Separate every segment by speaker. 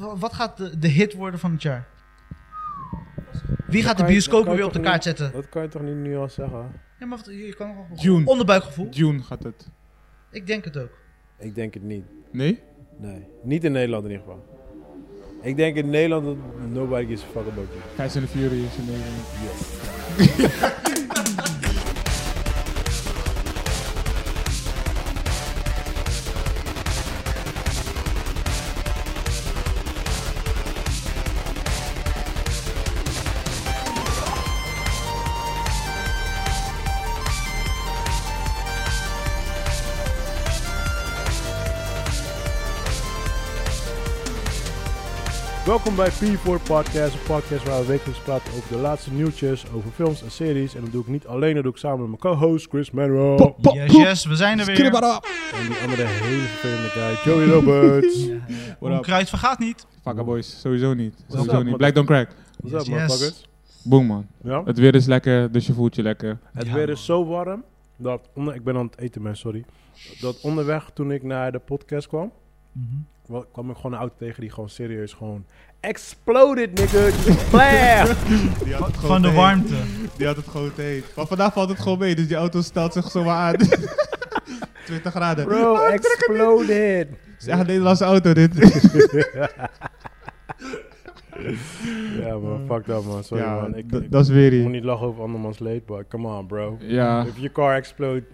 Speaker 1: Wa- Wat gaat de, de hit worden van het jaar? Wie gaat de
Speaker 2: kan je- dat
Speaker 1: bioscopen
Speaker 2: kan je
Speaker 1: weer op de
Speaker 2: toch
Speaker 1: kaart
Speaker 2: niet-
Speaker 1: zetten?
Speaker 2: Dat kan je toch niet nu al zeggen?
Speaker 1: Ja, maar wat- je kan nog wel-
Speaker 3: Dune.
Speaker 1: Onderbuikgevoel.
Speaker 3: Dune gaat het.
Speaker 1: Ik denk het ook.
Speaker 2: Ik denk het niet.
Speaker 3: Nee?
Speaker 2: Nee. Niet in Nederland in ieder geval. Ik denk in Nederland dat nobody gives a fuck about you.
Speaker 3: Fast and the Furious in Nederland.
Speaker 2: Welkom bij P4 Podcast, een podcast waar we wekelijks praten over de laatste nieuwtjes, over films en series. En dat doe ik niet alleen, dat doe ik samen met mijn co-host Chris Manuel.
Speaker 3: Pop,
Speaker 1: Yes,
Speaker 3: poep.
Speaker 1: yes, we zijn er weer.
Speaker 3: Skibbada.
Speaker 2: En die andere hele vervelende guy, Joey Roberts.
Speaker 3: What
Speaker 1: Om
Speaker 3: up?
Speaker 1: Kruid vergaat niet.
Speaker 3: Fucker boys, sowieso niet. Sowieso
Speaker 2: up,
Speaker 3: niet.
Speaker 2: man?
Speaker 3: Black don't crack.
Speaker 1: Yes,
Speaker 2: What's up,
Speaker 1: yes.
Speaker 2: motherfuckers?
Speaker 3: Boom man.
Speaker 2: Ja?
Speaker 3: Het weer is lekker, dus je voelt je lekker.
Speaker 2: Het
Speaker 1: Ja,
Speaker 2: weer
Speaker 1: man.
Speaker 2: is zo warm dat. Onder, ik ben aan het eten, man, sorry. Dat onderweg toen ik naar de podcast kwam,
Speaker 3: Mhm.
Speaker 2: wa- kwam ik gewoon een auto tegen die gewoon serieus gewoon. Exploded, nigga! Blam!
Speaker 3: Die had het
Speaker 1: Van de warmte.
Speaker 3: Die had het gewoon heet. Maar vandaag valt het gewoon mee, dus die auto stelt zich zomaar aan. 20 graden.
Speaker 2: Bro, exploded!
Speaker 3: Het is echt een Nederlandse auto dit.
Speaker 2: Ja, man, fuck dat, man. Sorry,
Speaker 3: Mm. ja,
Speaker 2: man. Ik,
Speaker 3: d-
Speaker 2: ik
Speaker 3: dat is weer
Speaker 2: moet
Speaker 3: hier.
Speaker 2: niet lachen over andermans leed, maar come on, bro.
Speaker 3: Ja.
Speaker 2: If your car explode.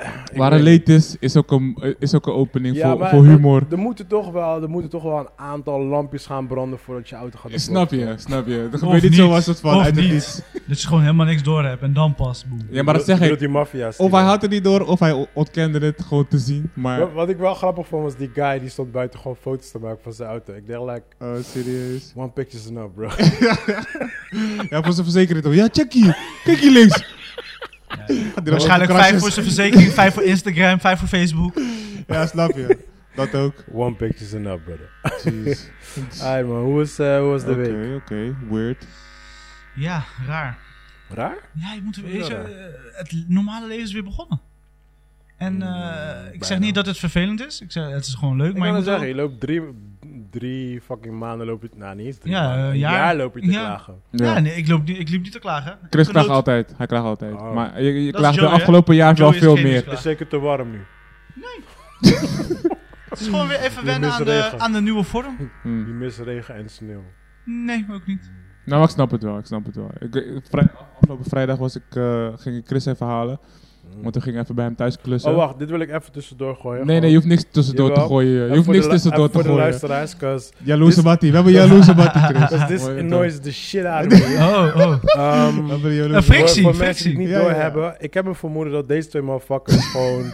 Speaker 2: eh, ik
Speaker 3: Waar een
Speaker 2: weet-
Speaker 3: leed is, is ook een, is ook een opening
Speaker 2: Ja,
Speaker 3: voor,
Speaker 2: maar
Speaker 3: voor humor.
Speaker 2: Er moeten, toch wel, er moeten toch wel een aantal lampjes gaan branden voordat je auto gaat
Speaker 3: Snap
Speaker 2: ontploffen.
Speaker 3: je, snap je. Er
Speaker 1: Of
Speaker 3: gebeurt niet zomaar
Speaker 1: niet.
Speaker 3: als het van
Speaker 1: Of
Speaker 3: uit de
Speaker 1: niet.
Speaker 3: niets.
Speaker 1: Dat je gewoon helemaal niks door hebt en dan pas. Boem.
Speaker 3: Ja, maar dat
Speaker 2: bedoel-
Speaker 3: zeg ik.
Speaker 2: bedoel die maffia.
Speaker 3: Of hij had het niet door, of hij o- ontkende het gewoon te zien. Maar,
Speaker 2: Wat, wat ik wel grappig vond was die guy die stond buiten gewoon foto's te maken van zijn auto. Ik dacht, like,
Speaker 3: oh, serieus.
Speaker 2: one picture's enough, bro.
Speaker 3: Ja, voor zijn verzekering toch. Ja, check hier. Kijk hier links. Gaat die
Speaker 1: Waarschijnlijk
Speaker 3: dan ook
Speaker 1: vijf voor
Speaker 3: krasjes?
Speaker 1: zijn verzekering, vijf voor Instagram, vijf voor Facebook.
Speaker 3: Ja, snap je. Dat ook.
Speaker 2: one picture's enough, brother.
Speaker 3: Jeez.
Speaker 2: Hey man, hoe was, eh, hoe was de week?
Speaker 3: Oké, oké. Weird.
Speaker 1: Ja, raar.
Speaker 2: Raar?
Speaker 1: Ja, je moet weet je,
Speaker 2: raar?
Speaker 1: eh, het normale leven is weer begonnen. En eh, ik zeg
Speaker 2: Mm, bijna.
Speaker 1: niet dat het vervelend is. Ik zeg, het is gewoon leuk.
Speaker 2: Ik
Speaker 1: maar je
Speaker 2: kan het
Speaker 1: moet wel-
Speaker 2: zeggen, je loopt drie, drie fucking maanden loop je, nou niet eens drie
Speaker 1: Ja,
Speaker 2: maanden,
Speaker 1: eh,
Speaker 2: een
Speaker 1: jaar.
Speaker 2: jaar, loop je te
Speaker 1: Ja.
Speaker 2: klagen.
Speaker 3: Ja.
Speaker 1: Ja, nee, ik loop, niet- ik liep niet te klagen.
Speaker 3: Chris
Speaker 1: Ik
Speaker 3: klaagt
Speaker 1: loop-
Speaker 3: altijd. Hij klaagt altijd.
Speaker 2: Oh.
Speaker 3: Maar je, je
Speaker 1: Dat is
Speaker 3: klaagt de
Speaker 1: Joey, hè?
Speaker 3: afgelopen jaar wel
Speaker 1: Joey is
Speaker 3: veel
Speaker 1: geen
Speaker 3: meer.
Speaker 2: Het is
Speaker 1: klaar.
Speaker 2: zeker te warm nu.
Speaker 1: Het is gewoon weer even
Speaker 2: Je
Speaker 1: wennen
Speaker 2: mist
Speaker 1: aan de,
Speaker 2: regen.
Speaker 1: aan de nieuwe vorm.
Speaker 3: Hmm.
Speaker 2: Je mist regen en sneeuw.
Speaker 1: Nee, ook niet.
Speaker 3: Nou, maar ik snap het wel. Ik snap het wel. Ik, ik- vrij- afgelopen vrijdag was ik, eh, ging ik Chris even halen. Want toen ging ik even bij hem thuis klussen.
Speaker 2: Mm. Oh wacht, dit wil ik even tussendoor gooien.
Speaker 3: Nee, nee, je hoeft niks tussendoor te
Speaker 2: Jawel.
Speaker 3: gooien. Je hoeft niks tussendoor te
Speaker 2: Voor de
Speaker 3: gooien.
Speaker 2: luisteraars, cause,
Speaker 3: Jaloerse
Speaker 2: Dit-
Speaker 3: Mattie. We hebben jaloerse Mattie, Chris.
Speaker 2: cause this
Speaker 3: Mooi, dat
Speaker 2: annoys the shit out of me.
Speaker 1: Oh, oh.
Speaker 2: Um,
Speaker 3: We hebben de
Speaker 1: Een
Speaker 3: jaloerse
Speaker 1: frik- Frictie,
Speaker 2: voor, voor mensen die
Speaker 1: frictie.
Speaker 2: het niet
Speaker 3: Ja, ja, ja.
Speaker 2: doorhebben, ik heb een vermoeden dat deze twee motherfuckers gewoon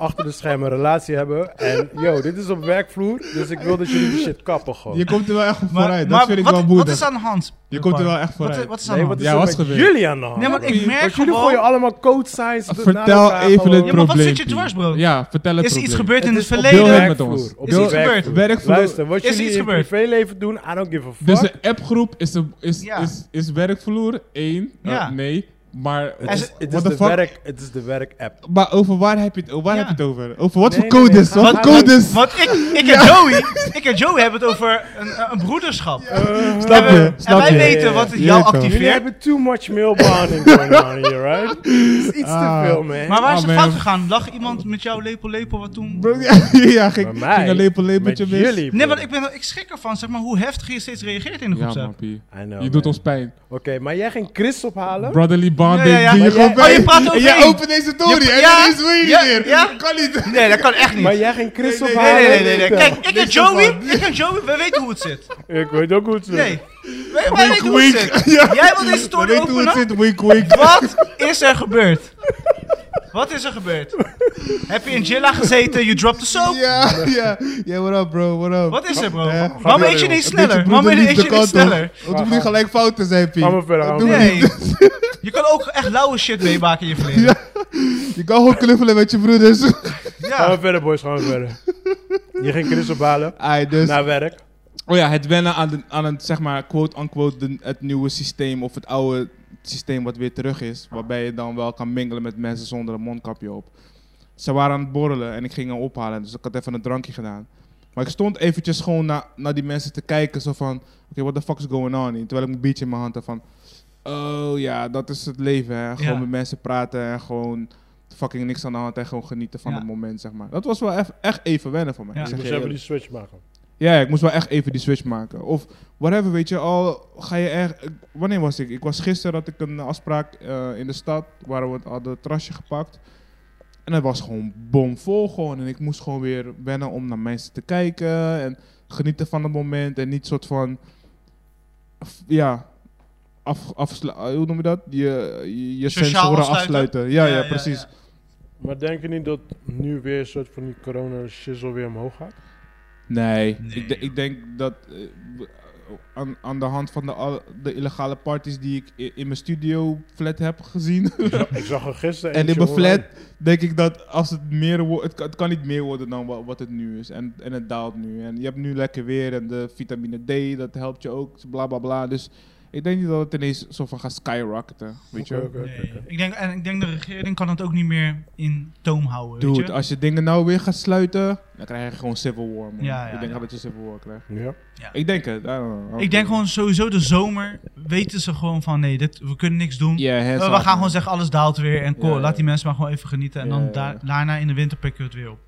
Speaker 2: achter de schermen een relatie hebben. En yo, dit is op werkvloer, dus ik wil dat jullie die shit kappen gewoon.
Speaker 3: Je komt er wel echt op
Speaker 1: Maar,
Speaker 3: vooruit.
Speaker 1: maar
Speaker 3: dat vind ik
Speaker 1: wat,
Speaker 3: wel
Speaker 1: wat
Speaker 3: moedig.
Speaker 1: is aan de hand?
Speaker 3: Je komt er wel
Speaker 1: Park?
Speaker 3: echt
Speaker 1: Wat,
Speaker 3: vooruit.
Speaker 1: wat is aan
Speaker 2: Nee,
Speaker 1: de
Speaker 2: wat
Speaker 1: hand?
Speaker 2: is
Speaker 3: Ja,
Speaker 2: er
Speaker 3: wat
Speaker 2: met
Speaker 3: is gebeurd?
Speaker 2: jullie aan de hand?
Speaker 1: Nee, want
Speaker 2: bro?
Speaker 1: ik merk
Speaker 2: Want jullie
Speaker 1: gewoon...
Speaker 2: gooien allemaal code signs na
Speaker 3: Ah, Vertel
Speaker 2: elkaar
Speaker 3: even
Speaker 2: gewoon.
Speaker 3: het
Speaker 1: Ja, maar wat
Speaker 3: probleem.
Speaker 1: zit je dwars, bro?
Speaker 3: Ja, vertel het
Speaker 1: Is er iets
Speaker 3: probleem.
Speaker 1: gebeurd in het
Speaker 2: is op
Speaker 3: Deel
Speaker 1: verleden?
Speaker 3: het met ons.
Speaker 2: werkvloer, op
Speaker 1: Is
Speaker 2: de
Speaker 1: iets gebeurd?
Speaker 2: werkvloer.
Speaker 3: Werkvloer-
Speaker 2: Luister, wat
Speaker 1: Is er
Speaker 2: jullie
Speaker 1: iets
Speaker 2: in
Speaker 1: gebeurd?
Speaker 2: privéleven doen, I don't give a fuck.
Speaker 3: Dus de appgroep is, de- is,
Speaker 1: Ja.
Speaker 3: is, is werkvloer één. Eh,
Speaker 1: Ja.
Speaker 3: nee, maar...
Speaker 2: het
Speaker 1: Er
Speaker 2: is,
Speaker 1: is-
Speaker 2: het is
Speaker 3: what the
Speaker 2: de
Speaker 3: fuck?
Speaker 2: werk, het is de werk-app.
Speaker 3: Maar over waar heb je het, waar
Speaker 1: Ja.
Speaker 3: heb je het over? Over wat
Speaker 2: Nee,
Speaker 3: voor
Speaker 2: nee, nee,
Speaker 3: codes?
Speaker 2: ga-
Speaker 3: wat
Speaker 2: ga-
Speaker 3: voor codes?
Speaker 1: Want ik, ik en Joey, ik en Joey hebben het over een, een broederschap.
Speaker 3: Snap
Speaker 1: En we-
Speaker 3: je?
Speaker 1: en
Speaker 3: Snap
Speaker 1: wij
Speaker 3: je?
Speaker 1: weten wat
Speaker 3: Ja,
Speaker 1: jou
Speaker 3: toch.
Speaker 2: Jullie
Speaker 1: activeert.
Speaker 2: hebben too much male bonding going on here, right? Het is iets
Speaker 3: Ah.
Speaker 2: te veel, man.
Speaker 1: Maar waar is
Speaker 3: Ah,
Speaker 1: de
Speaker 3: man.
Speaker 1: fout gegaan? Lag iemand met jouw lepel lepel wat toen...
Speaker 3: Bro, ja, ja,
Speaker 2: Bij
Speaker 3: ging, ging
Speaker 2: mij,
Speaker 3: een lepel
Speaker 2: met
Speaker 3: lepeltje mis.
Speaker 2: jullie,
Speaker 1: Nee,
Speaker 2: bro.
Speaker 1: want ik, ben, ik schrik ervan, zeg maar, hoe heftig je steeds reageert in de
Speaker 3: Ja,
Speaker 1: groepsapp.
Speaker 3: man, Pie.
Speaker 2: I know,
Speaker 3: Je doet
Speaker 2: man.
Speaker 3: ons pijn.
Speaker 2: Oké, maar jij ging Chris ophalen?
Speaker 3: Brotherly bonding
Speaker 1: Ja, ja, ja.
Speaker 3: doe je
Speaker 1: Maar
Speaker 3: gewoon
Speaker 2: jij-
Speaker 3: bij.
Speaker 1: Oh, je praat
Speaker 3: En
Speaker 1: overheen.
Speaker 3: jij opent deze tory
Speaker 1: Je-
Speaker 3: en
Speaker 1: ja,
Speaker 3: ineens wil je niet
Speaker 1: ja,
Speaker 3: meer.
Speaker 1: ja.
Speaker 3: Kan niet.
Speaker 1: Nee, dat kan echt niet.
Speaker 2: Maar jij ging Chris
Speaker 3: Nee, nee,
Speaker 2: ophalen?
Speaker 1: Nee, nee, nee, nee. Kijk, ik en
Speaker 3: Niks
Speaker 1: Joey,
Speaker 3: ervan.
Speaker 1: ik en Joey, we weten hoe het zit.
Speaker 2: Ik weet ook hoe het zit.
Speaker 1: Nee. Wij, wij weten hoe het zit.
Speaker 3: Ja.
Speaker 1: Jij wil deze
Speaker 3: We
Speaker 1: story
Speaker 3: weten hoe het
Speaker 1: openen?
Speaker 3: zit, wink, wink.
Speaker 1: Wat is er gebeurd? Wat is er gebeurd? Heb je in Jilla gezeten? You dropped the soap?
Speaker 3: Ja, ja. Ja, what up, bro? What up?
Speaker 1: Wat is er, bro?
Speaker 3: Eh,
Speaker 1: Waarom eet je niet sneller? Waarom eet je niet sneller?
Speaker 3: Want we moeten gelijk fouten zijn, Piet.
Speaker 2: Gaan we verder, gaan we
Speaker 3: Doe
Speaker 2: verder.
Speaker 3: het
Speaker 1: Nee. Je kan ook echt lauwe shit meemaken in je verleden.
Speaker 3: Ja. niet. Je kan gewoon knuffelen met je broeders. Oh,
Speaker 2: Gaan we
Speaker 1: Ja.
Speaker 2: verder, boys, gaan we verder. Je ging Chris ophalen?
Speaker 3: Ai, dus.
Speaker 2: Naar werk.
Speaker 3: Oh ja, het wennen aan, de, aan een, zeg maar, quote-unquote, de- het nieuwe systeem of het oude systeem wat weer terug is. Waarbij je dan wel kan mingelen met mensen zonder een mondkapje op. Ze waren aan het borrelen en ik ging hem ophalen, dus ik had even een drankje gedaan. Maar ik stond eventjes gewoon na- naar die mensen te kijken. Zo van, oké, what the fuck is going on? hier? Terwijl ik mijn biertje in mijn hand had van... Oh ja, dat is het leven hè. Gewoon
Speaker 1: Ja.
Speaker 3: met mensen praten en gewoon fucking niks aan de hand. En gewoon genieten van
Speaker 1: Ja.
Speaker 3: het moment, zeg maar. Dat was wel eff- echt even wennen voor mij.
Speaker 1: Ja.
Speaker 3: ik
Speaker 2: Je
Speaker 3: zeg
Speaker 2: moet
Speaker 3: je
Speaker 2: Dus even
Speaker 3: eerlijk.
Speaker 2: die switch maken.
Speaker 3: Ja, ik moest wel echt even die switch maken. Of whatever, weet je. Al ga je echt... ik- Wanneer was ik? Ik was gisteren, had ik een afspraak eh, in de stad. Waar we het hadden het terrasje gepakt. En het was gewoon bomvol gewoon. En ik moest gewoon weer wennen om naar mensen te kijken. En genieten van het moment. En niet soort van... f- Ja... Af, afslu- eh, hoe noem je dat? Je, je, je
Speaker 1: Sociaal
Speaker 3: sensoren
Speaker 1: afsluiten.
Speaker 3: afsluiten. Ja, ja, precies.
Speaker 2: Maar denk je niet dat nu weer een soort van die corona-shizzle weer omhoog gaat?
Speaker 3: Nee,
Speaker 1: Nee.
Speaker 3: Ik, de- ik denk dat eh, w- aan, aan de hand van de, al- de illegale parties die ik i- in mijn studio flat heb gezien
Speaker 2: Ik zag er gisteren
Speaker 3: en in
Speaker 2: eentje
Speaker 3: mijn flat,
Speaker 2: online.
Speaker 3: denk ik dat als het meer wordt, het, kan- het kan niet meer worden dan wa- wat, het nu is en, en het daalt nu. En je hebt nu lekker weer en de vitamine D, dat helpt je ook, bla bla bla. Dus ik denk niet dat het ineens zo van gaat skyrocketen, weet je.
Speaker 2: Oké, oké, oké.
Speaker 1: Nee. Ik denk, en ik denk de regering kan het ook niet meer in toom houden. weet
Speaker 3: Dude,
Speaker 1: je?
Speaker 3: als je dingen nou weer gaat sluiten, dan krijg je gewoon civil war, man.
Speaker 1: Ja, ja,
Speaker 3: ik denk
Speaker 1: ja.
Speaker 3: dat je civil war krijgt.
Speaker 2: Ja.
Speaker 3: Ik denk het, I don't know.
Speaker 1: Ik denk gewoon sowieso de zomer weten ze gewoon van nee, dit, we kunnen niks doen.
Speaker 3: Ja, hands
Speaker 1: we
Speaker 3: off,
Speaker 1: gaan
Speaker 3: man.
Speaker 1: gewoon zeggen alles daalt weer en cool,
Speaker 3: Ja, ja.
Speaker 1: laat die mensen maar gewoon even genieten. En
Speaker 3: Ja,
Speaker 1: dan
Speaker 3: ja.
Speaker 1: daar- daarna in de winter pikken we het weer op.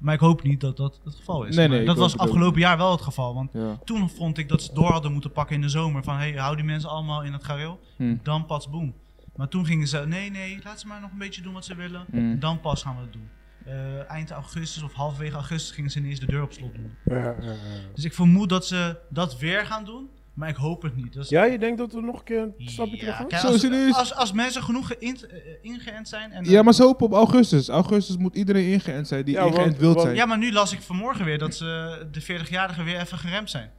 Speaker 1: Maar ik hoop niet dat dat het geval is.
Speaker 3: Nee,
Speaker 1: Maar
Speaker 3: nee,
Speaker 1: dat
Speaker 3: ik hoop
Speaker 1: was
Speaker 3: het ook
Speaker 1: afgelopen
Speaker 3: niet.
Speaker 1: jaar wel het geval. Want
Speaker 3: Ja.
Speaker 1: toen vond ik dat ze door hadden moeten pakken in de zomer. Van hey, hou die mensen allemaal in het gareel. Dan pas boem. Maar toen gingen ze, nee, nee, laat ze maar nog een beetje doen wat ze willen.
Speaker 3: Mm.
Speaker 1: Dan pas gaan we het doen. Eh, eind augustus of halverwege augustus gingen ze ineens de deur op slot doen.
Speaker 2: Ja, ja, ja.
Speaker 1: Dus ik vermoed dat ze dat weer gaan doen, maar ik hoop het niet. Dus
Speaker 2: Ja, je denkt dat we nog een keer een stapje
Speaker 1: Ja,
Speaker 2: terug gaan?
Speaker 1: kijk,
Speaker 3: Zo
Speaker 1: als,
Speaker 3: serieus?
Speaker 1: als, als mensen genoeg geïnt- eh, ingeënt zijn. En, eh,
Speaker 3: Ja, maar ze hopen op augustus. Augustus moet iedereen ingeënt zijn die
Speaker 2: Ja,
Speaker 3: ingeënt
Speaker 2: want-
Speaker 3: wilt
Speaker 2: want-
Speaker 3: zijn.
Speaker 1: Ja, maar nu las ik vanmorgen weer dat ze de 40-jarigen weer even geremd zijn.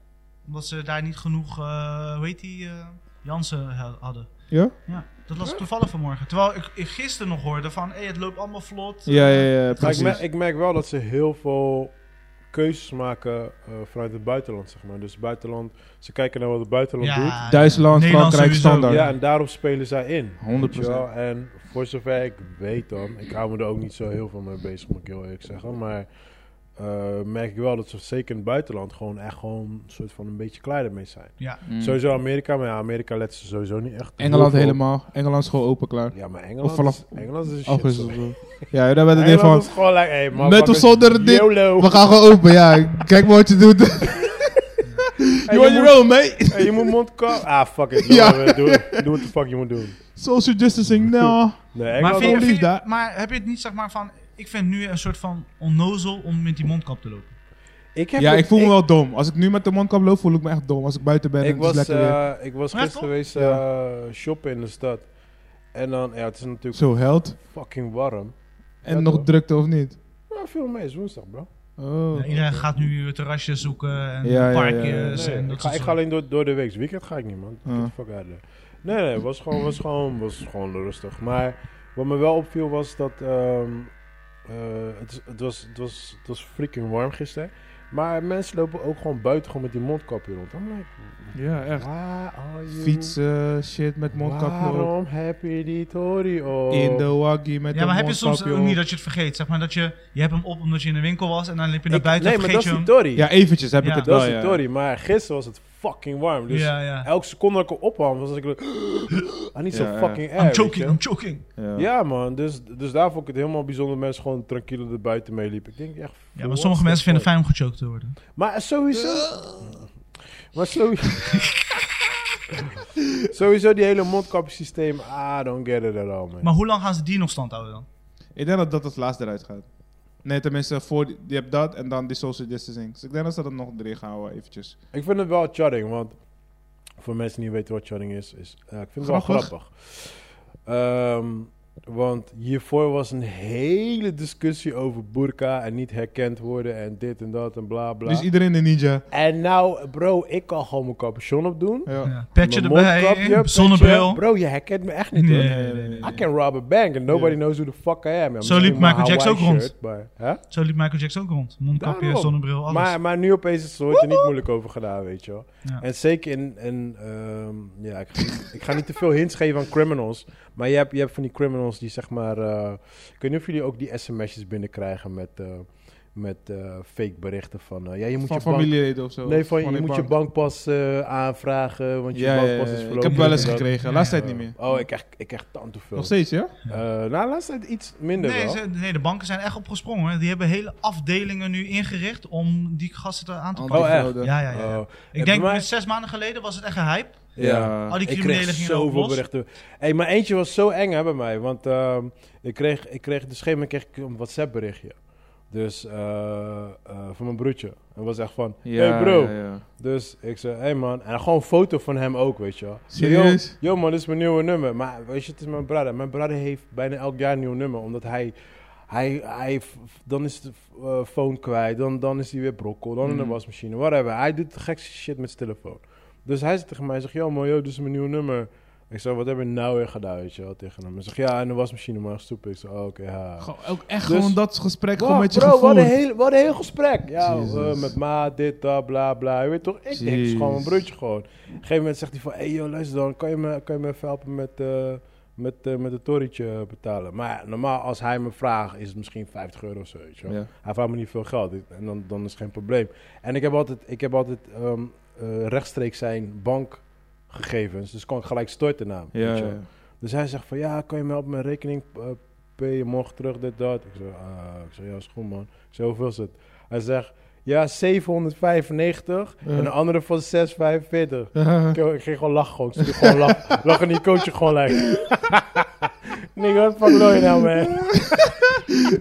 Speaker 1: Omdat ze daar niet genoeg, eh hoe heet die, eh, Jansen he- hadden.
Speaker 3: Ja?
Speaker 1: Ja, dat las ik toevallig vanmorgen. Terwijl ik, ik gisteren nog hoorde van, hey, het loopt allemaal vlot.
Speaker 3: Ja, ja, ja,
Speaker 2: Maar ik,
Speaker 3: precies.
Speaker 2: merk, ik merk wel dat ze heel veel keuzes maken eh, vanuit het buitenland, zeg maar. Dus buitenland, ze kijken naar wat het buitenland doet.
Speaker 3: Duitsland,
Speaker 1: Nederland
Speaker 3: Frankrijk,
Speaker 1: sowieso.
Speaker 3: standaard.
Speaker 2: Ja, en daarop spelen zij in.
Speaker 3: 100
Speaker 2: Weet je wel? En voor zover ik weet dan, ik hou me er ook niet zo heel veel mee bezig, moet ik heel eerlijk zeggen. Maar eh, merk ik wel dat ze zeker in het buitenland gewoon echt gewoon een soort van een beetje klaar ermee zijn.
Speaker 1: Ja.
Speaker 3: Mm.
Speaker 2: Sowieso Amerika, maar ja, Amerika let ze sowieso niet echt.
Speaker 3: Engeland
Speaker 2: heel veel op.
Speaker 3: helemaal. Engeland is gewoon open klaar.
Speaker 2: Ja, maar Engeland,
Speaker 3: Of vanaf
Speaker 2: is, Engeland is een shit.
Speaker 3: Augustus.
Speaker 2: sorry.
Speaker 3: of zo. Ja, daar werd het weer
Speaker 2: Engeland
Speaker 3: van.
Speaker 2: is gewoon like, hey,
Speaker 3: Met of
Speaker 2: motherfuckers,
Speaker 3: zonder dit.
Speaker 2: YOLO.
Speaker 3: We gaan gewoon open, ja. Kijk maar wat je doet.
Speaker 2: Hey,
Speaker 3: You on your own, mate.
Speaker 2: Hey, je moet mondkap. Ah, fuck it.
Speaker 3: Ja.
Speaker 2: Doe, doe, doe wat de fuck je moet doen.
Speaker 3: Social distancing, nou.
Speaker 2: Nee,
Speaker 1: Maar,
Speaker 2: Engeland
Speaker 1: vind je-
Speaker 3: lief
Speaker 1: vind je-
Speaker 3: daar.
Speaker 1: maar heb je het niet, zeg maar, van, ik vind nu een soort van onnozel om met die mondkap te lopen.
Speaker 2: ik heb
Speaker 3: Ja,
Speaker 2: het-
Speaker 3: ik voel me wel dom. Als ik nu met de mondkap loop, voel ik me echt dom. Als ik buiten ben, en
Speaker 2: Ik
Speaker 3: het is
Speaker 2: was,
Speaker 3: lekker weer.
Speaker 2: eh, ik was
Speaker 1: Ja,
Speaker 2: gisteren
Speaker 1: toch?
Speaker 2: geweest eh, shoppen in de stad. En dan, ja, het is natuurlijk
Speaker 3: Zo, held.
Speaker 2: fucking warm.
Speaker 3: En
Speaker 2: eh, Ja,
Speaker 3: nog
Speaker 2: toch?
Speaker 3: drukte of niet?
Speaker 2: Ja, veel mee, is woensdag, bro.
Speaker 3: Oh.
Speaker 1: Ja, iedereen gaat nu weer terrasjes zoeken en
Speaker 3: Ja, ja,
Speaker 1: parkjes.
Speaker 3: ja, ja. Dus,
Speaker 2: Nee,
Speaker 1: en dat
Speaker 2: ik, ga,
Speaker 1: soort
Speaker 2: ik ga alleen door, door de week. Weekend ga ik niet, man. Get
Speaker 3: Ah.
Speaker 2: the fuck out of there. Nee, nee, was gewoon, was gewoon, was gewoon rustig. Maar wat me wel opviel was dat ehm, eh, het, is- het, was, het, was, het was freaking warm gisteren. Maar mensen lopen ook gewoon buiten gewoon met die mondkapje rond. I'm like,
Speaker 3: Ja, echt.
Speaker 2: waar are you?
Speaker 3: Fietsen, shit met mondkapje op.
Speaker 2: Waarom heb je die tory op?
Speaker 3: In de waggie met
Speaker 1: Ja, maar
Speaker 3: een
Speaker 1: heb je soms
Speaker 3: mondkapje
Speaker 1: ook niet
Speaker 3: op.
Speaker 1: dat je het vergeet? Zeg maar dat je, je hebt hem op omdat je in de winkel was en dan liep je naar
Speaker 2: Ik-
Speaker 1: buiten
Speaker 2: Nee,
Speaker 1: en
Speaker 2: maar
Speaker 1: vergeet
Speaker 2: dat
Speaker 1: je
Speaker 2: is die
Speaker 1: hem.
Speaker 2: tory.
Speaker 3: Ja, eventjes heb
Speaker 1: Ja.
Speaker 3: ik het
Speaker 2: dat
Speaker 3: wel,
Speaker 2: is die
Speaker 3: ja.
Speaker 2: tory. Maar gisteren was het fucking warm. Dus
Speaker 1: ja, ja.
Speaker 2: elke seconde dat ik hem opham, was ik... Ah, niet zo
Speaker 3: Ja, ja.
Speaker 2: fucking erg.
Speaker 1: I'm
Speaker 2: weet je.
Speaker 1: choking, I'm choking.
Speaker 3: Ja.
Speaker 2: Ja, man. Dus, dus daar vond ik het helemaal bijzonder dat mensen gewoon tranquille er buiten mee liepen. Ik denk echt...
Speaker 1: Ja, maar sommige mensen vinden het fijn om gechoked te worden.
Speaker 2: fijn. Maar sowieso... Maar sowieso... sowieso die hele mondkapjesysteem. I don't get it at all, man.
Speaker 1: Maar hoe lang gaan ze die nog stand houden dan?
Speaker 3: Ik denk dat dat als laatste eruit gaat. Nee, tenminste, voor die, je hebt dat en dan die social distancing. Dus ik denk dat ze dat nog erin gaan houden, eventjes.
Speaker 2: Ik vind het wel chatting, want voor mensen die niet weten wat chatting is, is eh, ik vind het wel
Speaker 3: Grappig.
Speaker 2: grappig. Ehm, want hiervoor was een hele discussie over burka en niet herkend worden en dit en dat en bla bla.
Speaker 3: Dus iedereen een ninja.
Speaker 2: en nou, bro, ik kan gewoon mijn capuchon opdoen.
Speaker 3: Ja.
Speaker 1: Ja. Petje
Speaker 2: Mijn
Speaker 1: erbij, eh,
Speaker 2: mondkapje, petje.
Speaker 1: zonnebril.
Speaker 2: Bro, je herkent me echt niet hoor.
Speaker 1: Nee, nee, nee,
Speaker 2: I can rob a bank and nobody knows who the fuck I am. Ja, misschien
Speaker 1: liep
Speaker 2: mijn
Speaker 1: Michael Jackson ook
Speaker 2: Hawaii
Speaker 1: rond.
Speaker 2: shirt, maar- hè?
Speaker 1: Zo liep Michael Jackson ook rond. Mondkapje,
Speaker 2: Daarom.
Speaker 1: zonnebril, alles.
Speaker 2: Maar, maar nu opeens is- wordt er niet moeilijk over gedaan, weet je wel.
Speaker 1: Ja.
Speaker 2: En zeker in... in ehm, ja, ik, ga niet- ik ga niet te veel hints geven aan criminals. Maar je hebt, je hebt van die criminals die zeg maar... eh, ik weet niet of jullie ook die sms'jes binnenkrijgen met... eh, met eh, fake berichten van... eh, ja, je moet
Speaker 3: van
Speaker 2: je bank...
Speaker 3: familieleden of zo.
Speaker 2: Nee, van, je
Speaker 3: die
Speaker 2: moet je
Speaker 3: bank.
Speaker 2: bankpas eh, aanvragen, want je
Speaker 3: Ja, ja, ja,
Speaker 2: bankpas is
Speaker 3: ja.
Speaker 2: verlopen.
Speaker 3: ik heb wel eens
Speaker 2: en dat.
Speaker 3: gekregen. Laatst tijd niet meer.
Speaker 2: Oh, ik krijg, ik krijg tante veel.
Speaker 3: Nog steeds, ja?
Speaker 2: Eh, nou, laatst tijd iets minder
Speaker 1: Nee,
Speaker 2: wel.
Speaker 1: ze- nee, de banken zijn echt opgesprongen. Die hebben hele afdelingen nu ingericht om die gasten te- aan te pakken.
Speaker 2: Oh, echt?
Speaker 3: fraude.
Speaker 1: Ja, ja, ja.
Speaker 2: Oh.
Speaker 1: ik
Speaker 2: bij
Speaker 1: denk
Speaker 2: mij-
Speaker 1: zes maanden geleden was het echt een hype.
Speaker 2: ja.
Speaker 1: Al die
Speaker 2: Ik
Speaker 1: criminelen
Speaker 2: kreeg
Speaker 1: gingen ook
Speaker 2: zoveel
Speaker 1: los.
Speaker 2: berichten. Hey, maar eentje was zo eng hè, bij mij. Want ehm, ik, kreeg, ik kreeg, dus op een gegeven moment kreeg ik een WhatsApp berichtje. Dus eh, eh, van mijn broertje. En was echt van, hey bro.
Speaker 3: ja, ja.
Speaker 2: Dus ik zei, hey man. En gewoon een foto van hem ook, weet je wel. Ik zei,
Speaker 3: Serieus?
Speaker 2: Yo, yo man, dit is mijn nieuwe nummer. Maar weet je, het is mijn brother. Mijn brother heeft bijna elk jaar een nieuw nummer. Omdat hij, hij, hij dan is de eh, phone kwijt. Dan, dan is hij weer brokkel. Dan in de
Speaker 3: Mm.
Speaker 2: wasmachine, whatever. Hij doet gekste shit met zijn telefoon. Dus hij zegt tegen mij, hij zegt, yo man, yo, dit is mijn nieuwe nummer. Ik zei, wat heb je nou weer gedaan, weet je wel, tegen hem. Hij zegt, ja, in de wasmachine, maar stoep. Ik zei, oh, oké, ha.
Speaker 3: Gewoon- ook echt
Speaker 2: Dus-
Speaker 3: gewoon dat gesprek
Speaker 2: Wow,
Speaker 3: gewoon met je
Speaker 2: bro,
Speaker 3: gevoel.
Speaker 2: Wat een, heel, wat een heel gesprek. Ja,
Speaker 3: Jezus.
Speaker 2: eh, met ma, dit, dat, bla, bla. Je weet toch, ik niks.
Speaker 3: Jeez.
Speaker 2: Gewoon mijn broertje gewoon. Op een gegeven moment zegt hij van... Hé, hey, joh, luister dan. Kan je me, kan je me even helpen met, eh met, eh, met het torentje betalen? Maar ja, normaal als hij me vraagt, is het misschien 50 euro of zo, weet je wel.
Speaker 3: Ja.
Speaker 2: Hij vraagt me niet veel geld. Ik- En dan, dan is het geen probleem. En ik heb altijd, ik heb altijd ehm, eh, rechtstreeks zijn bankgegevens. Dus kan ik gelijk storten naar hem,
Speaker 3: Ja,
Speaker 2: weet je
Speaker 3: ja.
Speaker 2: wel. Dus hij zegt van ja, kan je me helpen met rekening eh payen morgen terug, dit, dat. Ik zeg, ah, ik zeg ja, is goed man. Ik zeg, hoeveel is het? Hij zegt, ja, 795
Speaker 3: Ja.
Speaker 2: en de andere van 645.
Speaker 3: Ja.
Speaker 2: Ik, ik ging gewoon lachen, gewoon. ik stuurde gewoon lachen. Lachen die coach gewoon lekker. Nigga, wat fuck wil je nou man?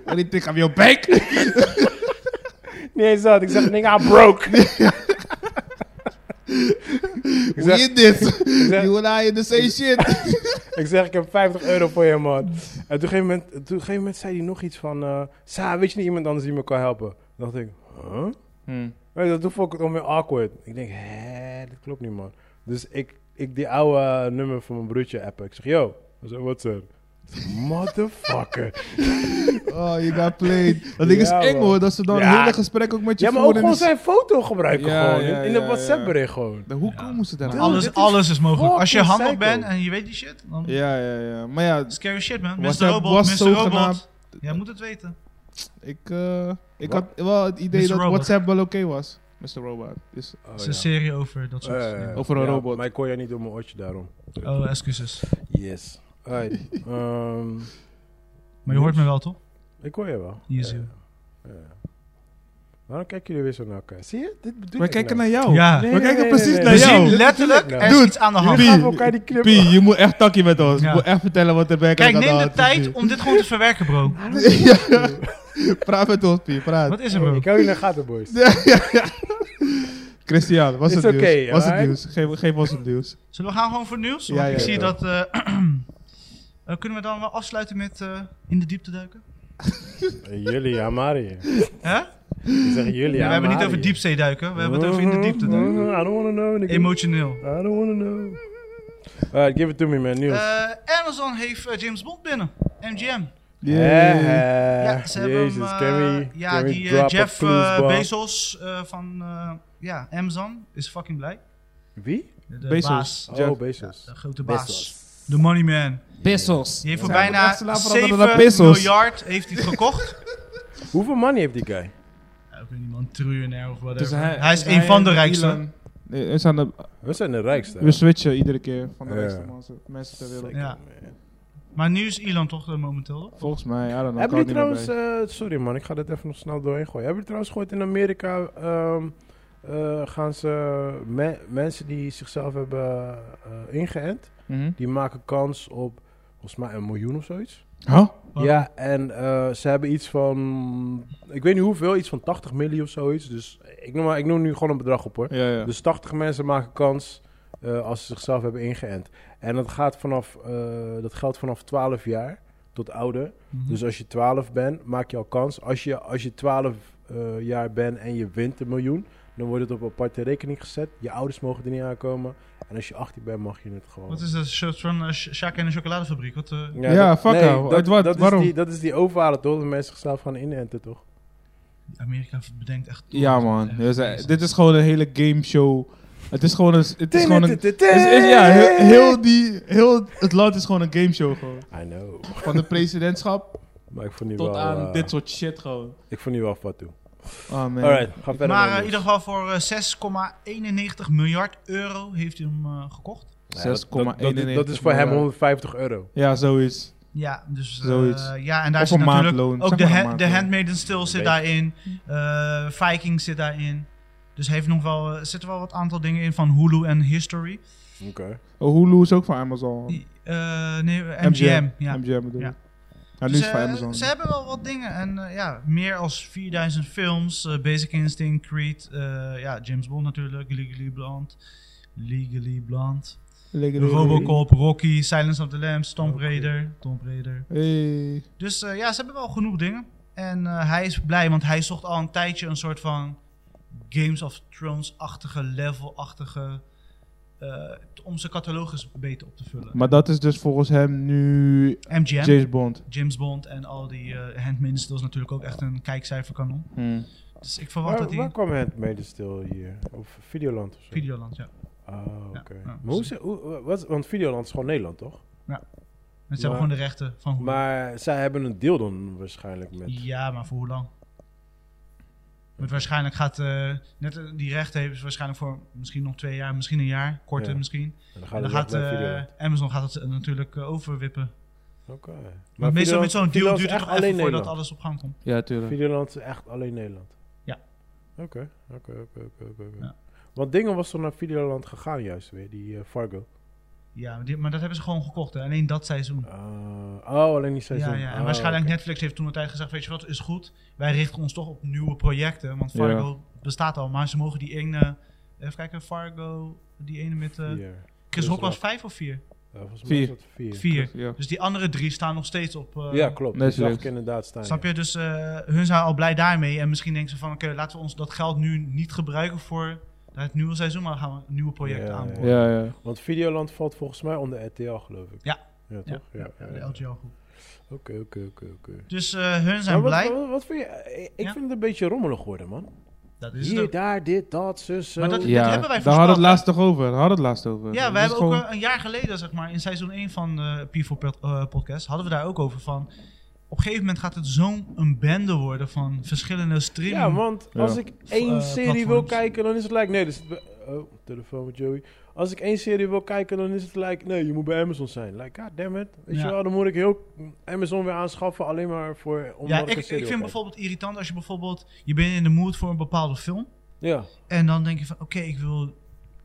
Speaker 3: En die tik aan jouw bek.
Speaker 2: Niet eens dat, ik zeg nigga, I'm broke. ik,
Speaker 3: Hoe
Speaker 2: zeg,
Speaker 3: je dit?
Speaker 2: zeg-
Speaker 3: You and I in the same shit.
Speaker 2: ik zeg, ik heb 50 euro voor je man. En toen op een gegeven moment, toen op een gegeven moment zei hij nog iets van, eh, Sa, weet je niet iemand anders die me kan helpen? Toen dacht ik, huh? Weet je, toen vond ik het onweer awkward. Ik denk, hè, dat klopt niet, man. Dus ik, ik die oude eh, nummer van mijn broertje appen. Ik zeg, yo. Hij zei, what's up? Ik zeg, Motherfucker.
Speaker 3: Oh, je got played. Dat ding is
Speaker 2: Ja,
Speaker 3: eng
Speaker 2: man.
Speaker 3: hoor, dat ze dan
Speaker 2: Ja.
Speaker 3: een hele gesprek ook met je
Speaker 2: ja, maar ook
Speaker 3: voeren.
Speaker 2: gewoon zijn foto gebruiken,
Speaker 3: dus- Ja,
Speaker 2: gewoon.
Speaker 3: ja,
Speaker 2: in de
Speaker 3: ja,
Speaker 2: WhatsApp-bericht, gewoon.
Speaker 3: Dan Hoe komen ze daar
Speaker 1: Maar
Speaker 3: aan?
Speaker 2: Dude,
Speaker 1: alles,
Speaker 2: dit is
Speaker 1: alles is mogelijk. Als je
Speaker 2: fucking
Speaker 1: handig
Speaker 2: psycho.
Speaker 1: bent en je weet die shit, dan
Speaker 3: Ja, ja, ja. Maar ja,
Speaker 1: scary shit man. Mr.
Speaker 3: Was hij-
Speaker 1: Robot,
Speaker 3: was
Speaker 1: Mr.
Speaker 3: zogenaamd-
Speaker 1: Robot. Jij moet het
Speaker 2: Oh,
Speaker 1: weten.
Speaker 3: ik, eh, ik
Speaker 2: Wat?
Speaker 3: had wel het idee
Speaker 1: Mr.
Speaker 3: dat
Speaker 1: Robot.
Speaker 3: WhatsApp wel oké was. Mr. Robot. Dus,
Speaker 2: Oh,
Speaker 1: Het is
Speaker 2: ja.
Speaker 1: een serie over dat soort
Speaker 2: Eh,
Speaker 1: dingen.
Speaker 3: Over een
Speaker 2: ja,
Speaker 3: robot.
Speaker 2: Maar ik kon jij niet door mijn oortje daarom.
Speaker 1: Oh, excuses.
Speaker 2: Yes. Alright. Ehm,
Speaker 1: Maar je hoort me wel toch?
Speaker 2: ik hoor je wel.
Speaker 1: Easy.
Speaker 2: Ja, ja. Waarom kijken jullie weer zo naar elkaar? Zie je? Dit bedoel
Speaker 3: we
Speaker 2: ik
Speaker 3: kijken
Speaker 2: nou.
Speaker 3: naar jou.
Speaker 1: Ja.
Speaker 3: We kijken precies
Speaker 1: We
Speaker 3: naar jou.
Speaker 1: zien letterlijk,
Speaker 2: nou.
Speaker 1: er is
Speaker 3: Dude,
Speaker 1: iets aan de hand.
Speaker 2: Jullie
Speaker 3: Pie.
Speaker 2: gaan elkaar die knippen.
Speaker 3: Pie, je moet echt takkie met ons.
Speaker 1: Ja.
Speaker 3: Je moet echt vertellen wat er bij
Speaker 1: Kijk,
Speaker 3: aan
Speaker 1: neem de
Speaker 3: hand is
Speaker 1: tijd
Speaker 3: hier.
Speaker 1: om dit gewoon te verwerken, bro.
Speaker 3: Praat met ons, Pie, praat.
Speaker 1: Wat is er, bro?
Speaker 2: Ik hou je in de gaten, boys.
Speaker 3: Christian, was
Speaker 2: Is
Speaker 3: het
Speaker 2: oké,
Speaker 3: nieuws? Was het
Speaker 2: alright?
Speaker 3: nieuws? Geef, geef ons het nieuws.
Speaker 1: Zullen we gaan gewoon voor het nieuws?
Speaker 3: Ja,
Speaker 1: Want
Speaker 3: ja,
Speaker 1: ik zie
Speaker 2: ja.
Speaker 1: dat... eh, eh, kunnen we dan wel afsluiten met eh, in de diepte duiken?
Speaker 2: Jullie, ja, Marië.
Speaker 1: Hè?
Speaker 2: Ik zeg jullie,
Speaker 1: we hebben het niet over diepzee duiken, we hebben het over in de diepte duiken.
Speaker 2: I don't want to know. nigga.
Speaker 1: Emotioneel.
Speaker 2: I don't want to know. Alright, give it to me, man. Nieuws.
Speaker 1: Eh, Amazon heeft eh, James Bond binnen. MGM.
Speaker 2: Eh,
Speaker 3: Yeah.
Speaker 1: Ja, ze hebben hem,
Speaker 2: Jezus,
Speaker 1: eh,
Speaker 2: can we,
Speaker 1: Ja,
Speaker 2: can we
Speaker 1: die eh,
Speaker 2: drop a
Speaker 1: Jeff
Speaker 2: clues
Speaker 1: eh,
Speaker 2: bomb?
Speaker 1: Bezos eh, van eh, ja, Amazon is fucking blij.
Speaker 2: Wie?
Speaker 1: De, de
Speaker 3: Bezos.
Speaker 1: baas.
Speaker 2: Oh, Bezos.
Speaker 1: De grote
Speaker 2: Bezos.
Speaker 1: baas. De money man.
Speaker 3: Pesos.
Speaker 1: Die heeft voor
Speaker 3: Zij worden echt
Speaker 1: bijna
Speaker 3: slaven veranderd naar
Speaker 1: 7
Speaker 3: pesos.
Speaker 1: miljard heeft hij het gekocht.
Speaker 2: Hoeveel money heeft die guy?
Speaker 1: ja, ik weet niet man, triljonair of whatever.
Speaker 3: Dus
Speaker 1: hij, is
Speaker 3: dus
Speaker 1: een
Speaker 3: hij
Speaker 1: van de
Speaker 3: en
Speaker 1: rijkste.
Speaker 3: Elon- Nee, we, zijn de,
Speaker 2: We zijn de rijkste. hè?
Speaker 3: we switchen iedere keer van de
Speaker 2: Ja.
Speaker 3: rijkste mensen- mensen ter wereld.
Speaker 1: Ja. Maar nu is Elon toch eh, momenteel. toch?
Speaker 3: Volgens mij, I don't know.
Speaker 2: Hebben
Speaker 3: ik
Speaker 2: jullie
Speaker 3: hou er
Speaker 2: trouwens...
Speaker 3: niet meer
Speaker 2: eh, sorry, man. Ik ga dit even nog snel doorheen gooien. Hebben jullie trouwens gehoord in Amerika... ehm, eh, gaan ze me- mensen die zichzelf hebben eh, ingeënt,
Speaker 3: bij. Mhm.
Speaker 2: die maken kans op volgens mij een miljoen of zoiets.
Speaker 3: Huh?
Speaker 1: Waarom?
Speaker 2: Ja, en eh, ze hebben iets van, ik weet niet hoeveel, iets van 80 miljoen of zoiets. Dus ik noem, maar, ik noem nu gewoon een bedrag op hoor.
Speaker 3: Ja, ja.
Speaker 2: Dus 80 mensen maken kans eh, als ze zichzelf hebben ingeënt. En dat, gaat vanaf, eh, dat geldt vanaf 12 jaar tot ouder.
Speaker 1: Mhm.
Speaker 2: Dus als je 12 bent, maak je al kans. Als je, als je 12 eh, jaar bent en je wint een miljoen, dan wordt het op aparte rekening gezet. Je ouders mogen er niet aankomen. En als je 18 bent, mag je het gewoon.
Speaker 1: Wat is dat? Shot van eh, Sha- Sjaak en de chocoladefabriek? Wat, eh,
Speaker 3: Ja,
Speaker 2: dat-
Speaker 3: fuck jou.
Speaker 2: dat,
Speaker 3: Uit wat?
Speaker 2: dat
Speaker 3: Waarom?
Speaker 2: Is die, dat is die overhalen toch? Dat mensen zichzelf gaan inenten toch?
Speaker 1: Amerika bedenkt echt...
Speaker 3: Ja, man. Ja, zij- dit is gewoon een hele game show. Het is gewoon een. Het is gewoon een
Speaker 2: Tin- tin- tin-
Speaker 3: is, is- ja, heel, heel die, heel het land is gewoon een game show. Gewoon.
Speaker 2: I know.
Speaker 3: Van de presidentschap
Speaker 2: Maar ik vond die
Speaker 3: tot
Speaker 2: wel...
Speaker 3: aan
Speaker 2: eh,
Speaker 3: dit soort shit gewoon.
Speaker 2: Ik vond die wel fat toe.
Speaker 3: Oh, man.
Speaker 2: Alright, ga verder.
Speaker 1: Maar eh,
Speaker 2: man,
Speaker 1: in
Speaker 2: dus.
Speaker 1: ieder geval voor eh, 6,91 miljard euro heeft hij hem eh, gekocht.
Speaker 2: Ja, dat- dat- dat-
Speaker 3: 6,91
Speaker 2: Dat is voor hem
Speaker 3: miljard.
Speaker 2: 150 euro.
Speaker 3: Ja, zoiets.
Speaker 1: Ja, dus eh,
Speaker 3: Zoiets.
Speaker 1: ja, en daar
Speaker 3: Of
Speaker 1: zit
Speaker 3: een
Speaker 1: natuurlijk
Speaker 3: maandloon,
Speaker 1: ook
Speaker 3: zeg
Speaker 1: de,
Speaker 3: maar een
Speaker 1: ha- de
Speaker 3: maandloon.
Speaker 1: Handmaiden Still zit
Speaker 2: Weet-
Speaker 1: daarin, eh, Viking zit daarin. Dus heeft nog wel, eh, zitten wel wat aantal dingen in van Hulu en History.
Speaker 2: Oké.
Speaker 3: Oh, Hulu is ook van Amazon.
Speaker 1: Die- eh, nee, MGM. Ja.
Speaker 3: MGM bedoel ik.
Speaker 1: Ja.
Speaker 3: Ja. nu
Speaker 1: Dus,
Speaker 3: is het van
Speaker 1: eh,
Speaker 3: Amazon.
Speaker 1: Ze hebben wel wat dingen. En eh, ja, meer als 4000 films. eh, Basic Instinct, Creed, eh, ja, James Bond natuurlijk, Legally Blonde. Legally Blonde.
Speaker 3: Lekker door.
Speaker 1: Robocop, Rocky, Silence of the Lambs, Tomb
Speaker 2: Oké.
Speaker 1: Raider. Tomb Raider.
Speaker 3: Hey.
Speaker 1: Dus eh, ja, ze hebben wel genoeg dingen. En eh, hij is blij, want hij zocht al een tijdje een soort van Games of Thrones-achtige, level-achtige... eh, om zijn catalogus beter op te vullen.
Speaker 3: Maar dat is dus volgens hem nu
Speaker 1: MGM.
Speaker 3: James Bond.
Speaker 1: James Bond en al die eh Handmaidens Tale is natuurlijk ook echt een kijkcijferkanon.
Speaker 3: Hm.
Speaker 1: Dus ik verwacht
Speaker 2: Waar,
Speaker 1: dat
Speaker 2: waar
Speaker 1: hij...
Speaker 2: kwam Handmaiden Stil hier? Of Videoland of zo?
Speaker 1: Videoland, ja.
Speaker 2: Ah, oké.
Speaker 1: Ja, ja,
Speaker 2: maar hoe, ze- hoe, wat, want Videoland is gewoon Nederland, toch?
Speaker 1: En ze hebben
Speaker 2: Maar-
Speaker 1: gewoon de rechten van hoe
Speaker 2: Maar zij hebben een deel dan waarschijnlijk met...
Speaker 1: Ja, maar voor hoe lang? Want waarschijnlijk gaat... eh, net eh, die rechten hebben ze waarschijnlijk voor misschien nog twee jaar, misschien een jaar. Korter
Speaker 2: Ja.
Speaker 1: misschien.
Speaker 2: En dan
Speaker 1: En
Speaker 2: gaan
Speaker 1: dan
Speaker 2: ze weg
Speaker 1: gaat
Speaker 2: naar
Speaker 1: eh,
Speaker 2: Videoland.
Speaker 1: Amazon gaat het eh, natuurlijk eh, overwippen.
Speaker 2: Oké.
Speaker 1: Maar meestal
Speaker 2: Videoland-
Speaker 1: met zo'n deal
Speaker 2: Videoland
Speaker 1: duurt
Speaker 2: is
Speaker 1: het
Speaker 2: echt
Speaker 1: toch even voordat
Speaker 2: Nederland.
Speaker 1: alles op gang komt.
Speaker 3: Ja, tuurlijk.
Speaker 2: Videoland is echt alleen Nederland?
Speaker 1: Ja.
Speaker 2: Oké, oké, oké, oké, oké, oké.
Speaker 1: Ja.
Speaker 2: Want Dingen was toch naar Videoland gegaan juist weer, die eh, Fargo?
Speaker 1: Ja, maar, die- maar dat hebben ze gewoon gekocht. Hè. Alleen dat seizoen.
Speaker 2: Ah, oh, alleen die seizoen.
Speaker 1: Ja, ja. En
Speaker 2: Ah,
Speaker 1: waarschijnlijk
Speaker 2: oké.
Speaker 1: Netflix heeft toen de tijd gezegd, weet je wat, is goed. Wij richten ons toch op nieuwe projecten, want Fargo bestaat al. Maar ze mogen die ene, even kijken, Fargo, die ene met eh,
Speaker 2: Vier.
Speaker 1: Chris Rock was
Speaker 2: Rock.
Speaker 1: vijf of vier?
Speaker 2: Ja, volgens mij
Speaker 3: Vier.
Speaker 2: is dat vier.
Speaker 1: Vier.
Speaker 3: Ja.
Speaker 1: Dus die andere drie staan nog steeds op... eh,
Speaker 2: Ja, klopt. Dat
Speaker 3: Netflix.
Speaker 2: zag ik inderdaad staan.
Speaker 1: Snap
Speaker 2: ja.
Speaker 1: je? Dus eh, hun zijn al blij daarmee. En misschien denken ze van, oké, laten we ons dat geld nu niet gebruiken voor het nieuwe seizoen, maar dan gaan we een nieuwe projecten
Speaker 2: Ja,
Speaker 1: aanboren.
Speaker 3: Ja, ja.
Speaker 2: Want Videoland valt volgens mij onder RTL, geloof ik.
Speaker 1: Ja.
Speaker 2: Ja,
Speaker 1: Ja,
Speaker 2: toch? Ja,
Speaker 1: ja,
Speaker 2: ja,
Speaker 1: de
Speaker 2: ja.
Speaker 1: LTL groep.
Speaker 2: Oké, oké, oké, oké.
Speaker 1: Dus eh, hun zijn
Speaker 2: Maar wat-
Speaker 1: blij.
Speaker 2: Wat, wat vind je? eh, Ik
Speaker 1: Ja?
Speaker 2: vind het een beetje rommelig worden, man.
Speaker 1: dat is het
Speaker 2: Hier,
Speaker 1: ook.
Speaker 2: daar, dit, dat, zus, zo.
Speaker 1: Maar dat- hebben
Speaker 3: ja.
Speaker 1: wij
Speaker 3: Daar hadden we
Speaker 1: voorspeld,
Speaker 3: het
Speaker 1: hè?
Speaker 3: laatst toch over. Daar hadden we het laatst over.
Speaker 1: Ja,
Speaker 3: Dat
Speaker 1: we
Speaker 3: is
Speaker 1: hebben ook
Speaker 3: gewoon-
Speaker 1: eh, een jaar geleden, zeg maar, in seizoen 1 van de P4 pod- eh, podcast, hadden we daar ook over van. Op een gegeven moment gaat het zo'n een bende worden van verschillende streaming.
Speaker 2: Ja, want
Speaker 3: Ja.
Speaker 2: als ik één
Speaker 1: Eh,
Speaker 2: serie wil
Speaker 1: platforms.
Speaker 2: kijken, dan is het like... Nee, dus... Oh, telefoon met Joey. Als ik één serie wil kijken, dan is het like... Nee, je moet bij Amazon zijn. Like, god damn it. Weet
Speaker 1: Ja.
Speaker 2: je wel, dan moet ik heel Amazon weer aanschaffen. Alleen maar voor... Omdat
Speaker 1: ja, ik, ik
Speaker 2: een serie
Speaker 1: vind
Speaker 2: wil kijken.
Speaker 1: bijvoorbeeld irritant als je bijvoorbeeld, je bent in de mood voor een bepaalde film.
Speaker 2: Ja.
Speaker 1: En dan denk je van, oké, ik wil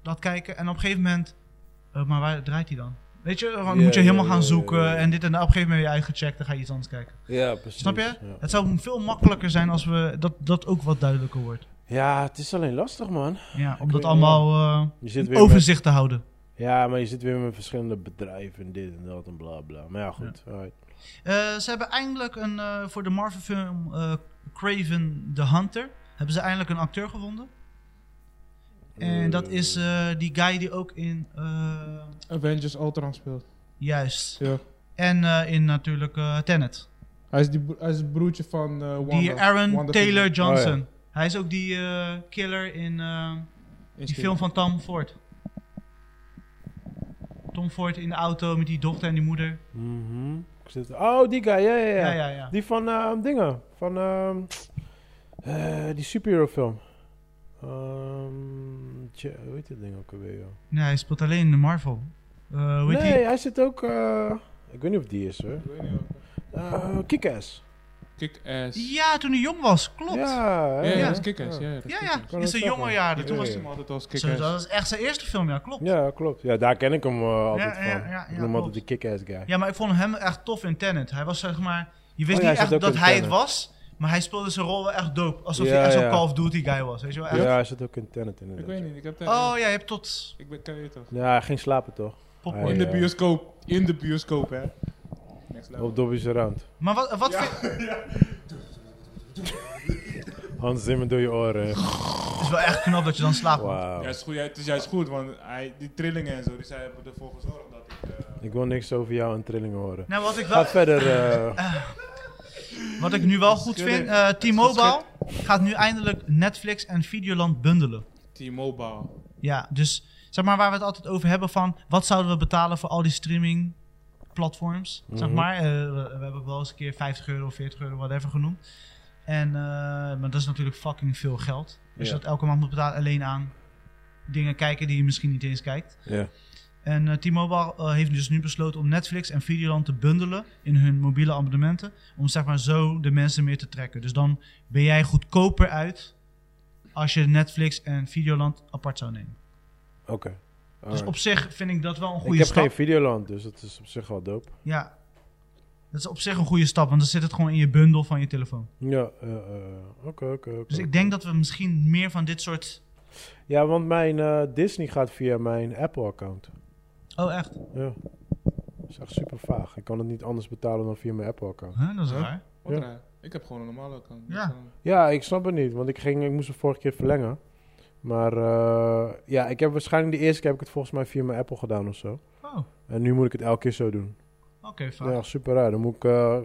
Speaker 1: dat kijken. En op een gegeven moment, eh, maar waar draait hij dan? Weet je, dan
Speaker 2: Ja,
Speaker 1: moet je
Speaker 2: ja,
Speaker 1: helemaal
Speaker 2: ja,
Speaker 1: gaan
Speaker 2: ja,
Speaker 1: zoeken
Speaker 2: ja.
Speaker 1: en dit en dat. Op een gegeven moment ben je uitgecheckt, dan ga je iets anders kijken.
Speaker 2: Ja, precies.
Speaker 1: Snap je?
Speaker 2: Ja.
Speaker 1: Het zou veel makkelijker zijn als we dat, dat ook wat duidelijker wordt.
Speaker 2: Ja, het is alleen lastig, man.
Speaker 1: Ja, om dat
Speaker 2: weet-
Speaker 1: allemaal
Speaker 2: Je zit
Speaker 1: eh,
Speaker 2: weer met,
Speaker 1: overzicht te houden.
Speaker 2: ja, maar je zit weer met verschillende bedrijven en dit en dat en bla bla. Maar ja, goed. alright.
Speaker 1: Eh, ze hebben eindelijk een, eh, voor de Marvel film eh, Craven the Hunter, hebben ze eindelijk een acteur gevonden. En dat is eh, die guy die ook in, eh,
Speaker 3: Avengers Ultron speelt.
Speaker 1: juist,
Speaker 3: Ja.
Speaker 1: en eh, in natuurlijk eh, Tenet.
Speaker 3: Hij is, die, bro- hij is het broertje van eh Wanda.
Speaker 1: Die Aaron
Speaker 3: Wanda
Speaker 1: Taylor
Speaker 3: Vision.
Speaker 2: Oh,
Speaker 1: Johnson. Hij is ook die eh, killer in eh,
Speaker 3: Is
Speaker 1: die film van Tom Ford. Tom Ford in de auto met die dochter en die moeder.
Speaker 2: Mhm. Ik zit- Oh, die guy, ja, ja, ja.
Speaker 1: Ja, ja, ja.
Speaker 2: Die van ehm, dingen. Van ehm, eh, die superhero film. Ehm, tje, hoe heet dat ding ook alweer? joh?
Speaker 1: Nee, hij speelt alleen in de Marvel. Eh hoe heet
Speaker 2: Nee,
Speaker 1: die?
Speaker 2: hij zit ook... eh, ik weet niet of die is hoor.
Speaker 3: Ik weet niet wat.
Speaker 2: Eh Kick-Ass.
Speaker 3: Kick-ass.
Speaker 1: Ja, toen hij jong was, klopt. Ja,
Speaker 2: Ja, hè?
Speaker 3: Ja, ja,
Speaker 1: ja.
Speaker 3: dat is kick-ass. Ja, ja. dat is
Speaker 1: ja.
Speaker 3: Kick-Ass.
Speaker 2: Kan
Speaker 1: In
Speaker 2: dat
Speaker 1: zijn
Speaker 2: zeggen?
Speaker 1: jonge jaren.
Speaker 3: Ik
Speaker 1: toen
Speaker 2: Ja,
Speaker 1: was
Speaker 3: was
Speaker 2: ja.
Speaker 1: hij...
Speaker 3: hem altijd als
Speaker 1: Zo,
Speaker 3: kick-ass.
Speaker 1: dat is echt zijn eerste film, ja, klopt. Ja.
Speaker 2: Ja, klopt. Ja, daar ken ik hem eh, altijd
Speaker 1: Ja,
Speaker 2: van.
Speaker 1: ja, ja,
Speaker 2: ik
Speaker 1: ja,
Speaker 2: noem hem altijd
Speaker 1: klopt.
Speaker 2: de kick-ass guy.
Speaker 1: maar ik vond hem echt tof in Tenet. Hij was zeg maar... Je wist
Speaker 2: Oh ja, hij
Speaker 1: niet
Speaker 2: zit
Speaker 1: echt
Speaker 2: ook
Speaker 1: dat
Speaker 2: in
Speaker 1: hij het
Speaker 2: Tenet.
Speaker 1: was, maar hij speelde zijn rol wel echt dope. Alsof
Speaker 2: Ja,
Speaker 1: hij echt zo'n
Speaker 2: ja.
Speaker 1: Call of Duty guy was, weet je wel?
Speaker 2: Ja,
Speaker 1: Echt.
Speaker 2: hij zit ook in Tenet
Speaker 3: Ik
Speaker 2: inderdaad.
Speaker 3: weet niet, ik heb tijd.
Speaker 1: Oh ja, je hebt tot
Speaker 3: Ik ben, kan je toch?
Speaker 2: Ja, hij ging slapen toch?
Speaker 1: popcorn.
Speaker 2: Ja,
Speaker 3: In
Speaker 2: ja.
Speaker 3: de bioscoop. In de bioscoop, hè. Next level.
Speaker 2: Op Dobby's Round.
Speaker 1: Maar wat, wat vind-
Speaker 2: Hans Zimmer door je oren.
Speaker 1: Het is wel echt knap dat je dan slaapt. man.
Speaker 2: Wauw.
Speaker 3: Ja, het, is goed, ja, het is juist goed, want hij, die trillingen en zo, die zijn hebben ervoor gezorgd dat ik... eh,
Speaker 2: Ik wil niks over jou en trillingen horen.
Speaker 1: Nou, wat ik, wel,
Speaker 2: Ga verder. eh,
Speaker 1: wat ik nu wel goed
Speaker 3: Schudden.
Speaker 1: vind, eh, T-Mobile gaat nu eindelijk Netflix en Videoland bundelen.
Speaker 3: T-Mobile.
Speaker 1: Ja, dus zeg maar waar we het altijd over hebben van wat zouden we betalen voor al die streaming platforms, zeg
Speaker 2: Mhm.
Speaker 1: maar. Eh, we, we hebben wel eens een keer 50 euro, 40 euro, whatever genoemd. En, eh, maar dat is natuurlijk fucking veel geld. Als
Speaker 2: Ja.
Speaker 1: je dat elke maand moet betalen, alleen aan dingen kijken die je misschien niet eens kijkt.
Speaker 2: Ja.
Speaker 1: En eh, T-Mobile eh, heeft dus nu besloten om Netflix en Videoland te bundelen in hun mobiele abonnementen. Om zeg maar zo de mensen meer te trekken. Dus dan ben jij goedkoper uit als je Netflix en Videoland apart zou nemen.
Speaker 2: Oké.
Speaker 1: Dus
Speaker 2: Alright.
Speaker 1: op zich vind ik dat wel een goede
Speaker 2: Ik heb
Speaker 1: stap.
Speaker 2: geen Videoland, dus dat is op zich wel dope.
Speaker 1: Ja. Dat is op zich een goede stap, want dan zit het gewoon in je bundel van je telefoon.
Speaker 2: Ja, eh, eh, oké, oké, oké.
Speaker 1: Dus ik denk dat we misschien meer van dit soort...
Speaker 2: Ja, want mijn eh, Disney gaat via mijn Apple-account.
Speaker 1: Oh, echt?
Speaker 2: Ja. Dat is echt super vaag. Ik kan het niet anders betalen dan via mijn Apple-account.
Speaker 1: Huh? Dat is
Speaker 3: Huh?
Speaker 1: raar.
Speaker 3: Wat
Speaker 2: Ja.
Speaker 3: raar. Ik heb gewoon een normale account.
Speaker 1: Ja.
Speaker 3: Dus, eh,
Speaker 2: Ja, ik snap het niet, want ik, ging, ik moest het vorige keer verlengen. Maar eh, ja, ik heb waarschijnlijk de eerste keer heb ik het volgens mij via mijn Apple gedaan of zo.
Speaker 1: Oh, oké,
Speaker 2: En nu moet ik het elke keer zo doen.
Speaker 1: vaak.
Speaker 2: Ja, super raar. Dan moet ik, eh, eh,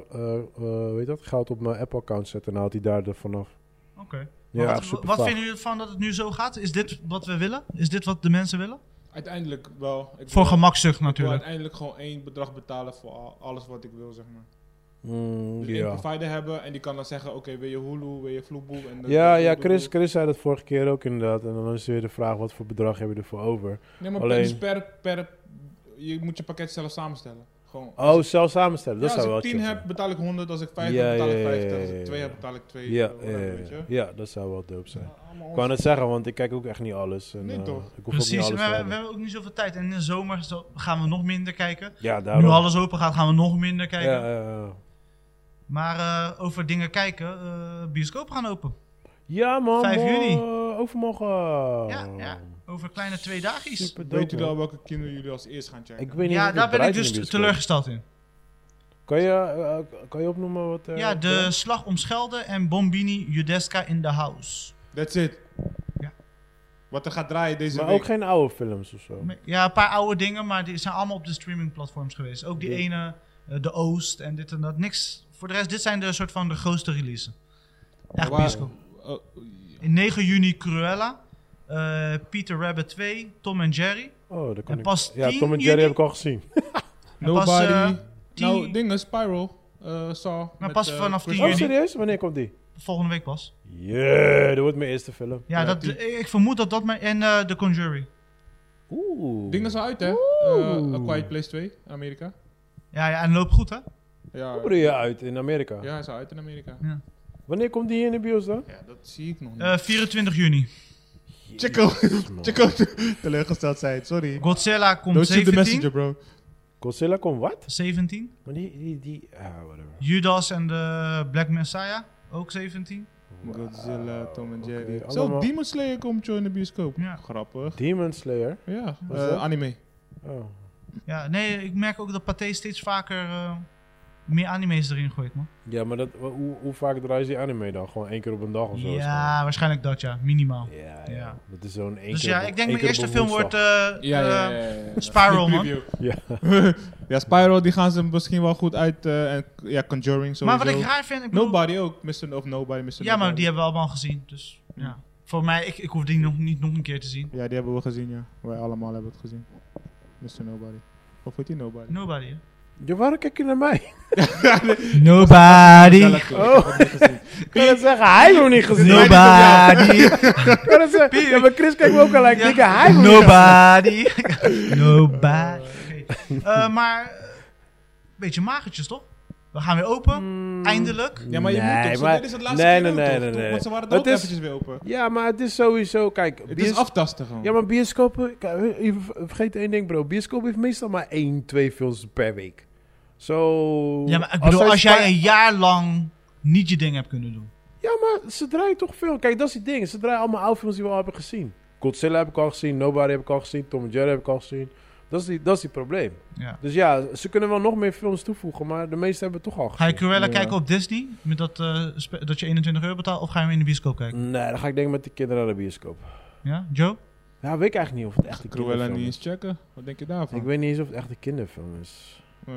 Speaker 2: eh, weet dat, geld op mijn Apple-account zetten en haalt hij daar er vanaf.
Speaker 1: Oké.
Speaker 2: Ja,
Speaker 1: wat,
Speaker 2: super
Speaker 1: wat
Speaker 2: vaag.
Speaker 1: vinden jullie ervan dat het nu zo gaat? Is dit wat we willen? Is dit wat de mensen willen?
Speaker 3: Uiteindelijk wel. Ik
Speaker 1: Voor
Speaker 3: wil-
Speaker 1: gemakzucht
Speaker 3: Ik wil
Speaker 1: natuurlijk.
Speaker 3: uiteindelijk gewoon één bedrag betalen voor al- alles wat ik wil, zeg maar.
Speaker 2: Mm,
Speaker 3: Dus
Speaker 2: ja.
Speaker 3: één provider hebben en die kan dan zeggen, oké, wil je Hulu, wil je Vloeboe? En dan-
Speaker 2: Ja,
Speaker 3: dan-
Speaker 2: ja
Speaker 3: dan-
Speaker 2: Chris, Chris zei dat vorige keer ook inderdaad. En dan is weer de vraag, wat voor bedrag heb je ervoor over?
Speaker 3: Nee, maar
Speaker 2: alleen-
Speaker 3: dus per, per, je moet je pakket zelf samenstellen. Gewoon. Als
Speaker 2: Oh,
Speaker 3: ik-
Speaker 2: zelf samenstellen,
Speaker 3: ja,
Speaker 2: dat
Speaker 3: als
Speaker 2: zou wel
Speaker 3: ik 10
Speaker 2: chill zijn.
Speaker 3: heb, betaal ik 100. Als ik 5
Speaker 2: Ja,
Speaker 3: heb, betaal
Speaker 2: ja,
Speaker 3: ik
Speaker 2: ja,
Speaker 3: 50.
Speaker 2: ja,
Speaker 3: Als
Speaker 2: ja,
Speaker 3: ik 2
Speaker 2: ja.
Speaker 3: heb, betaal ik 2.
Speaker 2: Ja, ja, ja, ja, dat zou wel dope zijn. Ik wou
Speaker 3: Kan
Speaker 2: net zeggen, want ik kijk ook echt niet alles. En,
Speaker 3: Nee,
Speaker 2: eh,
Speaker 3: toch?
Speaker 2: Ik hoef ook
Speaker 1: Precies,
Speaker 2: niet
Speaker 1: maar
Speaker 2: alles te
Speaker 1: we, we
Speaker 2: hebben.
Speaker 1: hebben ook niet zoveel tijd. En in de zomer zo- gaan we nog minder kijken.
Speaker 2: Ja, daarom.
Speaker 1: Nu alles open gaat, gaan we nog minder
Speaker 2: Ja,
Speaker 1: kijken.
Speaker 2: ja, ja.
Speaker 1: Maar eh, over dingen kijken, eh bioscopen gaan open.
Speaker 2: Ja, man.
Speaker 1: 5 juni.
Speaker 2: mo- Overmorgen.
Speaker 1: Ja, ja. Over kleine twee dagjes.
Speaker 2: Oh. Super dope,
Speaker 3: Weet jullie
Speaker 2: man.
Speaker 3: al welke kinderen jullie als eerst gaan checken?
Speaker 2: Ik weet niet of
Speaker 1: Ja,
Speaker 2: het
Speaker 1: daar ben ik
Speaker 2: draait in
Speaker 1: dus
Speaker 2: de bioscoop.
Speaker 1: teleurgesteld in.
Speaker 2: Kan je, eh, kan je opnoemen wat... eh,
Speaker 1: Ja, de slag om Schelde en Bombini Judeska in the house.
Speaker 3: That's it.
Speaker 1: Ja.
Speaker 3: Wat er gaat draaien deze
Speaker 2: Maar
Speaker 3: week.
Speaker 2: ook geen oude films of zo.
Speaker 1: Ja, een paar oude dingen, maar die zijn allemaal op de streamingplatforms geweest. Ook die
Speaker 2: Ja.
Speaker 1: ene, eh, de Oost en dit en dat. Niks. Voor de rest, dit zijn de soort van de grootste releases. Echt
Speaker 3: Waar-
Speaker 1: bioscoop.
Speaker 3: Oh,
Speaker 1: In 9 juni Cruella, eh, Peter Rabbit 2, Tom en Jerry.
Speaker 2: Oh, dat kan
Speaker 1: En
Speaker 2: ik...
Speaker 1: pas
Speaker 2: Ja,
Speaker 1: 10
Speaker 2: Tom en Jerry
Speaker 1: juni-
Speaker 2: heb ik al gezien.
Speaker 1: En pas, eh,
Speaker 3: Nobody.
Speaker 1: tien-
Speaker 3: Nou, dingen, Spiral. eh Saw. met,
Speaker 1: pas
Speaker 3: eh,
Speaker 1: vanaf
Speaker 3: Chris
Speaker 1: 10
Speaker 2: Oh,
Speaker 1: juni.
Speaker 3: Rock.
Speaker 2: serieus? Wanneer komt die?
Speaker 1: Volgende week pas.
Speaker 2: Yeah, dat wordt mijn eerste film.
Speaker 1: Ja,
Speaker 3: Ja,
Speaker 1: dat, eh,
Speaker 3: die-
Speaker 1: ik vermoed dat dat... Mijn, en eh, The Conjuring.
Speaker 2: Oeh.
Speaker 3: Dingen zijn uit, hè?
Speaker 2: Oeh.
Speaker 3: Eh, A Quiet Place 2 in Amerika.
Speaker 1: Ja, ja, en loopt goed, hè?
Speaker 3: Ja,
Speaker 2: Komen die uit in Amerika?
Speaker 3: ja, hij is uit in Amerika.
Speaker 2: Wanneer komt die hier in de bios dan?
Speaker 3: Ja, dat zie ik nog niet.
Speaker 1: Eh, 24 juni.
Speaker 3: Chico,
Speaker 2: man.
Speaker 3: Chico teleurgesteld zijn, sorry.
Speaker 1: Godzilla komt
Speaker 3: Don't shoot the
Speaker 1: 17.
Speaker 3: messenger, bro.
Speaker 2: Godzilla komt wat?
Speaker 1: 17.
Speaker 2: Maar die, die, die... Ah, whatever.
Speaker 1: Judas en de Black Messiah, ook 17.
Speaker 3: Godzilla, Tom en
Speaker 2: Oké,
Speaker 3: Jerry.
Speaker 2: allemaal-
Speaker 3: Zo, Demon Slayer komt joh in de bioscoop.
Speaker 1: Ja.
Speaker 3: Grappig.
Speaker 2: Demon Slayer?
Speaker 3: Ja,
Speaker 2: Wat
Speaker 3: eh,
Speaker 2: is dat?
Speaker 3: anime.
Speaker 2: Oh.
Speaker 1: Ja, nee, ik merk ook dat Pathé steeds vaker eh, meer anime's erin gooit, man.
Speaker 2: Ja, maar dat, wa- hoe, hoe vaak draaien ze die anime dan? Gewoon één keer op een dag of zo?
Speaker 1: Ja, waarschijnlijk dat, ja. Minimaal.
Speaker 2: waarschijnlijk. Ja, ja.
Speaker 1: Ja.
Speaker 2: Dat is zo'n één
Speaker 1: Dus
Speaker 2: keer
Speaker 1: ja,
Speaker 2: op-
Speaker 1: ik denk
Speaker 2: één
Speaker 1: mijn
Speaker 2: keer op
Speaker 1: eerste
Speaker 2: een
Speaker 1: film wordt...
Speaker 2: woensdag.
Speaker 1: eh, eh, Spiral, man.
Speaker 2: Ja.
Speaker 3: ja, Spiral, die gaan ze misschien wel goed uit. eh, en, ja, Conjuring sowieso.
Speaker 1: maar wat ik raar vind, ik bedoel,
Speaker 3: Nobody ook, Mr. of Nobody, Mr.
Speaker 1: Ja, maar
Speaker 3: Nobody.
Speaker 1: die hebben we allemaal gezien, dus ja.
Speaker 3: Hmm.
Speaker 1: Voor mij, ik, ik hoef die nog niet nog een keer te zien.
Speaker 3: Ja, die hebben we gezien, ja. Wij allemaal hebben het gezien. Mr. Nobody. Of heet die Nobody?
Speaker 1: Nobody, hè?
Speaker 2: Ja, waarom kijk je naar mij?
Speaker 1: Nobody,
Speaker 2: Oh. ik kan het zeggen, hij heeft hem niet gezien.
Speaker 1: nobody,
Speaker 2: Ik kan het zeggen. Ja, maar Chris kijkt me ook al like,
Speaker 1: Ja.
Speaker 2: dikke, hij heeft hem niet
Speaker 1: nobody, nobody. Eh, maar, eh, beetje magertjes, toch? We gaan weer open,
Speaker 2: gezien.
Speaker 1: eindelijk.
Speaker 3: Ja, maar je
Speaker 2: Nee,
Speaker 3: moet toch.
Speaker 2: maar-
Speaker 3: Dit is het laatste
Speaker 2: nee,
Speaker 3: keer
Speaker 2: nee,
Speaker 3: ook,
Speaker 2: nee,
Speaker 3: toch?
Speaker 2: nee,
Speaker 3: Toen-
Speaker 2: nee.
Speaker 3: Want ze waren
Speaker 2: Het
Speaker 3: er ook
Speaker 2: is-
Speaker 3: eventjes weer open.
Speaker 2: Ja, maar het is sowieso, kijk,
Speaker 3: Het is
Speaker 2: bios-
Speaker 3: aftasten gewoon.
Speaker 2: Ja, maar bioscopen, kijk, eh, je ver- vergeet één ding bro, bioscoop heeft meestal maar één, twee films per week. Zo...
Speaker 1: Ja, maar ik bedoel,
Speaker 2: zij
Speaker 1: als
Speaker 2: spa-
Speaker 1: jij een jaar lang niet je ding hebt kunnen doen.
Speaker 2: Ja, maar ze draaien toch veel. Kijk, dat is die ding, ze draaien allemaal oude films die we al hebben gezien. Godzilla heb ik al gezien, Nobody heb ik al gezien, Tom and Jerry heb ik al gezien. Dat is die, dat is die probleem.
Speaker 1: Ja.
Speaker 2: Dus ja, ze kunnen wel nog meer films toevoegen, maar de meeste hebben we toch al
Speaker 1: Ga je
Speaker 2: gezien.
Speaker 1: Cruella
Speaker 3: Ja.
Speaker 1: kijken op Disney, met dat, eh, spe- dat je 21 euro betaalt, of ga je hem in de bioscoop kijken?
Speaker 2: Nee, dan ga ik denk ik met de kinderen naar de bioscoop.
Speaker 1: Ja, Joe?
Speaker 2: Ja, weet ik eigenlijk niet of het echt een
Speaker 3: Cruella
Speaker 2: kinderfilm
Speaker 3: niet
Speaker 2: is.
Speaker 3: eens checken. Wat denk je daarvan?
Speaker 2: Ik weet niet eens of het echt een kinderfilm is.
Speaker 3: Nee.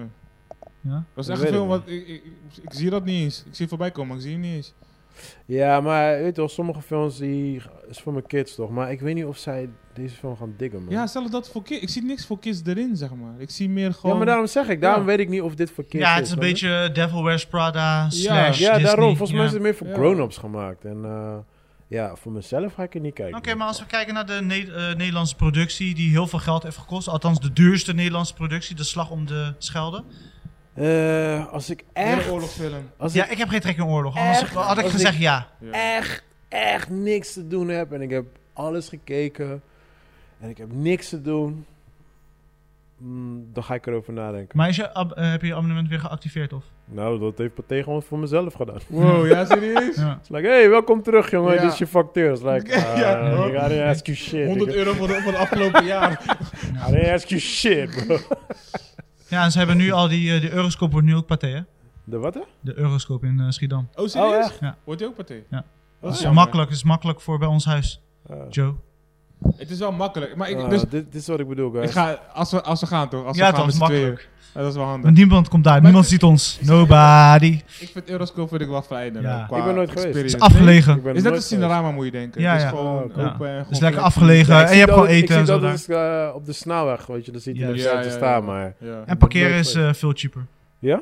Speaker 1: Ja.
Speaker 3: Dat is
Speaker 2: Ik
Speaker 3: echt een
Speaker 2: weet
Speaker 3: film,
Speaker 2: het
Speaker 3: want ik, ik, ik zie dat niet eens. Ik zie het voorbij komen, maar ik zie hem niet eens.
Speaker 2: Ja, maar weet je wel, sommige films die is voor mijn kids toch. Maar ik weet niet of zij deze film gaan diggen, man.
Speaker 3: Ja, zelfs dat voor kids. Ik zie niks voor kids erin, zeg maar. Ik zie meer gewoon...
Speaker 2: Ja, maar daarom zeg ik, daarom
Speaker 3: Ja.
Speaker 2: weet ik niet of dit voor kids is.
Speaker 1: Ja, het is een
Speaker 2: snap je?
Speaker 1: beetje eh, Devil Wears Prada slash
Speaker 2: Ja,
Speaker 1: Disney,
Speaker 2: daarom. Volgens mij
Speaker 1: ja.
Speaker 2: is het meer voor
Speaker 3: Ja.
Speaker 2: grown-ups gemaakt. En eh, ja, voor mezelf ga ik er niet kijken.
Speaker 1: Oké, maar als we kijken naar de Ne- eh, Nederlandse productie die heel veel geld heeft gekost, althans de duurste Nederlandse productie, De Slag om de Schelde.
Speaker 2: Eh, als ik
Speaker 3: Echt?
Speaker 2: echt...
Speaker 3: oorlogsfilm.
Speaker 2: Als
Speaker 1: Ja,
Speaker 2: ik
Speaker 1: ik heb geen trek in oorlog, anders
Speaker 2: Echt?
Speaker 1: had ik
Speaker 2: Als
Speaker 1: gezegd
Speaker 2: ik-
Speaker 1: ja.
Speaker 2: echt, echt niks te doen heb... en ik heb alles gekeken... en ik heb niks te doen... mm, dan ga ik erover nadenken.
Speaker 1: Maar is je ab- eh, heb je je abonnement weer geactiveerd of?
Speaker 2: Nou, dat heeft Pathé gewoon voor mezelf gedaan.
Speaker 3: Wow, ja, serieus?
Speaker 1: Ja.
Speaker 2: Het is like, hey, welkom terug, jongen.
Speaker 3: Ja.
Speaker 2: Dit is je factuur. Het is like,
Speaker 3: Ja,
Speaker 2: ah,
Speaker 3: ja.
Speaker 2: I didn't ask you shit.
Speaker 3: 100
Speaker 2: nigga.
Speaker 3: euro voor, de, voor het afgelopen jaar.
Speaker 2: I didn't ask you shit, bro.
Speaker 1: Ja, en ze hebben nu al die, eh, de Euroscope wordt nu ook paté, hè?
Speaker 2: De wat, hè?
Speaker 1: De Euroscope in eh, Schiedam.
Speaker 3: Oh, serieus?
Speaker 2: echt?
Speaker 1: Ja.
Speaker 3: Wordt die ook partij?
Speaker 1: Ja.
Speaker 3: Dat
Speaker 1: Dat is
Speaker 3: jammer.
Speaker 1: makkelijk, is makkelijk voor bij ons huis,
Speaker 2: Ah.
Speaker 1: Joe.
Speaker 3: Het is wel makkelijk. Maar ik,
Speaker 2: Ah,
Speaker 3: dus,
Speaker 2: dit, dit is wat ik bedoel, guys.
Speaker 3: ik ga, als, we, als we gaan toch? Als
Speaker 1: ja,
Speaker 3: we gaan
Speaker 1: toch, is
Speaker 3: met z'n tweeën.
Speaker 1: makkelijk.
Speaker 3: Ja, dat is wel handig.
Speaker 1: Want niemand komt daar, niemand ziet ons. Nobody.
Speaker 3: Ik vind Euroscope vind ik wel vrij. dan
Speaker 1: Ja.
Speaker 3: ook qua
Speaker 2: Ik ben nooit geweest.
Speaker 1: Het is
Speaker 3: experience.
Speaker 1: afgelegen.
Speaker 2: Ik ben
Speaker 3: Is dat een
Speaker 2: nooit geweest.
Speaker 3: cinerama, moet je denken.
Speaker 1: Ja,
Speaker 3: Het is
Speaker 1: ja.
Speaker 3: gewoon
Speaker 2: Oh, ja.
Speaker 3: open en gewoon...
Speaker 1: Het is lekker
Speaker 3: plek.
Speaker 1: afgelegen
Speaker 2: Ja, ik
Speaker 1: en
Speaker 2: zie
Speaker 1: je hebt
Speaker 2: dat-
Speaker 1: gewoon
Speaker 2: Ik
Speaker 1: eten
Speaker 2: zie
Speaker 1: en zo
Speaker 2: dat
Speaker 1: daar.
Speaker 2: dus, eh, op de snelweg, weet je. Dan ziet
Speaker 1: Ja.
Speaker 2: hij er
Speaker 1: Ja,
Speaker 2: zo
Speaker 3: ja,
Speaker 2: te
Speaker 3: ja.
Speaker 2: staan, maar...
Speaker 3: Ja.
Speaker 1: En parkeren
Speaker 2: nooit
Speaker 1: is
Speaker 2: geweest.
Speaker 1: eh, veel cheaper.
Speaker 2: Ja?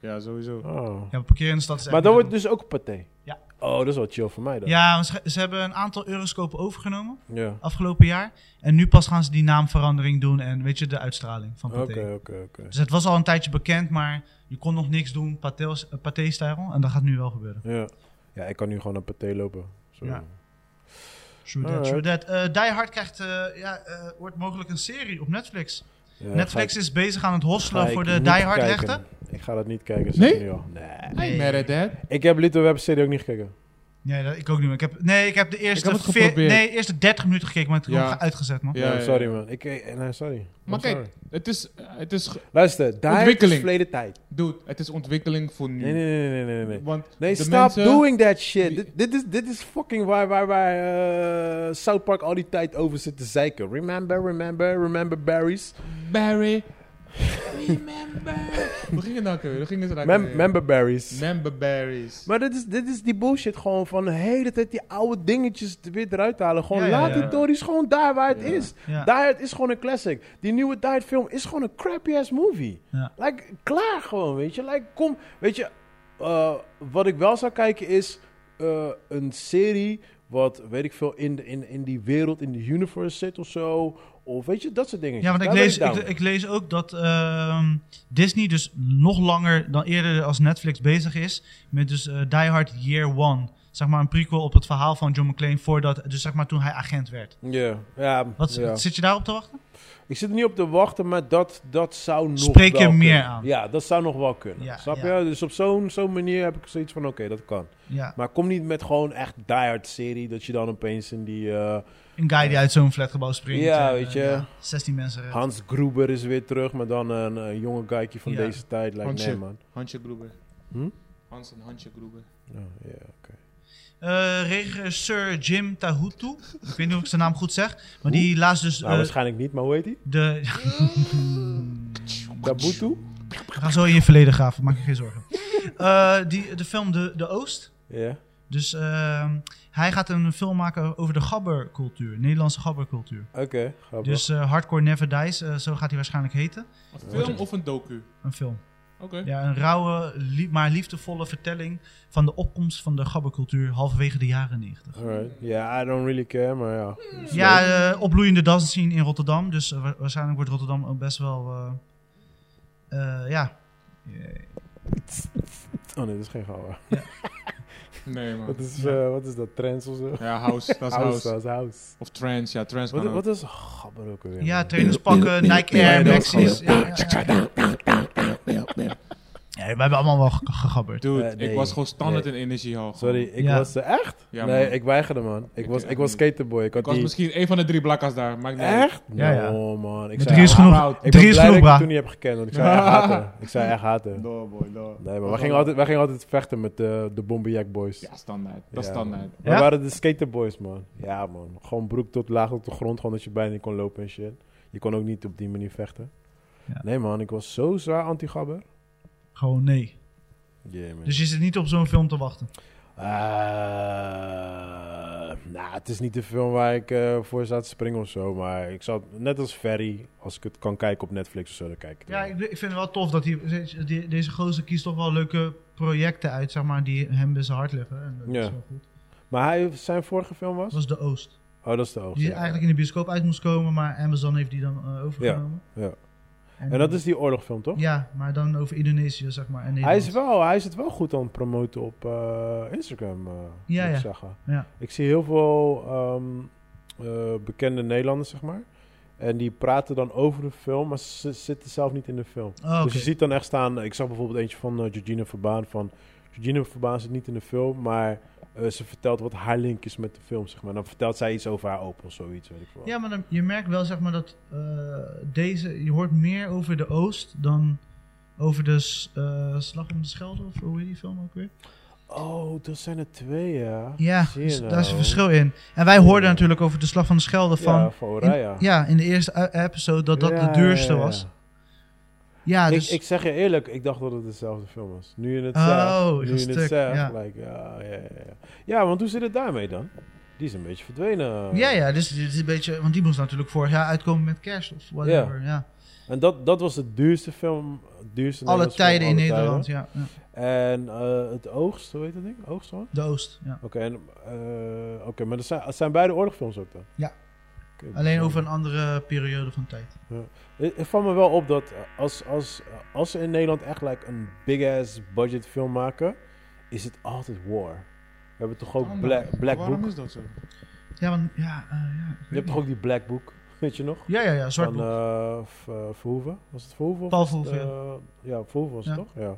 Speaker 3: ja, sowieso.
Speaker 2: Oh.
Speaker 1: Ja, parkeren in de stad is echt
Speaker 2: Maar dan
Speaker 1: niet
Speaker 2: wordt dus ook paté.
Speaker 1: Ja.
Speaker 2: Oh, dat is wel chill voor mij dan.
Speaker 1: Ja, want ze, ze hebben een aantal euroscopen overgenomen
Speaker 2: Ja.
Speaker 1: afgelopen jaar. En nu pas gaan ze die naamverandering doen en weet je, de uitstraling van Pathé.
Speaker 2: Oké, oké, oké.
Speaker 1: Dus het was al een tijdje bekend, maar je kon nog niks doen Pathé- eh, Pathé-stijl. En dat gaat nu wel gebeuren.
Speaker 2: Ja. Ja, ik kan nu gewoon naar paté lopen. Zo.
Speaker 1: Ja. True that,
Speaker 2: Alright.
Speaker 1: true that. Eh, Die Hard krijgt, eh, ja, eh, wordt mogelijk een serie op Netflix.
Speaker 2: Ja,
Speaker 1: Netflix
Speaker 2: ga
Speaker 1: is bezig aan het
Speaker 2: ik-
Speaker 1: hostelen
Speaker 2: ga ik
Speaker 1: voor de
Speaker 2: niet
Speaker 1: Die Hard
Speaker 2: kijken.
Speaker 1: rechten.
Speaker 2: Ik ga dat niet kijken, zeg
Speaker 3: Nee?
Speaker 2: ik nu al. Nee.
Speaker 3: Hey, mad at that.
Speaker 2: Ik heb Little Web serie ook niet gekeken.
Speaker 1: Nee, dat, ik ook niet meer. Ik heb, nee, ik heb de eerste,
Speaker 3: heb het
Speaker 1: veer-
Speaker 3: geprobeerd.
Speaker 1: nee, eerste 30 minuten gekeken, maar het is
Speaker 3: Ja.
Speaker 1: gewoon uitgezet, man.
Speaker 3: Ja,
Speaker 2: Ja,
Speaker 3: ja,
Speaker 2: Nou, sorry
Speaker 3: ja.
Speaker 2: man. Ik, eh, nee, sorry.
Speaker 3: Maar
Speaker 2: I'm
Speaker 3: kijk,
Speaker 2: sorry.
Speaker 3: het is, het is... ge-
Speaker 2: Luister, daar is
Speaker 3: Ontwikkeling.
Speaker 2: verleden tijd.
Speaker 3: Dude, het is ontwikkeling voor nu.
Speaker 2: Nee, nee, nee, nee, nee, nee, nee.
Speaker 3: Want
Speaker 2: Nee,
Speaker 3: de
Speaker 2: stop
Speaker 3: mensen-
Speaker 2: doing that shit.
Speaker 3: die-
Speaker 2: Dit, dit, is, dit is fucking waar, waar, waar eh, South Park al die tijd over zit te zeiken. Remember, remember, remember berries.
Speaker 3: Barry. Remember. Hoe ging het nou weer? Hoe ging het nou
Speaker 2: Mem- member berries.
Speaker 3: Member berries.
Speaker 2: Maar dit is, dit is die bullshit gewoon van de hele tijd die oude dingetjes er weer eruit halen. Gewoon
Speaker 1: Ja, ja,
Speaker 2: laat
Speaker 1: ja.
Speaker 2: die Tories gewoon daar waar het is.
Speaker 1: Ja.
Speaker 2: Die Hard is gewoon een classic. Die nieuwe Die Hard film is gewoon een crappy ass movie.
Speaker 1: Ja.
Speaker 2: Like, klaar gewoon, weet je. Like, kom, weet je. eh, wat ik wel zou kijken is eh, een serie wat, weet ik veel, in, de, in, in die wereld, in de universe zit of zo. Of weet je, dat soort dingen.
Speaker 1: Ja, want ik lees, ik, ik lees ook dat ehm, Disney dus nog langer dan eerder als Netflix bezig is met dus eh, Die Hard Year One. Zeg maar een prequel op het verhaal van John McClane voordat, dus zeg maar toen hij agent werd.
Speaker 2: Ja, ja,
Speaker 1: Wat,
Speaker 2: ja.
Speaker 1: Zit je daarop te wachten?
Speaker 2: Ik zit er niet op te wachten, maar dat, dat zou nog
Speaker 1: Spreek je
Speaker 2: wel
Speaker 1: meer
Speaker 2: kunnen.
Speaker 1: aan.
Speaker 2: Ja, dat zou nog wel kunnen.
Speaker 1: Ja,
Speaker 2: Snap
Speaker 1: ja.
Speaker 2: je? Dus op zo'n zo'n manier heb ik zoiets van, oké, dat kan.
Speaker 1: Ja,
Speaker 2: Maar kom niet met gewoon echt die hard serie, dat je dan opeens in die... eh,
Speaker 1: een guy die uit zo'n flatgebouw springt.
Speaker 2: Ja,
Speaker 1: en,
Speaker 2: weet
Speaker 1: eh,
Speaker 2: je.
Speaker 1: 16 mensen redt.
Speaker 2: Hans Gruber is weer terug, maar dan een, een jonge guykie van
Speaker 1: Ja.
Speaker 2: deze tijd. Like,
Speaker 3: Hansje.
Speaker 2: nee, man.
Speaker 3: Hansje Groeber.
Speaker 2: Hm?
Speaker 3: Hans en Hansje Groeber.
Speaker 2: Ja, ja, oké.
Speaker 1: Eh, regisseur Jim Tahutu, ik weet niet of ik zijn naam goed zeg, maar die laatst dus
Speaker 2: Nou,
Speaker 1: eh,
Speaker 2: waarschijnlijk niet, maar hoe heet hij?
Speaker 1: de...
Speaker 2: Kabuto?
Speaker 1: We gaan zo in je verleden graven, maak je geen zorgen. Eh, die, de film De, de Oost,
Speaker 2: Ja.
Speaker 1: Dus ehm, hij gaat een film maken over de gabbercultuur, Nederlandse gabbercultuur.
Speaker 2: Oké, grappig.
Speaker 1: Dus eh, Hardcore Never Dies, eh, zo gaat hij waarschijnlijk heten.
Speaker 3: Een film of een docu?
Speaker 1: Een film.
Speaker 3: Oké.
Speaker 1: Ja, een rauwe, lie- maar liefdevolle vertelling van de opkomst van de gabbercultuur halverwege de jaren 90.
Speaker 2: Alright. Ja, I don't really care, maar ja. Dus
Speaker 1: Ja, eh, opbloeiende dansscene in Rotterdam. Dus eh, wa- waarschijnlijk wordt Rotterdam ook best wel. eh, eh, ja.
Speaker 2: Oh nee, dat is geen gouden.
Speaker 3: Nee,
Speaker 2: Wat,
Speaker 3: man.
Speaker 2: is, eh, wat is dat, trends of zo?
Speaker 3: Ja, house. Dat is
Speaker 2: House,
Speaker 3: house.
Speaker 2: house, house.
Speaker 3: Of trance. Ja, trance
Speaker 2: Wat,
Speaker 3: kan
Speaker 2: wat
Speaker 3: ook.
Speaker 2: is gabber ook weer?
Speaker 1: Ja,
Speaker 2: man?
Speaker 1: trainers pakken, Nike Air,
Speaker 2: dat
Speaker 1: Maxis.
Speaker 2: is
Speaker 1: Ja, ja, ja. Ja, we hebben allemaal wel ge- gegabberd.
Speaker 3: Dude,
Speaker 2: Eh, nee.
Speaker 3: ik was gewoon standaard in energie al.
Speaker 2: Sorry, ik
Speaker 1: Ja.
Speaker 2: was... eh, echt?
Speaker 3: Ja,
Speaker 2: nee,
Speaker 3: man.
Speaker 2: ik weigerde, man. Ik
Speaker 3: Ik
Speaker 2: was,
Speaker 3: echt
Speaker 2: ik was
Speaker 3: niet.
Speaker 2: skaterboy. Ik had
Speaker 3: Ik was
Speaker 2: die...
Speaker 3: misschien een van de drie blakka's daar. Maakt niet uit.
Speaker 2: Echt?
Speaker 1: Ja, ja.
Speaker 2: No, man. Ik
Speaker 1: Met
Speaker 2: zei,
Speaker 1: drie is
Speaker 2: ah,
Speaker 1: genoeg.
Speaker 3: Oud.
Speaker 2: Ik ben
Speaker 1: Drie is
Speaker 2: blij
Speaker 1: genoeg,
Speaker 2: dat ik
Speaker 1: bra.
Speaker 2: het toen niet heb gekend, want ik zei echt haten. Ik zei echt haten.
Speaker 3: No, boy, no.
Speaker 2: Nee, maar we gingen altijd, wij gingen altijd vechten met eh, de Bomberjack boys.
Speaker 3: Ja, standaard. Dat is
Speaker 2: Ja,
Speaker 3: standaard.
Speaker 2: We
Speaker 1: Ja?
Speaker 2: waren de skaterboys, man. Ja, man. Gewoon broek tot laag op de grond, gewoon dat je bijna niet kon lopen en shit. Je kon ook niet op die manier vechten.
Speaker 1: Ja.
Speaker 2: Nee, man. Ik was zo zwaar anti-gabber.
Speaker 1: Gewoon nee.
Speaker 2: Yeah, man.
Speaker 1: Dus je zit niet op zo'n film te wachten.
Speaker 2: Eh, nou, het is niet de film waar ik eh, voor sta te springen of zo. Maar ik zou het- net als Ferry, als ik het kan kijken op Netflix of zo, dan kijk ik.
Speaker 1: Ja,
Speaker 2: ernaar.
Speaker 1: ik, ik vind het wel tof dat hij, die- deze gozer kiest toch wel leuke projecten uit, zeg maar, die hem bij zijn hart liggen. En dat
Speaker 2: Ja.
Speaker 1: is wel goed.
Speaker 2: Maar hij, zijn vorige film was?
Speaker 1: Dat was De Oost.
Speaker 2: Oh, dat is de oogst.
Speaker 1: Die
Speaker 2: ja.
Speaker 1: eigenlijk in de bioscoop uit moest komen, maar Amazon heeft die dan eh, overgenomen.
Speaker 2: Ja, ja. En dat is die oorlogfilm, toch?
Speaker 1: Ja, maar dan over Indonesië, zeg maar. En
Speaker 2: Hij
Speaker 1: Nederland.
Speaker 2: is, wel, hij is het wel goed aan het promoten op eh, Instagram, eh,
Speaker 1: Ja,
Speaker 2: moet ik
Speaker 1: ja.
Speaker 2: zeggen.
Speaker 1: Ja.
Speaker 2: Ik zie heel veel ehm, eh, bekende Nederlanders, zeg maar. En die praten dan over de film, maar ze zitten zelf niet in de film.
Speaker 1: Oh, oké.
Speaker 2: Dus je ziet dan echt staan... Ik zag bijvoorbeeld eentje van eh, Georgina Verbaan van... Georgina Verbaan zit niet in de film, maar eh, ze vertelt wat haar link is met de film, zeg maar. Dan vertelt zij iets over haar opa of zoiets, weet ik veel.
Speaker 1: Ja, maar dan, je merkt wel zeg maar dat eh, deze, je hoort meer over de Oost dan over de s- eh, Slag om de Schelde of hoe heet die film ook weer?
Speaker 2: Oh, dat zijn er twee, ja.
Speaker 1: Ja,
Speaker 2: Zie je
Speaker 1: dus
Speaker 2: nou.
Speaker 1: daar is een verschil in. En wij hoorden
Speaker 2: Ja.
Speaker 1: natuurlijk over de Slag van de Schelde van,
Speaker 2: ja, van Oraya.
Speaker 1: ja, in de eerste u- episode dat dat
Speaker 2: Ja,
Speaker 1: de duurste
Speaker 2: ja, ja.
Speaker 1: was. Ja,
Speaker 2: Ik-
Speaker 1: dus
Speaker 2: ik, zeg je eerlijk, ik dacht dat het dezelfde film was. Nu je het
Speaker 1: Oh,
Speaker 2: zegt,
Speaker 1: ik
Speaker 2: nu
Speaker 1: was
Speaker 2: je het
Speaker 1: stuk,
Speaker 2: zegt,
Speaker 1: ja.
Speaker 2: like, ja, ja, ja, ja. Ja, want hoe zit het daarmee dan? Die is een beetje verdwenen.
Speaker 1: ja, ja, dus dit is een beetje, want die moest natuurlijk vorig jaar uitkomen met kerst of whatever. Ja.
Speaker 2: En dat, dat was de duurste film, duurste
Speaker 1: Alle
Speaker 2: Nederlandse film
Speaker 1: tijden in
Speaker 2: aller
Speaker 1: Nederland, ja, ja.
Speaker 2: tijden. En eh, het oogst, hoe heet dat ding? Oogst hoor?
Speaker 1: De Oost, ja.
Speaker 2: Oké, en, eh, oké, maar dat zijn, dat zijn beide oorlogfilms ook dan?
Speaker 1: Ja.
Speaker 2: Oké, dus- dat
Speaker 1: Alleen
Speaker 2: is-
Speaker 1: over een andere periode van tijd.
Speaker 2: Het het valt me wel op dat eh, als, als, als ze in Nederland echt like, een big-ass budget film maken, is het altijd war. We hebben toch
Speaker 1: Ah,
Speaker 2: ook Oh, Black, Black
Speaker 3: Waarom
Speaker 2: Book?
Speaker 3: is dat zo?
Speaker 1: Ja, want, ja, eh, ja. ik weet
Speaker 2: Je hebt toch ook die Black Book, weet je nog?
Speaker 1: Ja, ja, ja, zwart
Speaker 2: Van
Speaker 1: boek.
Speaker 2: eh, v- eh, Verhoeven. Was het Verhoeven? of
Speaker 1: Paul
Speaker 2: was het,
Speaker 1: Verhoeven,
Speaker 2: eh, ja, Verhoeven was het
Speaker 1: Ja.
Speaker 2: toch? Ja.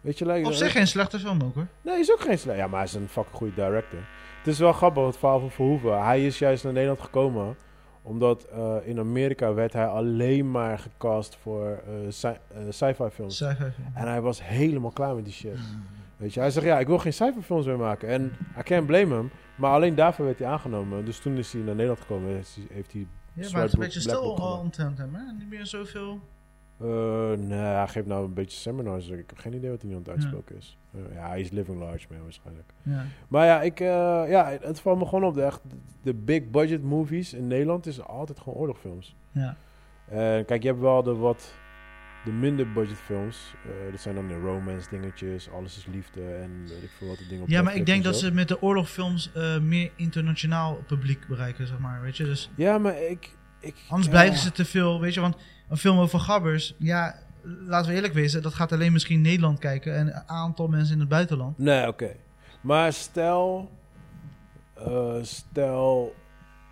Speaker 2: Weet je, like, eh,
Speaker 1: Op zich geen slechte film ook hoor.
Speaker 2: Nee, is ook geen slecht. Ja, maar hij is een fucking goede director. Het is wel grappig, het verhaal van Verhoeven. Hij is juist naar Nederland gekomen omdat eh, in Amerika werd hij alleen maar gecast voor eh, sci- eh, sci-fi films.
Speaker 1: Sci-fi film.
Speaker 2: En hij was helemaal klaar met die shit. Weet je, hij zegt ja, ik wil geen cijferfilms meer maken. En I can't blame hem. Maar alleen daarvoor werd hij aangenomen. Dus toen is hij naar Nederland gekomen. Heeft hij, heeft hij
Speaker 1: Ja, maar
Speaker 2: Zwart
Speaker 1: het is een
Speaker 2: Boek,
Speaker 1: beetje
Speaker 2: Black
Speaker 1: stil
Speaker 2: Book gemaakt.
Speaker 1: omtrent hem, hè? Niet meer zoveel.
Speaker 2: eh, nee, hij geeft nou een beetje seminars. Ik heb geen idee wat hij nu aan het uitspoken is. Eh, ja, hij is living large, man, waarschijnlijk.
Speaker 1: Ja.
Speaker 2: Maar ja, ik, eh, ja, het valt me gewoon op. De, echt, de big budget movies in Nederland is altijd gewoon oorlogfilms.
Speaker 1: Ja.
Speaker 2: En kijk, je hebt wel de wat de minder budget films. Eh, dat zijn dan de romance dingetjes, alles is liefde en weet ik veel wat de dingen op
Speaker 1: ja, maar
Speaker 2: Netflix
Speaker 1: ik denk
Speaker 2: en
Speaker 1: dat
Speaker 2: zo.
Speaker 1: ze met de oorlogfilms eh, meer internationaal publiek bereiken, zeg maar. Weet je? Dus
Speaker 2: Ja, maar ik... ik
Speaker 1: anders
Speaker 2: ja.
Speaker 1: blijven ze te veel, weet je? Want een film over gabbers, ja, laten we eerlijk wezen, dat gaat alleen misschien Nederland kijken en een aantal mensen in het buitenland.
Speaker 2: Nee, oké. Maar stel... eh, stel,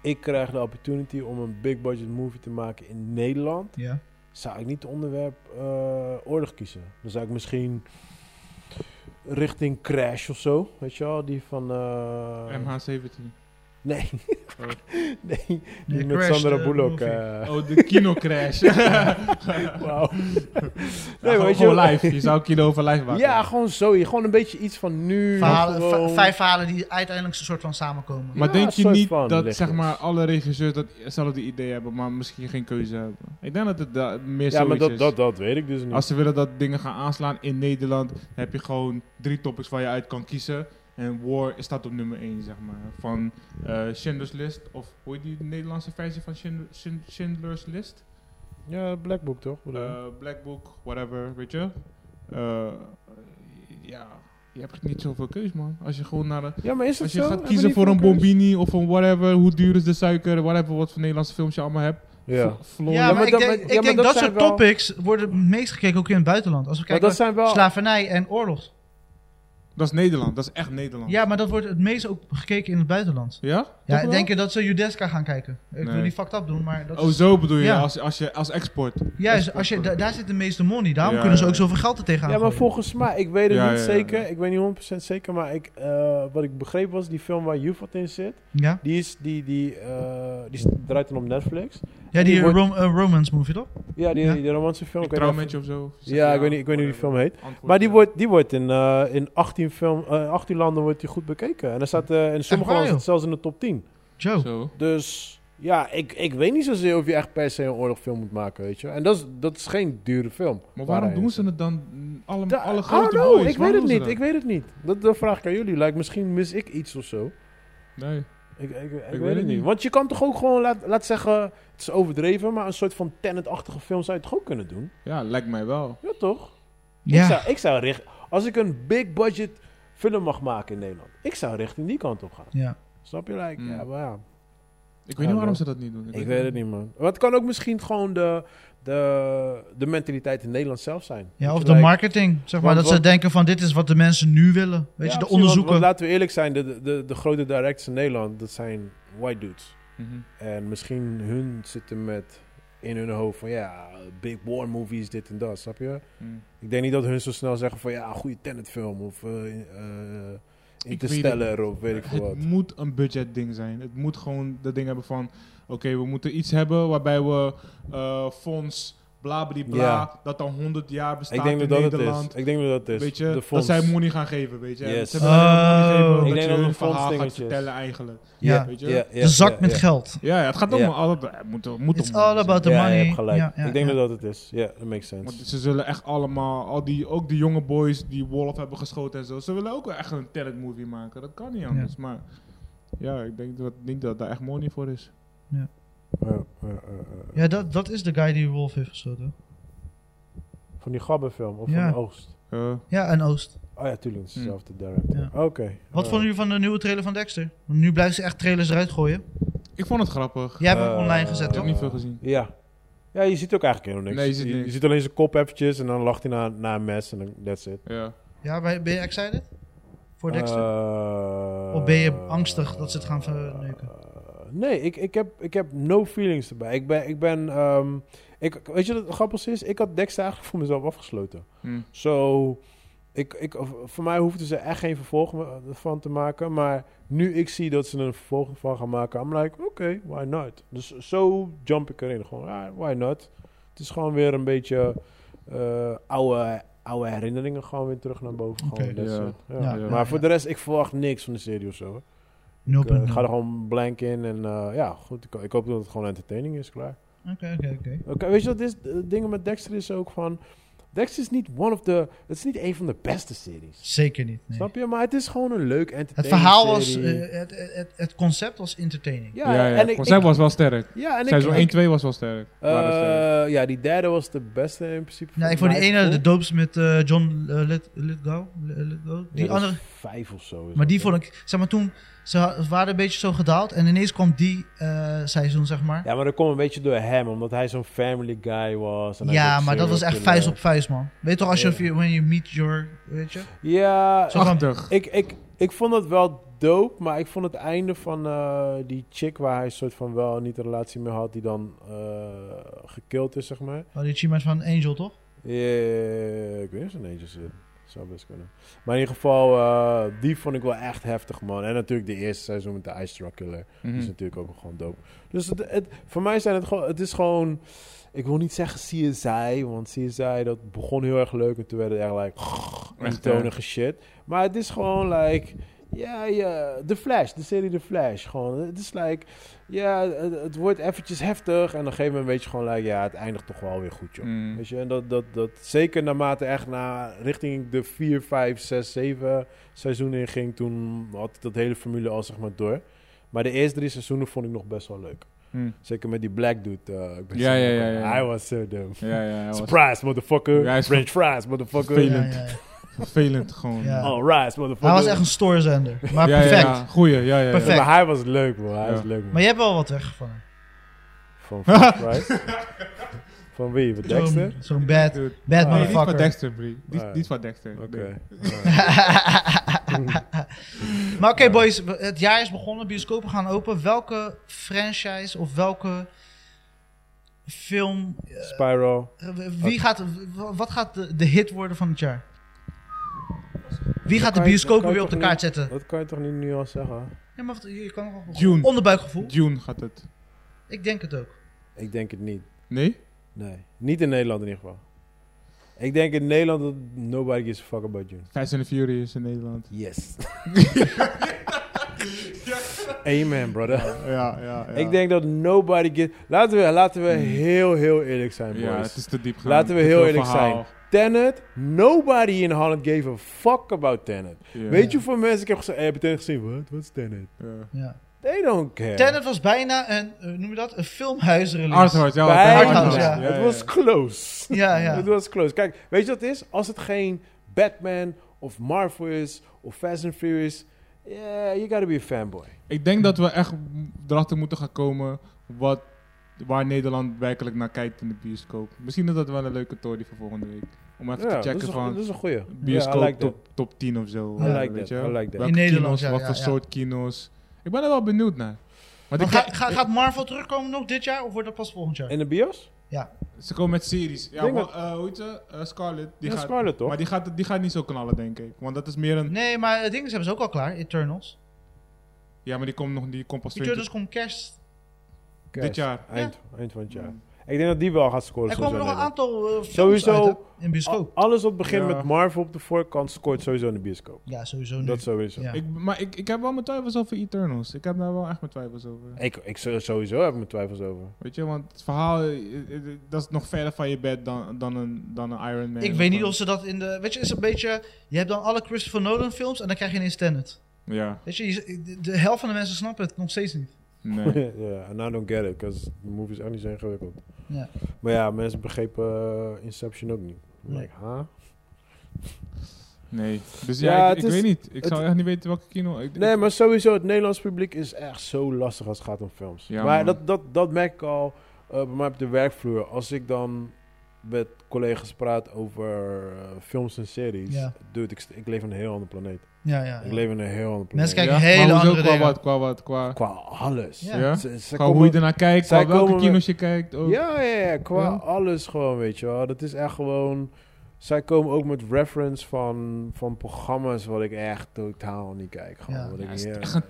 Speaker 2: ik krijg de opportunity om een big budget movie te maken in Nederland.
Speaker 1: Ja.
Speaker 2: zou ik niet het onderwerp eh, oorlog kiezen. Dan zou ik misschien richting Crash of zo, weet je wel, die van... eh,
Speaker 3: MH17.
Speaker 2: Nee,
Speaker 3: Oh.
Speaker 2: nee, die
Speaker 1: Nee,
Speaker 2: met
Speaker 1: Crash,
Speaker 2: Sandra
Speaker 1: de
Speaker 2: Bullock.
Speaker 1: movie.
Speaker 2: eh,
Speaker 3: Oh, de kinocrash.
Speaker 2: Wauw.
Speaker 3: nee,
Speaker 2: weet je
Speaker 3: gewoon
Speaker 2: wel.
Speaker 3: live. Je zou kilo over live maken.
Speaker 2: Ja, gewoon zo. Gewoon een beetje iets van nu.
Speaker 1: Verhalen,
Speaker 2: gewoon-
Speaker 1: v- vijf verhalen die uiteindelijk een soort van samenkomen.
Speaker 3: Maar
Speaker 2: Ja,
Speaker 3: denk
Speaker 2: een
Speaker 3: je
Speaker 2: soort
Speaker 3: niet
Speaker 2: van
Speaker 3: dat
Speaker 2: ligt
Speaker 3: zeg
Speaker 2: het.
Speaker 3: maar, alle regisseurs dat hetzelfde idee hebben, maar misschien geen keuze hebben? Ik denk dat het da- meer
Speaker 2: Ja, maar
Speaker 3: zoiets
Speaker 2: dat,
Speaker 3: is.
Speaker 2: dat, dat weet ik dus niet.
Speaker 3: Als ze willen dat dingen gaan aanslaan in Nederland, heb je gewoon drie topics waar je uit kan kiezen. En War staat op nummer 1, zeg maar. Van eh Schindler's List, of hoe heet die Nederlandse versie van Schind- Schind- Schindler's List?
Speaker 2: Ja, Black Book toch?
Speaker 3: Eh, Black Book, whatever, weet je. Eh, ja, je hebt niet zoveel keus, man. Als je gewoon naar de,
Speaker 2: ja, maar is het
Speaker 3: als je
Speaker 2: zo?
Speaker 3: gaat
Speaker 2: Hebben
Speaker 3: kiezen
Speaker 2: die
Speaker 3: voor een
Speaker 2: filmpjes?
Speaker 3: Bombini of een whatever, hoe duur is de suiker, whatever, wat voor Nederlandse films je allemaal hebt.
Speaker 2: Ja.
Speaker 3: Fl-
Speaker 1: Ja,
Speaker 3: Floor.
Speaker 1: maar,
Speaker 2: Ja, maar
Speaker 1: ik
Speaker 2: dat-
Speaker 1: denk,
Speaker 2: maar-
Speaker 1: ik
Speaker 2: ja, maar
Speaker 1: denk
Speaker 2: dat
Speaker 1: dat,
Speaker 2: zijn
Speaker 1: soort
Speaker 2: wel-
Speaker 1: topics worden het meest gekeken ook in het buitenland. Als we
Speaker 2: Maar
Speaker 1: kijken
Speaker 2: dat zijn wel...
Speaker 1: slavernij en oorlog.
Speaker 3: Dat is Nederland, dat is echt Nederland.
Speaker 1: Ja, maar dat wordt het meest ook gekeken in het buitenland.
Speaker 3: Ja? Toch
Speaker 1: Ja,
Speaker 3: wel?
Speaker 1: denk je dat ze Judeska gaan kijken? Ik wil
Speaker 3: Nee.
Speaker 1: die fucked up doen, maar dat
Speaker 3: Oh,
Speaker 1: is...
Speaker 3: zo bedoel je,
Speaker 1: Ja.
Speaker 3: als, als je als export.
Speaker 1: Juist,
Speaker 3: Export.
Speaker 1: als je, da- daar zit de meeste money. Daarom
Speaker 3: Ja,
Speaker 1: kunnen ze
Speaker 3: ja,
Speaker 1: ook
Speaker 3: ja.
Speaker 1: zoveel geld er tegenaan
Speaker 2: Ja, maar
Speaker 1: gooien.
Speaker 2: volgens mij, ik weet het
Speaker 3: Ja,
Speaker 2: niet
Speaker 3: ja, ja,
Speaker 2: zeker.
Speaker 3: ja.
Speaker 2: Ik weet niet 100% zeker, maar ik, eh, wat ik begreep was die film waar Jufat in zit.
Speaker 1: Ja,
Speaker 2: Die, is, die, die, eh, die is- draait dan op Netflix.
Speaker 1: ja die
Speaker 2: Die wordt-
Speaker 1: rom- eh, romance movie, toch?
Speaker 2: Ja, die,
Speaker 1: Ja.
Speaker 2: die romantische film.
Speaker 3: Ik
Speaker 2: weet
Speaker 3: trouw
Speaker 2: niet
Speaker 3: met je of zo.
Speaker 2: of-
Speaker 3: Zeg
Speaker 2: ja,
Speaker 3: je,
Speaker 2: ik weet niet, ik weet niet hoe die film heet.
Speaker 3: Antwoord,
Speaker 2: Maar die
Speaker 3: ja.
Speaker 2: wordt, die wordt in, eh, in 18, film, eh, 18 landen wordt die goed bekeken. En er staat, eh, in sommige
Speaker 1: waar,
Speaker 2: landen zit zelfs in de top 10.
Speaker 1: Joe.
Speaker 3: Zo.
Speaker 2: Dus Ja, ik, ik weet niet zozeer of je echt per se een oorlogfilm moet maken, weet je. En dat is, dat is geen dure film.
Speaker 3: Maar waarom
Speaker 2: Waarheid
Speaker 3: doen
Speaker 2: is.
Speaker 3: ze het dan mm, alle,
Speaker 2: Da-
Speaker 3: alle
Speaker 2: I
Speaker 3: grote
Speaker 2: don't know,
Speaker 3: boys?
Speaker 2: Ik weet
Speaker 3: Waarom
Speaker 2: het
Speaker 3: doen ze
Speaker 2: niet,
Speaker 3: dat?
Speaker 2: ik weet het niet. Dat, dat vraag ik aan jullie. Like, misschien mis ik iets of zo.
Speaker 3: Nee.
Speaker 2: Ik, ik, ik, weet, het niet. Want je kan toch ook gewoon, laat, laat zeggen, het is overdreven, maar een soort van Tenet-achtige film zou je toch ook kunnen doen?
Speaker 3: Ja, lijkt mij wel.
Speaker 2: Ja, toch? Ik
Speaker 1: Ja,
Speaker 2: zou, ik zou richt, als ik een big budget film mag maken in Nederland, ik zou richting die kant op gaan.
Speaker 1: ja.
Speaker 2: Snap je? Like,
Speaker 3: Mm.
Speaker 2: ja, maar ja. Ja,
Speaker 3: Ik weet niet
Speaker 2: bro.
Speaker 3: waarom ze dat niet doen.
Speaker 2: Ik weet het niet, man. Maar het kan ook misschien gewoon de, de, de mentaliteit in Nederland zelf zijn.
Speaker 1: ja
Speaker 2: Weet
Speaker 1: of
Speaker 2: je,
Speaker 1: de
Speaker 2: like-
Speaker 1: marketing, zeg maar.
Speaker 2: want-
Speaker 1: dat ze
Speaker 2: want-
Speaker 1: denken van dit is wat de mensen nu willen. Weet je,
Speaker 2: Ja,
Speaker 1: de
Speaker 2: precies, want-
Speaker 1: onderzoeken.
Speaker 2: want laten we eerlijk zijn, de, de, de grote directors in Nederland, dat zijn white dudes.
Speaker 3: Mhm.
Speaker 2: En misschien hun zitten met in hun hoofd van ja, big war movies, dit en dat, snap je?
Speaker 3: Mm.
Speaker 2: Ik denk niet dat hun zo snel zeggen van ja, een goede Tenet film of eh eh
Speaker 3: weet
Speaker 2: Interstellar of weet ik veel wat.
Speaker 3: Het moet een budgetding zijn. Het moet gewoon dat ding hebben van... Oké, we moeten iets hebben waarbij we eh, fonds, bla bla bla...
Speaker 2: Ja.
Speaker 3: dat dan 100 jaar bestaat
Speaker 2: Ik denk dat
Speaker 3: in
Speaker 2: dat het
Speaker 3: Nederland.
Speaker 2: is. Ik denk dat dat het is.
Speaker 3: Weet je,
Speaker 2: de
Speaker 3: dat
Speaker 2: fonds.
Speaker 3: zij money gaan geven, weet je.
Speaker 2: Yes.
Speaker 3: Ze hebben alleen maar money
Speaker 1: Oh.
Speaker 3: gegeven
Speaker 1: Ik
Speaker 3: omdat
Speaker 2: denk
Speaker 3: je
Speaker 2: dat
Speaker 3: hun
Speaker 2: het een
Speaker 3: verhaal gaat
Speaker 2: fondsdingetje is.
Speaker 3: vertellen eigenlijk.
Speaker 1: ja.
Speaker 3: Weet je?
Speaker 2: Ja, ja,
Speaker 1: De zak
Speaker 2: ja,
Speaker 1: met
Speaker 2: ja.
Speaker 1: geld.
Speaker 3: Ja, ja, het gaat
Speaker 2: Ja.
Speaker 3: allemaal... altijd- Het moet, het moet
Speaker 1: It's
Speaker 3: om money
Speaker 1: all
Speaker 3: zijn.
Speaker 1: about the
Speaker 2: Ja,
Speaker 1: money.
Speaker 2: je hebt gelijk.
Speaker 1: Ja, ja,
Speaker 2: ik denk
Speaker 1: ja.
Speaker 2: dat dat het is. Ja, that makes
Speaker 3: Want
Speaker 2: sense.
Speaker 3: ze zullen echt allemaal, al die, ook die jonge boys die Wolf hebben geschoten en zo, ze willen ook wel echt een talent movie maken. Dat kan niet anders. Maar ja, ik denk dat, ik denk dat daar echt money voor is.
Speaker 2: Ja, ja, ja, ja.
Speaker 1: Ja, dat, dat is de guy die Wolf heeft geschoten.
Speaker 2: Van die gabbenfilm of
Speaker 1: Ja.
Speaker 2: van Oogst.
Speaker 3: Eh,
Speaker 1: Ja, en Oost.
Speaker 2: Oh ja, tuurlijk, het is
Speaker 3: Hm.
Speaker 2: dezelfde director.
Speaker 1: Ja.
Speaker 2: Oké.
Speaker 1: Wat
Speaker 2: eh, alright.
Speaker 1: vonden jullie van de nieuwe trailer van Dexter? Want nu blijven ze echt trailers eruit gooien.
Speaker 3: ik vond het grappig.
Speaker 1: Jij hebt hem
Speaker 2: Eh,
Speaker 1: online gezet,
Speaker 3: ik heb
Speaker 1: toch?
Speaker 3: niet veel gezien.
Speaker 2: Ja. Ja, je ziet ook eigenlijk helemaal niks.
Speaker 3: Nee, je ziet niks.
Speaker 2: alleen zijn kop eventjes en dan lacht hij naar, naar een mes en dan that's it.
Speaker 3: Ja.
Speaker 1: Ja, ben je- ben je excited? Voor Dexter?
Speaker 2: Eh,
Speaker 1: Of ben je angstig dat ze het gaan verneuken?
Speaker 2: eh, nee, ik, ik, heb, ik heb no feelings erbij. Ik ben... Ik ben ehm, ik, weet je wat het grappigste is? Ik had Dexter eigenlijk voor mezelf afgesloten.
Speaker 3: Hm.
Speaker 2: Zo... ik, ik, voor mij hoefden ze echt geen vervolg eh, van te maken. Maar nu ik zie dat ze er een vervolg van gaan maken... I'm like, oké, why not? Dus zo jump ik erin. Gewoon, ah, why not? Het is gewoon weer een beetje... eh, oude, oude herinneringen gewoon weer terug naar boven.
Speaker 1: Oké,
Speaker 2: Gewoon, that's
Speaker 3: ja.
Speaker 2: it. Ja.
Speaker 1: Ja,
Speaker 3: ja.
Speaker 2: Maar voor de rest, ik verwacht niks van de serie of zo. hoor. Ik, eh,
Speaker 1: 0.0.
Speaker 2: ik ga er gewoon blank in en eh, ja, goed. Ik, ik hoop dat het gewoon entertaining is, klaar.
Speaker 1: Oké, oké, oké.
Speaker 2: Oké, weet je wat is? De dingen met Dexter is ook van... Dexter is niet one of the... Het is niet een van de beste series.
Speaker 1: Zeker niet. nee.
Speaker 2: Snap je? Maar het is gewoon een leuk entertaining
Speaker 1: Het verhaal was,
Speaker 2: serie.
Speaker 1: eh, het, het, het- het concept was entertaining.
Speaker 2: ja,
Speaker 3: ja, ja.
Speaker 2: en ik...
Speaker 3: Zij
Speaker 2: ik-
Speaker 3: was wel sterk.
Speaker 2: ja, en ik...
Speaker 3: Seizoen
Speaker 2: ik-
Speaker 3: 1, 2 was wel sterk. Waren sterk.
Speaker 2: eh, ja, die derde was de beste in principe.
Speaker 1: Nou, ik vond die
Speaker 2: mij.
Speaker 1: ene, de doopst met eh, John eh, Lith- Lithgow. Li- Lithgow?
Speaker 2: Ja, dat
Speaker 1: Die
Speaker 2: is
Speaker 1: andere,
Speaker 2: Vijf of zo. is
Speaker 1: maar
Speaker 2: dat,
Speaker 1: die
Speaker 2: hè?
Speaker 1: vond ik, zeg maar toen, ze ha- waren een beetje zo gedaald en ineens kwam die eh, seizoen, zeg maar.
Speaker 2: Ja, maar dat komt een beetje door hem, omdat hij zo'n family guy was. En hij
Speaker 1: Ja,
Speaker 2: zo'n
Speaker 1: maar dat was
Speaker 2: serial
Speaker 1: echt
Speaker 2: killer.
Speaker 1: vuist op vuist, man. Weet toch, als je,
Speaker 2: Ja.
Speaker 1: of je when you meet your, weet je?
Speaker 2: Ja,
Speaker 1: Zo van-
Speaker 3: Prachtig.
Speaker 2: ik, ik, ik vond het wel dope, maar ik vond het einde van eh, die chick waar hij soort van wel niet een relatie mee had, die dan eh gekild is, zeg maar.
Speaker 1: Oh, die achievement van Angel, toch?
Speaker 2: Eh, ik weet niet of ze een eentje zit. Zou best kunnen. Maar in ieder geval, eh, die vond ik wel echt heftig, man. En natuurlijk de eerste seizoen met de Ice Truck Killer.
Speaker 3: Mhm.
Speaker 2: Die is natuurlijk ook gewoon dope. Dus het, het- voor mij zijn het gewoon, het is gewoon, ik wil niet zeggen CSI, want CSI dat begon heel erg leuk en toen werd het echt like
Speaker 3: Echt,
Speaker 2: eentonige shit. Maar het is gewoon like, ja, ja, The Flash, de serie The Flash. Gewoon, het is like, ja, het, het wordt eventjes heftig en op een gegeven moment weet je gewoon like, ja, het eindigt toch wel weer goed, joh.
Speaker 3: Mm.
Speaker 2: Weet je, en dat, dat, dat zeker naarmate echt naar richting de 4, 5, 6, 7 seizoenen in ging, toen had ik dat hele formule al zeg maar door. Maar de eerste drie seizoenen vond ik nog best wel leuk.
Speaker 3: Hm.
Speaker 2: Zeker met die black dude. eh, ik ben
Speaker 3: Ja,
Speaker 2: zo-
Speaker 3: ja, ja, ja.
Speaker 2: Hij was zo dope.
Speaker 3: Ja, ja, hij was
Speaker 2: Surprise, motherfucker.
Speaker 3: Ja, hij is
Speaker 2: French fries, motherfucker.
Speaker 1: Ja,
Speaker 3: Vele-
Speaker 1: ja, ja.
Speaker 3: vervelend gewoon.
Speaker 1: Ja.
Speaker 2: All rise, motherfucker.
Speaker 1: Hij was echt een stoorzender, maar
Speaker 3: Ja, ja,
Speaker 1: perfect.
Speaker 3: ja. Goeie, ja, ja. ja.
Speaker 1: Perfect.
Speaker 2: Maar hij was leuk, man. Hij
Speaker 3: Ja.
Speaker 2: was leuk, man.
Speaker 1: Maar je hebt wel wat weggevangen.
Speaker 2: Van French fries. Van wie? Van Dexter?
Speaker 1: Zo'n zo'n bad,
Speaker 3: Dude.
Speaker 1: bad
Speaker 2: Ah.
Speaker 3: Nee, niet van
Speaker 1: motherfucker.
Speaker 3: Dexter, Brie.
Speaker 2: Ah.
Speaker 3: Niet, niet van Dexter.
Speaker 2: Oké.
Speaker 3: Nee.
Speaker 2: Alright.
Speaker 1: maar oké, boys, we- het jaar is begonnen, bioscopen gaan open. Welke franchise of welke film. eh,
Speaker 2: Spiral.
Speaker 1: Wie gaat, w- wat gaat de, de hit worden van het jaar? Wie gaat de
Speaker 2: kan je-
Speaker 1: bioscopen
Speaker 2: kan je
Speaker 1: weer op de
Speaker 2: toch
Speaker 1: kaart
Speaker 2: niet-
Speaker 1: zetten?
Speaker 2: Dat kan je toch niet nu al zeggen?
Speaker 1: Ja, maar wat- je kan nog wel.
Speaker 3: Dune.
Speaker 1: Onderbuikgevoel?
Speaker 3: Dune gaat het.
Speaker 1: Ik denk het ook.
Speaker 2: Ik denk het niet.
Speaker 3: Nee?
Speaker 2: Nee. Niet in Nederland in ieder geval. Ik denk in Nederland dat nobody gives a fuck about you.
Speaker 3: Fast and the Furious in Nederland.
Speaker 2: Yes. Amen, brother.
Speaker 3: Ja, ja, ja. Hmm.
Speaker 2: Ik denk dat nobody get... Laten we, laten we heel, heel eerlijk zijn, boys.
Speaker 3: Ja, het is te diep gaan.
Speaker 2: Laten we
Speaker 3: Te
Speaker 2: heel
Speaker 3: veel
Speaker 2: eerlijk
Speaker 3: verhaal.
Speaker 2: zijn. Tenet, nobody in Holland gave a fuck about Tenet.
Speaker 3: Ja.
Speaker 2: Weet je hoeveel mensen ik heb gezegd, hey, heb je Tenet gezien? Wat? Wat is Tenet?
Speaker 3: Ja.
Speaker 1: Ja.
Speaker 2: They don't care.
Speaker 1: Tenet was bijna een, eh, noem je dat, een filmhuisrelease.
Speaker 3: Arthouse, ja.
Speaker 2: Bij-
Speaker 1: Arthouse,
Speaker 3: Arthouse,
Speaker 1: ja.
Speaker 2: Het was close.
Speaker 1: Ja, ja.
Speaker 2: Het was close. Kijk, weet je wat het is? Als het geen Batman of Marvel is of Fast and Furious, yeah, you gotta be a fanboy.
Speaker 3: Ik denk dat we echt erachter moeten gaan komen wat, waar Nederland werkelijk naar kijkt in de bioscoop. Misschien is dat wel een leuke tory voor volgende week. Om even
Speaker 2: Ja,
Speaker 3: te
Speaker 2: dat, is
Speaker 3: checken
Speaker 2: een,
Speaker 3: van
Speaker 2: dat is een goeie.
Speaker 3: bioscoop
Speaker 2: Ja, I like that.
Speaker 3: top, top 10 of zo.
Speaker 2: I
Speaker 3: eh,
Speaker 2: like
Speaker 3: weet
Speaker 2: that,
Speaker 3: je?
Speaker 2: I like that.
Speaker 3: Welke
Speaker 1: In Nederland,
Speaker 3: kino's,
Speaker 1: ja,
Speaker 3: wat
Speaker 1: ja,
Speaker 3: voor
Speaker 1: ja.
Speaker 3: soort kino's. Ik ben er wel benieuwd naar. Want
Speaker 1: Maar
Speaker 3: ik
Speaker 1: ga-
Speaker 3: kijk-
Speaker 1: ga- gaat Marvel terugkomen nog dit jaar of wordt dat pas volgend jaar?
Speaker 2: In de bios?
Speaker 3: Ze komen met series. Ja,
Speaker 2: Denk
Speaker 3: wel,
Speaker 2: dat-
Speaker 3: eh, hoe heet ze? Eh, Scarlet. Die
Speaker 2: Ja,
Speaker 3: gaat,
Speaker 2: Scarlet, toch?
Speaker 3: Maar die gaat, die gaat niet zo knallen, denk ik. Want dat is meer een...
Speaker 1: Nee, maar het ding is, hebben ze ook al klaar, Eternals.
Speaker 3: Ja, maar die komt nog die komt pas
Speaker 1: Eternals
Speaker 3: 20
Speaker 1: komt dus kerst.
Speaker 2: Kerst.
Speaker 3: dit jaar.
Speaker 2: Eind, eind van het jaar. Ik denk dat die wel gaat scoren.
Speaker 1: Mm. Er komen
Speaker 2: sowieso
Speaker 1: nog
Speaker 2: in
Speaker 1: een
Speaker 2: Nederland.
Speaker 1: aantal eh, films
Speaker 2: Sowieso- Oh.
Speaker 1: uit, hè, in bioscoop.
Speaker 2: Al- alles wat begint
Speaker 3: Ja.
Speaker 2: met Marvel op de voorkant scoort sowieso in de bioscoop.
Speaker 1: Ja, sowieso nu.
Speaker 2: Dat sowieso.
Speaker 1: Ja.
Speaker 3: Ik, maar ik, ik heb wel mijn twijfels over Eternals. Ik heb daar wel echt mijn twijfels over.
Speaker 2: Ik, ik zou- sowieso heb ik mijn twijfels over.
Speaker 3: Weet je, want het verhaal, eh, eh, eh, dat is nog verder van je bed dan, dan, een, dan een Iron Man.
Speaker 1: Ik weet niet of ze dat in de... Weet je, het is een beetje... Je hebt dan alle Christopher Nolan films en dan krijg je ineens Tenet.
Speaker 3: Ja,
Speaker 1: Weet je, je- de, de helft van de mensen snappen het nog steeds niet.
Speaker 3: nee.
Speaker 2: ja, and I don't get it, because de movies echt niet zo ingewikkeld.
Speaker 1: Ja.
Speaker 2: Maar ja, mensen begrepen eh, Inception ook niet.
Speaker 1: Nee.
Speaker 2: Like, huh?
Speaker 3: nee. Dus ja,
Speaker 2: Ja,
Speaker 3: ik,
Speaker 2: het
Speaker 3: ik
Speaker 2: is-
Speaker 3: weet niet. Ik
Speaker 2: het-
Speaker 3: zou echt niet weten welke kino... Ik,
Speaker 2: Nee,
Speaker 3: ik-
Speaker 2: maar sowieso, het Nederlands publiek is echt zo lastig als het gaat om films.
Speaker 3: Ja,
Speaker 2: maar
Speaker 3: man.
Speaker 2: dat, dat, dat merk ik al eh, bij mij op de werkvloer. Als ik dan met collega's praat over eh, films en series,
Speaker 1: Ja.
Speaker 2: dude, ik, st- ik leef in een heel ander planeet.
Speaker 1: Ja, ja.
Speaker 2: Ik leef in een heel ander planeet.
Speaker 1: Mensen
Speaker 3: Ja,
Speaker 1: kijken hele
Speaker 3: maar hoezo
Speaker 1: andere
Speaker 3: qua
Speaker 1: dingen.
Speaker 3: wat, qua wat, qua...
Speaker 2: Qua alles.
Speaker 1: Ja.
Speaker 3: Ja?
Speaker 2: Ze- ze
Speaker 3: Qua
Speaker 2: komen-
Speaker 3: hoe je ernaar kijkt,
Speaker 2: zij
Speaker 3: qua welke
Speaker 2: komen met-
Speaker 3: kino's je kijkt.
Speaker 1: Oh.
Speaker 3: Ook.
Speaker 2: Ja, ja, ja, qua
Speaker 3: Ja.
Speaker 2: alles gewoon, weet je wel. Dat is echt gewoon... Zij komen ook met reference van, van programma's wat ik echt totaal niet kijk. Gewoon,
Speaker 1: Ja.
Speaker 2: wat
Speaker 3: Ja,
Speaker 2: ik
Speaker 3: het is
Speaker 2: niet- eh,
Speaker 3: echt een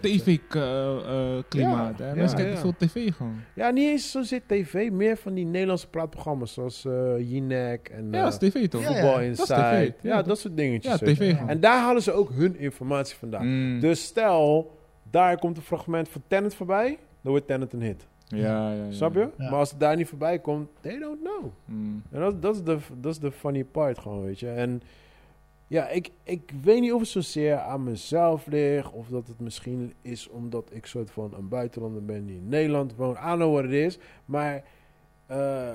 Speaker 3: eh, tv-klimaat.
Speaker 2: Ja,
Speaker 3: Mensen
Speaker 2: ja,
Speaker 3: kijken
Speaker 2: ja.
Speaker 3: veel tv gewoon.
Speaker 2: Ja, niet eens zozeer tv. Meer van die Nederlandse praatprogramma's zoals eh Jinek en
Speaker 3: Ja,
Speaker 2: eh,
Speaker 3: dat is tv toch?
Speaker 1: Ja, ja.
Speaker 2: Voetbal
Speaker 1: dat
Speaker 3: is
Speaker 2: Inside.
Speaker 3: tv.
Speaker 2: Ja,
Speaker 3: Ja,
Speaker 2: dat soort dingetjes.
Speaker 3: Ja,
Speaker 2: weet je.
Speaker 3: tv
Speaker 1: Ja.
Speaker 3: gewoon.
Speaker 2: En daar halen ze ook hun informatie vandaan.
Speaker 3: Mm.
Speaker 2: Dus stel, daar komt een fragment van Tenet voorbij, dan wordt Tenet een hit.
Speaker 3: Mm. Ja, ja, ja.
Speaker 2: Snap je?
Speaker 1: Ja.
Speaker 2: Maar als het daar niet voorbij komt, they don't know.
Speaker 3: Mm.
Speaker 2: En dat, dat, is de, dat is de funny part gewoon, weet je. En ja, ik, ik weet niet of het zozeer aan mezelf ligt... of dat het misschien is omdat ik soort van een buitenlander ben... die in Nederland woont. I don't know what it is. Maar eh,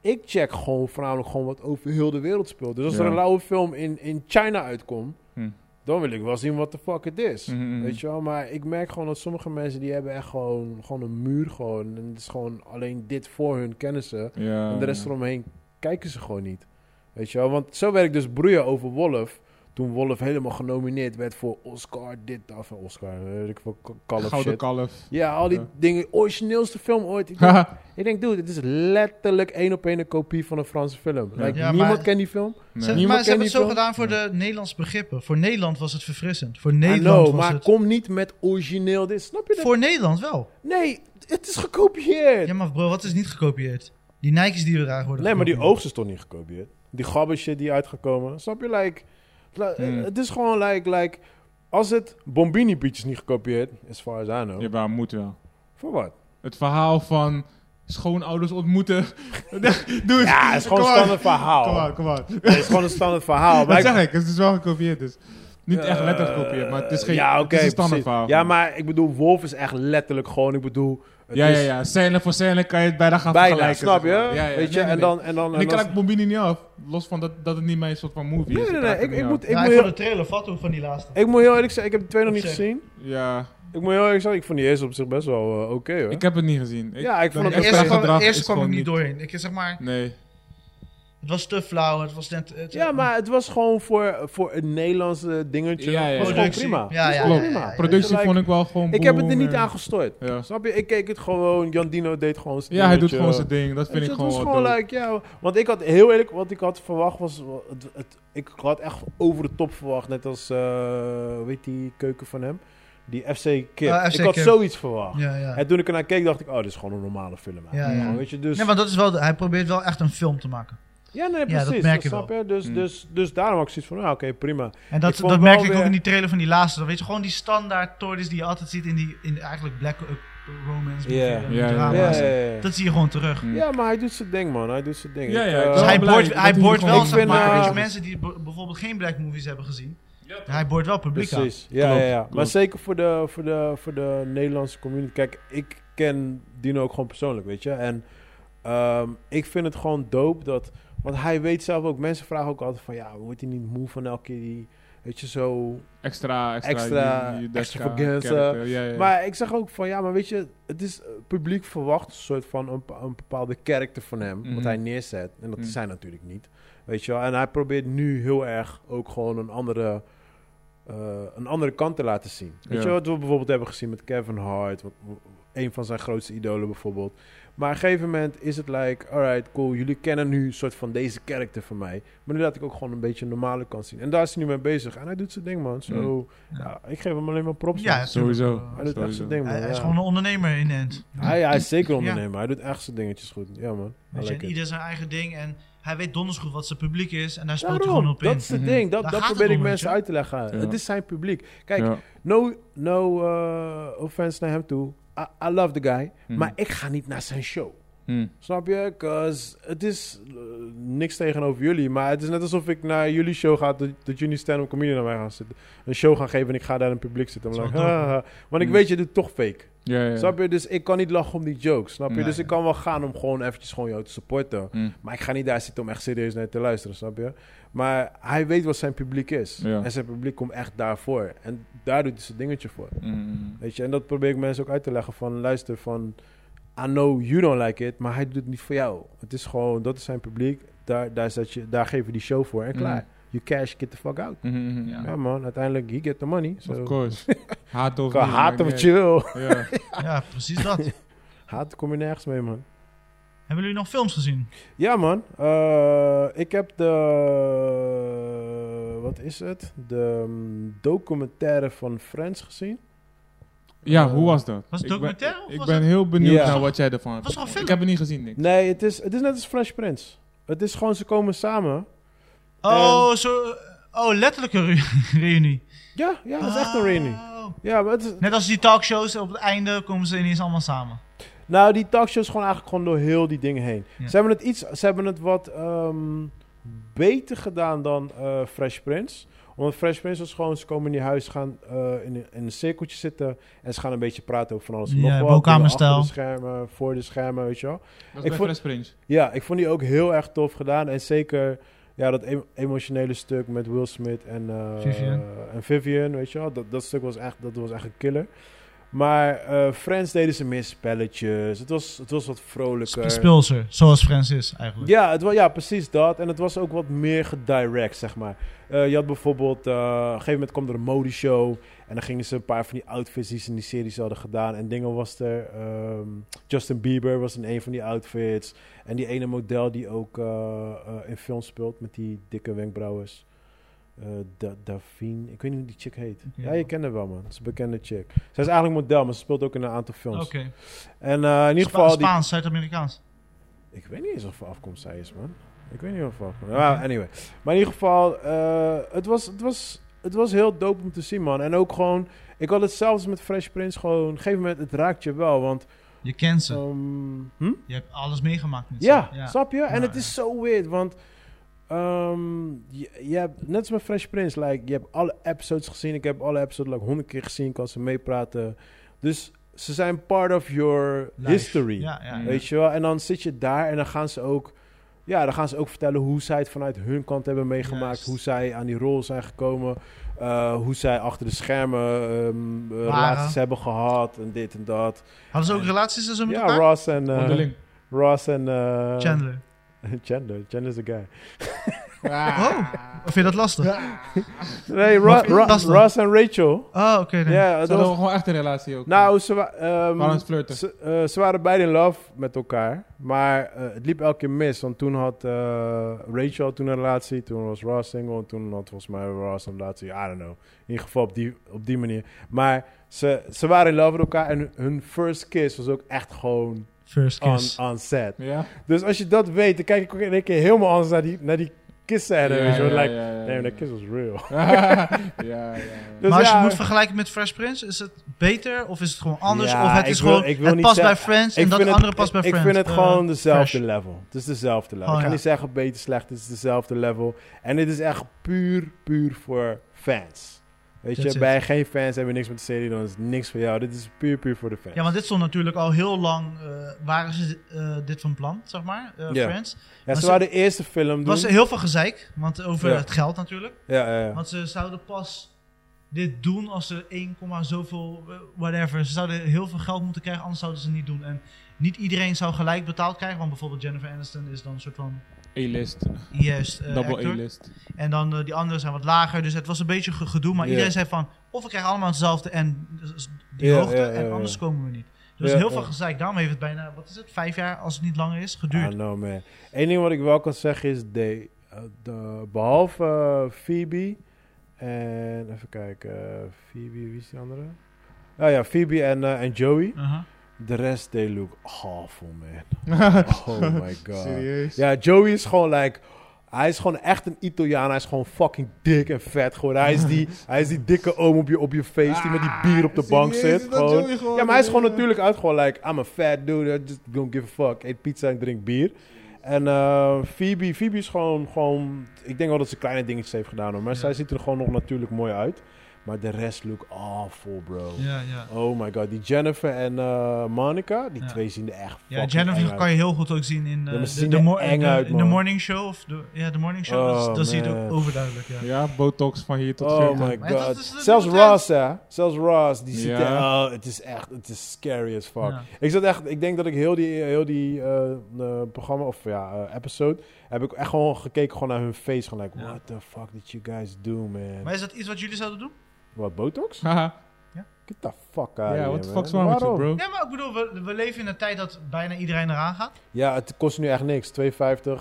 Speaker 2: ik check gewoon voornamelijk gewoon wat over heel de wereld speelt. Dus als er
Speaker 3: Ja.
Speaker 2: een lauwe film in, in China uitkomt...
Speaker 3: Hm.
Speaker 2: dan wil ik wel zien wat de fuck het is.
Speaker 3: Mhm, mhm.
Speaker 2: Weet je wel, maar ik merk gewoon dat sommige mensen... die hebben echt gewoon, gewoon een muur gewoon. En het is gewoon alleen dit voor hun kennissen...
Speaker 3: Oh, Ja.
Speaker 2: En de rest eromheen kijken ze gewoon niet. Weet je wel? Want zo werkt dus broeien over Wolf. Toen Wolf helemaal genomineerd werd voor Oscar, dit, of Oscar, eh, weet ik veel, K- Call of
Speaker 3: Gouden
Speaker 2: shit.
Speaker 3: kalf.
Speaker 2: Ja, al die
Speaker 3: Ja.
Speaker 2: dingen. Origineelste film ooit. Ik denk,
Speaker 3: Haha.
Speaker 2: ik denk, dude, dit is letterlijk één op één een kopie van een Franse film.
Speaker 3: Ja.
Speaker 2: Like,
Speaker 1: Ja,
Speaker 2: niemand
Speaker 1: maar-
Speaker 2: kent die film.
Speaker 3: Nee.
Speaker 1: Ze,
Speaker 2: Niemand
Speaker 1: maar ze
Speaker 2: kent
Speaker 1: hebben
Speaker 2: die
Speaker 1: het zo
Speaker 2: film.
Speaker 1: gedaan voor de Nederlands begrippen. Voor Nederland was het verfrissend. Voor
Speaker 2: I
Speaker 1: Nederland
Speaker 2: know,
Speaker 1: was
Speaker 2: maar
Speaker 1: het...
Speaker 2: kom niet met origineel dit. Snap je dat?
Speaker 1: Voor Nederland wel.
Speaker 2: Nee, het is gekopieerd.
Speaker 1: Ja, maar bro, wat is niet gekopieerd? Die Nike's die we dragen worden
Speaker 2: Nee, maar die
Speaker 1: gekopieerd.
Speaker 2: oogst is toch niet gekopieerd? Die gabber shit die uitgekomen. Snap je? Like, la- eh,
Speaker 3: Hmm.
Speaker 2: Het is gewoon like, like... Als het Bombini Beach is niet gekopieerd, as far as I know.
Speaker 3: Jawel, moet wel.
Speaker 2: Voor wat?
Speaker 3: Het verhaal van schoonouders ontmoeten. Doe
Speaker 2: Ja, het is gewoon een standaard
Speaker 3: Kom
Speaker 2: verhaal.
Speaker 3: maar, kom maar.
Speaker 2: Het is gewoon een standaard verhaal.
Speaker 3: Dat
Speaker 2: Maar
Speaker 3: zeg
Speaker 2: ik- Eh,
Speaker 3: ik, het is wel gekopieerd dus. Niet echt letterlijk gekopieerd, maar het is geen
Speaker 2: ja,
Speaker 3: het
Speaker 2: oké,
Speaker 3: is een
Speaker 2: precies.
Speaker 3: standaard verhaal.
Speaker 2: Ja, maar ik bedoel, Wolf is echt letterlijk gewoon... Ik bedoel... het
Speaker 3: ja, ja,
Speaker 2: is
Speaker 3: ja. Scène voor scène kan je het bijna gaan
Speaker 2: Bijna,
Speaker 3: vergelijken.
Speaker 2: snap je?
Speaker 3: zeg maar. Ja, ja,
Speaker 2: Weet je?
Speaker 3: nee, nee,
Speaker 2: En
Speaker 3: nee.
Speaker 2: dan... En dan,
Speaker 3: En ik
Speaker 2: en dan-
Speaker 3: krijg Bombini niet af. Los van dat, dat het niet mijn soort van movie
Speaker 2: Nee,
Speaker 3: is.
Speaker 2: nee,
Speaker 3: raak
Speaker 2: nee.
Speaker 3: het
Speaker 2: Ik,
Speaker 3: niet
Speaker 2: ik,
Speaker 3: af.
Speaker 2: moet, ik,
Speaker 1: Nou,
Speaker 2: moet
Speaker 1: ik vond
Speaker 2: heel,
Speaker 1: de trailer fat toen van die laatste.
Speaker 2: ik moet heel eerlijk zijn, ik heb de twee nog
Speaker 1: Op
Speaker 2: niet
Speaker 1: zich.
Speaker 2: gezien.
Speaker 3: Ja,
Speaker 2: Ik moet heel eerlijk zijn, ik vond die eerste op zich best wel eh, oké hoor.
Speaker 3: ik heb het niet gezien.
Speaker 2: Ja, ik vond het
Speaker 3: dat
Speaker 1: De
Speaker 2: eerste
Speaker 1: eerste
Speaker 3: extra
Speaker 1: kwam,
Speaker 3: gedrag
Speaker 1: de eerste
Speaker 3: is
Speaker 1: kwam ik
Speaker 3: gewoon
Speaker 1: niet doorheen. Ik zeg maar,
Speaker 3: Nee.
Speaker 1: het was te flauw. Het was net... Het,
Speaker 2: Ja, maar het was gewoon voor, voor een Nederlandse dingetje.
Speaker 3: Ja, ja, ja.
Speaker 2: was gewoon
Speaker 1: Productie.
Speaker 2: prima.
Speaker 1: Ja,
Speaker 2: Het was
Speaker 1: ja,
Speaker 2: gewoon
Speaker 1: ja, ja,
Speaker 2: prima.
Speaker 1: ja.
Speaker 3: Productie
Speaker 2: Like,
Speaker 3: vond ik wel gewoon
Speaker 2: Ik heb het er
Speaker 3: boem
Speaker 2: niet
Speaker 3: en-
Speaker 2: aan gestoord.
Speaker 3: Ja.
Speaker 2: Snap je? Ik keek het gewoon. Jan Dino deed gewoon zijn
Speaker 3: Ja, hij doet
Speaker 2: dingetje.
Speaker 3: gewoon zijn ding. Dat vind
Speaker 2: Dus
Speaker 3: ik
Speaker 2: het
Speaker 3: gewoon
Speaker 2: was
Speaker 3: wel
Speaker 2: gewoon
Speaker 3: dope.
Speaker 2: like, ja. Want ik had heel eerlijk, wat ik had verwacht was. Het, het- ik had echt over de top verwacht. Net als, eh, weet die keuken van hem? Die FC Kip.
Speaker 1: Ah,
Speaker 2: ik
Speaker 1: FC
Speaker 2: had
Speaker 1: Kip.
Speaker 2: zoiets verwacht.
Speaker 1: Ja, ja.
Speaker 2: En toen ik ernaar keek, dacht ik, oh, dit is gewoon een normale film. eigenlijk.
Speaker 1: Ja, ja.
Speaker 2: Gewoon, Weet je, dus.
Speaker 1: Nee, want dat is wel... Hij probeert wel echt een film te maken.
Speaker 2: Ja, nee,
Speaker 1: Ja, dat
Speaker 2: precies.
Speaker 1: merk je
Speaker 2: snap
Speaker 1: wel.
Speaker 2: je? Dus,
Speaker 3: Mm.
Speaker 2: dus, dus daarom had ik zoiets van, ja, oké, prima.
Speaker 1: En dat,
Speaker 2: Ik vond
Speaker 1: dat
Speaker 2: wel
Speaker 1: merkte ik ook
Speaker 2: weer-
Speaker 1: in die trailer van die laatste. Weet je, gewoon die standaard toordes die je altijd ziet in die in eigenlijk black eh, romance movie,
Speaker 2: Ja.
Speaker 1: eh,
Speaker 3: Ja, ja,
Speaker 2: Ja,
Speaker 1: drama's.
Speaker 2: ja, ja, ja.
Speaker 1: Dat zie je gewoon terug.
Speaker 2: Ja, maar hij doet zijn ding, man. Hij doet zijn ding.
Speaker 4: Ja,
Speaker 2: Ik,
Speaker 4: ja,
Speaker 2: eh,
Speaker 4: ik
Speaker 1: Dus
Speaker 4: ben
Speaker 1: hij
Speaker 4: blij
Speaker 1: boort,
Speaker 4: dat
Speaker 1: hij
Speaker 4: hij
Speaker 1: boort
Speaker 4: gewoon-
Speaker 1: wel
Speaker 2: Ik
Speaker 1: zeg
Speaker 2: vind,
Speaker 1: maar,
Speaker 2: eh,
Speaker 1: weet je, mensen die b- bijvoorbeeld geen black movies hebben gezien. Hij boort wel publiek aan.
Speaker 2: Precies. Ja,
Speaker 3: Klopt,
Speaker 2: ja, ja. Maar
Speaker 3: klopt.
Speaker 2: zeker voor de, voor, de, voor de Nederlandse community. Kijk, ik ken Dino ook gewoon persoonlijk, weet je. En ehm, ik vind het gewoon dope dat... Want hij weet zelf ook... Mensen vragen ook altijd van... Ja, wordt hij niet moe van elke keer die... Weet je, zo...
Speaker 3: Extra, extra,
Speaker 2: Extra- extra vergeten.
Speaker 3: character, ja, ja.
Speaker 2: Maar ik zeg ook van... Ja, maar weet je... Het is... eh, Publiek verwacht een soort van... Een, pa- een bepaalde karakter van hem.
Speaker 3: Mhm.
Speaker 2: Wat hij neerzet. En dat
Speaker 3: Mm.
Speaker 2: is hij natuurlijk niet. Weet je wel. En hij probeert nu heel erg ook gewoon een andere... eh, een andere kant te laten zien. Weet
Speaker 3: Ja.
Speaker 2: je wel, wat we bijvoorbeeld hebben gezien met Kevin Hart, wat, een van zijn grootste idolen bijvoorbeeld. Maar op een gegeven moment is het like, alright, cool, jullie kennen nu een soort van deze karakter van mij. Maar nu laat ik ook gewoon een beetje een normale kant zien. En daar is hij nu mee bezig. En hij doet zijn ding, man. Zo,
Speaker 3: Mhm.
Speaker 2: ja, ik geef hem alleen maar props.
Speaker 1: Ja,
Speaker 2: man.
Speaker 3: Sowieso.
Speaker 1: tuurlijk.
Speaker 2: hij doet echt zijn ding, man.
Speaker 1: Hij, hij is
Speaker 2: ja.
Speaker 1: gewoon een ondernemer in de end.
Speaker 2: hij, hij is zeker ondernemer. Hij doet echt zijn dingetjes goed. Ja, man. I
Speaker 1: Weet je,
Speaker 2: like
Speaker 1: en
Speaker 2: it.
Speaker 1: ieder zijn eigen ding en hij weet donders goed wat zijn publiek is en daar speelt hij
Speaker 2: Daarom,
Speaker 1: gewoon op in.
Speaker 2: dat is het ding. Dat,
Speaker 1: Daar
Speaker 2: dat
Speaker 1: gaat het
Speaker 2: probeer ik
Speaker 1: om, weet
Speaker 2: mensen
Speaker 1: je.
Speaker 2: uit te leggen. Het is zijn publiek. Kijk,
Speaker 3: Ja.
Speaker 2: No, no eh, offense naar hem toe. I, I love the guy.
Speaker 3: Mhm.
Speaker 2: Maar ik ga niet naar zijn show.
Speaker 3: Hm.
Speaker 2: Snap je? 'Cause het is eh, niks tegenover jullie. Maar het is net alsof ik naar jullie show ga. Dat, dat jullie stand-up comedy naar mij gaan zitten. Een show gaan geven en ik ga daar in het publiek zitten. I'm
Speaker 1: Zo
Speaker 2: like,
Speaker 1: dom.
Speaker 2: haha. Want ik
Speaker 3: Mm.
Speaker 2: weet, je doet toch fake.
Speaker 3: Ja, ja.
Speaker 2: Snap je? Dus ik kan niet lachen om die jokes. Snap je?
Speaker 3: Nee.
Speaker 2: dus ik kan wel gaan om gewoon eventjes gewoon jou te supporten.
Speaker 3: Hm.
Speaker 2: Maar ik ga niet daar zitten om echt serieus naar je te luisteren, snap je? Maar hij weet wat zijn publiek is.
Speaker 3: Ja.
Speaker 2: En zijn publiek komt echt daarvoor. En daar doet hij zijn dingetje voor.
Speaker 3: Mm.
Speaker 2: Weet je, en dat probeer ik mensen ook uit te leggen van, luister, van, I know you don't like it, maar hij doet het niet voor jou. Het is gewoon, dat is zijn publiek, daar, daar, zet je, daar geven we die show voor en
Speaker 3: Mm.
Speaker 2: klaar. You cash, get the fuck out.
Speaker 3: Mhm,
Speaker 4: Ja.
Speaker 2: Ja, man, uiteindelijk, he get the money.
Speaker 3: Of
Speaker 2: So,
Speaker 3: course. Haat of
Speaker 2: kan
Speaker 3: niet,
Speaker 2: haat of
Speaker 3: maakt
Speaker 2: chill.
Speaker 3: niet uit. Ja.
Speaker 1: Ja, precies dat. Hebben
Speaker 2: Haat kom je nergens mee, man.
Speaker 1: jullie nog films gezien?
Speaker 2: Ja, man. Eh, ik heb de... Wat is het? De mm, documentaire van Friends gezien.
Speaker 3: Ja,
Speaker 2: Eh,
Speaker 3: hoe was dat?
Speaker 1: was het
Speaker 3: Ik ben-
Speaker 1: documentaire of
Speaker 3: Ik
Speaker 1: was
Speaker 3: ben
Speaker 1: het-
Speaker 3: heel benieuwd
Speaker 2: Ja.
Speaker 3: naar wat jij ervan hebt.
Speaker 1: Was er een film?
Speaker 3: Ik heb het niet gezien, Nick.
Speaker 2: Nee, het is, het is net als Fresh Prince. Het is gewoon, ze komen samen. Ehm,
Speaker 1: Oh, zo, oh letterlijk een re- reunie.
Speaker 2: Ja, ja, het is echt een reunie.
Speaker 1: Oh.
Speaker 2: Ja, maar het is,
Speaker 1: Net als die talkshows, op het einde komen ze ineens allemaal samen.
Speaker 2: nou, die talkshow is gewoon eigenlijk gewoon door heel die dingen heen.
Speaker 1: Ja.
Speaker 2: Ze hebben het iets, ze hebben het wat ehm, beter gedaan dan eh, Fresh Prince. Want Fresh Prince was gewoon, ze komen in die huis, gaan eh, in, een- in een cirkeltje zitten en ze gaan een beetje praten over van alles. en
Speaker 1: Ja,
Speaker 2: nog wat.
Speaker 1: woonkamerstijl.
Speaker 2: Achter de schermen, voor de schermen, weet je wel.
Speaker 3: Was
Speaker 2: Ik
Speaker 3: bij
Speaker 2: vond-
Speaker 3: Fresh Prince.
Speaker 2: Ja, ik vond die ook heel erg tof gedaan. En zeker ja, dat em- emotionele stuk met Will Smith en, eh,
Speaker 1: Vivian.
Speaker 2: en Vivian, weet je wel. Dat, dat stuk was echt, dat was echt een killer. Maar eh Friends deden ze meer spelletjes. Het was, het was wat vrolijker.
Speaker 1: Spulser, zoals Francis eigenlijk.
Speaker 2: Ja, het wa- ja, precies dat. En het was ook wat meer gedirect, zeg maar. Eh, je had bijvoorbeeld, eh, op een gegeven moment kwam er een modeshow. En dan gingen ze een paar van die outfits die ze in die series hadden gedaan. En dingen was er. ehm, Justin Bieber was in een van die outfits. En die ene model die ook eh, eh, in film speelt met die dikke wenkbrauwers. Eh, da Davine, ik weet niet hoe die chick heet.
Speaker 1: Oké.
Speaker 2: Ja, je kent haar wel, man. Ze is een bekende chick. Zij is eigenlijk model, maar ze speelt ook in een aantal films.
Speaker 1: Oké.
Speaker 2: En eh, in ieder
Speaker 1: Spa-
Speaker 2: geval, die,
Speaker 1: Spaans, Zuid-Amerikaans.
Speaker 2: ik weet niet eens of afkomst zij is, man. Ik weet niet of afkomst. Nou, anyway. Maar in ieder geval, eh, het, was, het, was, het was heel dope om te zien, man. En ook gewoon, ik had het zelfs met Fresh Prince gewoon. Op een gegeven moment, het raakt je wel, want.
Speaker 1: Je kent ze.
Speaker 2: ehm, hm?
Speaker 1: Je hebt alles meegemaakt met ze.
Speaker 2: Ja, snap je? En
Speaker 1: Ja,
Speaker 2: het is zo weird, want ehm, je, je hebt, net als met Fresh Prince, like, je hebt alle episodes gezien. Ik heb alle episodes like honderd keer gezien, ik kan ze meepraten. Dus ze zijn part of your
Speaker 1: Live.
Speaker 2: history.
Speaker 1: Ja, ja, ja.
Speaker 2: Weet je wel? En dan zit je daar en dan gaan ze ook... Ja, dan gaan ze ook vertellen hoe zij het vanuit hun kant hebben meegemaakt.
Speaker 1: Juist.
Speaker 2: Hoe zij aan die rol zijn gekomen. eh, hoe zij achter de schermen ehm, eh, relaties hebben gehad. En dit en dat.
Speaker 1: Hadden ze ook relaties en zo met
Speaker 2: Ja,
Speaker 1: elkaar?
Speaker 2: Ross en... eh,
Speaker 3: Onderling.
Speaker 2: Ross en... eh,
Speaker 1: Chandler.
Speaker 2: Chandler. Chandler is de guy.
Speaker 1: Oh, vind je dat lastig?
Speaker 2: Nee, Ro-
Speaker 1: Wat vind je
Speaker 2: Ro-
Speaker 1: lastig?
Speaker 2: Ross en Rachel.
Speaker 1: Oh, oké.
Speaker 2: Ja,
Speaker 1: nee.
Speaker 2: dat
Speaker 3: Ze hadden
Speaker 2: was-
Speaker 3: gewoon echt een relatie ook.
Speaker 2: Nou, ze, wa- ehm,
Speaker 3: Waren aan het flirten.
Speaker 2: ze, eh, ze waren beide in love met elkaar. Maar eh, het liep elke keer mis. Want toen had eh, Rachel had toen een relatie. Toen was Ross single. En toen had volgens mij Ross een relatie. I don't know. In ieder geval op die, op die manier. Maar ze, ze waren in love met elkaar. En hun first kiss was ook echt gewoon
Speaker 1: First
Speaker 2: on,
Speaker 1: kiss.
Speaker 2: on set.
Speaker 3: Ja?
Speaker 2: Dus als je dat weet, dan kijk ik ook in één keer helemaal anders naar die, naar die kiss scène.
Speaker 3: Ja,
Speaker 2: weet je wel.
Speaker 3: ja,
Speaker 2: like,
Speaker 3: ja, ja,
Speaker 2: damn,
Speaker 3: ja.
Speaker 2: that kiss was real.
Speaker 3: ja, ja, ja.
Speaker 2: Dus
Speaker 1: maar als je
Speaker 2: ja,
Speaker 1: het moet vergelijken met Fresh Prince, is het beter of is het gewoon anders?
Speaker 2: Ja,
Speaker 1: of het
Speaker 2: ik
Speaker 1: is
Speaker 2: wil-
Speaker 1: gewoon,
Speaker 2: ik wil
Speaker 1: het
Speaker 2: niet
Speaker 1: past bij
Speaker 2: zeggen-
Speaker 1: Friends
Speaker 2: ik
Speaker 1: en dat
Speaker 2: vind
Speaker 1: andere
Speaker 2: het,
Speaker 1: past bij
Speaker 2: ik
Speaker 1: Friends.
Speaker 2: vind het
Speaker 1: Eh,
Speaker 2: gewoon dezelfde
Speaker 1: fresh.
Speaker 2: level. Het is dezelfde level.
Speaker 1: Oh,
Speaker 2: ik ga
Speaker 1: ja.
Speaker 2: niet zeggen beter, slecht. Het is dezelfde level. En dit is echt puur, puur voor fans. Weet
Speaker 1: That's
Speaker 2: je,
Speaker 1: it.
Speaker 2: bij geen fans hebben we niks met de serie. Dan is het niks voor jou. Dit is puur, puur voor de fans.
Speaker 1: Ja, want dit stond natuurlijk al heel lang, eh, waren ze eh, dit van plan, zeg maar, eh,
Speaker 2: Ja.
Speaker 1: Friends.
Speaker 2: Ja, ze
Speaker 1: ze-
Speaker 2: waren de eerste film
Speaker 1: Er
Speaker 2: doen.
Speaker 1: was heel veel gezeik, want over
Speaker 2: Ja.
Speaker 1: het geld natuurlijk.
Speaker 2: Ja, ja, ja.
Speaker 1: Want ze zouden pas dit doen als ze 1, zoveel, eh, whatever. Ze zouden heel veel geld moeten krijgen, anders zouden ze het niet doen. En niet iedereen zou gelijk betaald krijgen, want bijvoorbeeld Jennifer Aniston is dan een soort van
Speaker 3: A-list.
Speaker 1: juist eh,
Speaker 3: Double
Speaker 1: actor.
Speaker 3: A-list.
Speaker 1: En dan eh, die anderen zijn wat lager. Dus het was een beetje ge- gedoe. Maar
Speaker 2: Ja.
Speaker 1: iedereen zei van, of we krijgen allemaal hetzelfde en dus die
Speaker 2: Ja,
Speaker 1: hoogte.
Speaker 2: ja, ja,
Speaker 1: en
Speaker 2: ja.
Speaker 1: anders komen we niet. Dus
Speaker 2: Ja,
Speaker 1: heel
Speaker 2: ja.
Speaker 1: veel gezeik. Daarom heeft het bijna, wat is het, vijf jaar als het niet langer is,
Speaker 2: I
Speaker 1: geduurd.
Speaker 2: know, man. Eén ding wat ik wel kan zeggen is... De, eh, de, behalve eh, Phoebe... En even kijken... eh, Phoebe, wie is die andere? Oh ja, Phoebe en, eh, en Joey.
Speaker 1: Aha.
Speaker 2: De rest, they look awful, man. Oh my god.
Speaker 3: Serieus?
Speaker 2: Ja, Joey is gewoon like... Hij is gewoon echt een Italiaan. Hij is gewoon fucking dik en vet geworden. Hij is die, hij is die dikke oom op je, op je face die met
Speaker 1: Ah,
Speaker 2: die bier op de bank
Speaker 3: serieus?
Speaker 2: zit.
Speaker 3: Is dat
Speaker 2: Gewoon.
Speaker 3: Joey geworden?
Speaker 2: Ja, maar hij is gewoon natuurlijk uit. Gewoon like, I'm a fat dude. I just don't give a fuck. Eet pizza en drink bier. En eh, Phoebe, Phoebe is gewoon, gewoon... Ik denk wel dat ze kleine dingetjes heeft gedaan. hoor. Maar
Speaker 1: Ja.
Speaker 2: zij ziet er gewoon nog natuurlijk mooi uit. Maar de rest look awful, bro.
Speaker 1: Ja, ja.
Speaker 2: Oh my god, die Jennifer en eh, Monica, die
Speaker 1: Ja.
Speaker 2: twee zien er echt
Speaker 1: Ja,
Speaker 2: fucking
Speaker 1: Jennifer
Speaker 2: eng
Speaker 1: kan je heel goed ook zien in eh,
Speaker 2: Ja, maar ze
Speaker 1: de,
Speaker 2: zien
Speaker 1: de,
Speaker 2: er
Speaker 1: mo-
Speaker 2: eng
Speaker 1: de-
Speaker 2: uit,
Speaker 1: in de
Speaker 2: man.
Speaker 1: morning show. Of de, ja, de morning show,
Speaker 2: Oh,
Speaker 1: dat, dat zie je het
Speaker 2: man.
Speaker 1: ook overduidelijk. Ja.
Speaker 3: Ja, botox van hier tot
Speaker 2: uit. Oh
Speaker 3: 40.
Speaker 2: my
Speaker 1: Maar
Speaker 2: god.
Speaker 1: dat is- dat
Speaker 2: zelfs
Speaker 1: moet je-
Speaker 2: Ross, hè. Zelfs Ross, die ziet er...
Speaker 3: Ja.
Speaker 2: Oh, het is echt... Het is scary as fuck.
Speaker 1: Ja.
Speaker 2: Ik zat echt... Ik denk dat ik heel die, heel die eh, eh, programma... Of ja, eh, episode... Heb ik echt gewoon gekeken gewoon naar hun face. Gewoon like,
Speaker 1: Ja.
Speaker 2: what the fuck did you guys do, man?
Speaker 1: Maar is dat iets wat jullie zouden doen?
Speaker 2: Wat, botox?
Speaker 3: Haha.
Speaker 2: Get the fuck out
Speaker 3: Ja,
Speaker 2: here,
Speaker 3: what the
Speaker 2: man.
Speaker 3: fuck's wrong with you,
Speaker 2: Waarom?
Speaker 3: bro?
Speaker 1: Ja, maar ik bedoel, we, we leven in een tijd dat bijna iedereen eraan gaat.
Speaker 2: Ja, het kost nu echt niks. 2,50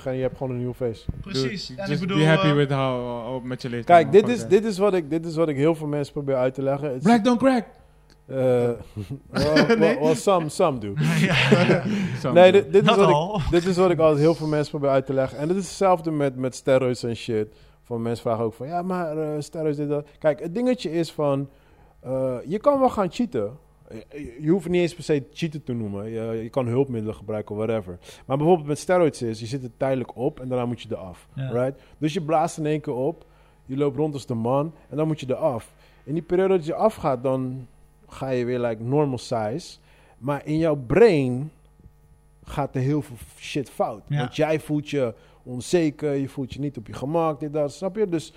Speaker 2: en je hebt gewoon een nieuw face.
Speaker 1: Precies.
Speaker 3: Dude,
Speaker 1: en ik
Speaker 3: just
Speaker 1: bedoel,
Speaker 3: be happy
Speaker 1: eh,
Speaker 3: with how, oh, met je leeftijd.
Speaker 2: Kijk,
Speaker 3: man.
Speaker 2: dit
Speaker 3: Fuck
Speaker 2: is,
Speaker 3: that.
Speaker 2: dit, is wat ik, dit is wat ik heel veel mensen probeer uit te leggen. Het is-
Speaker 3: Black don't crack!
Speaker 2: Eh, well, well, well, some, some do.
Speaker 1: ja,
Speaker 3: Zo.
Speaker 2: Nee, dit, dit is
Speaker 1: dat
Speaker 2: wat ik,
Speaker 1: al.
Speaker 2: dit is wat ik altijd heel veel mensen probeer uit te leggen. En het is hetzelfde met, met steroids en shit. Van mensen vragen ook van, ja, maar eh steroids dit, dat. Kijk, het dingetje is van, eh, je kan wel gaan cheaten. Je- Je hoeft het niet eens per se cheaten te noemen. Je, je kan hulpmiddelen gebruiken, whatever. Maar bijvoorbeeld met steroids is, je zit er tijdelijk op en daarna moet je eraf.
Speaker 1: Ja.
Speaker 2: Right? Dus je blaast in één keer op, je loopt rond als de man en dan moet je eraf. In die periode dat je afgaat, dan ga je weer like normal size. Maar in jouw brain gaat er heel veel shit fout.
Speaker 1: Ja.
Speaker 2: Want jij voelt je onzeker, je voelt je niet op je gemak, dit, dat, snap je? Dus,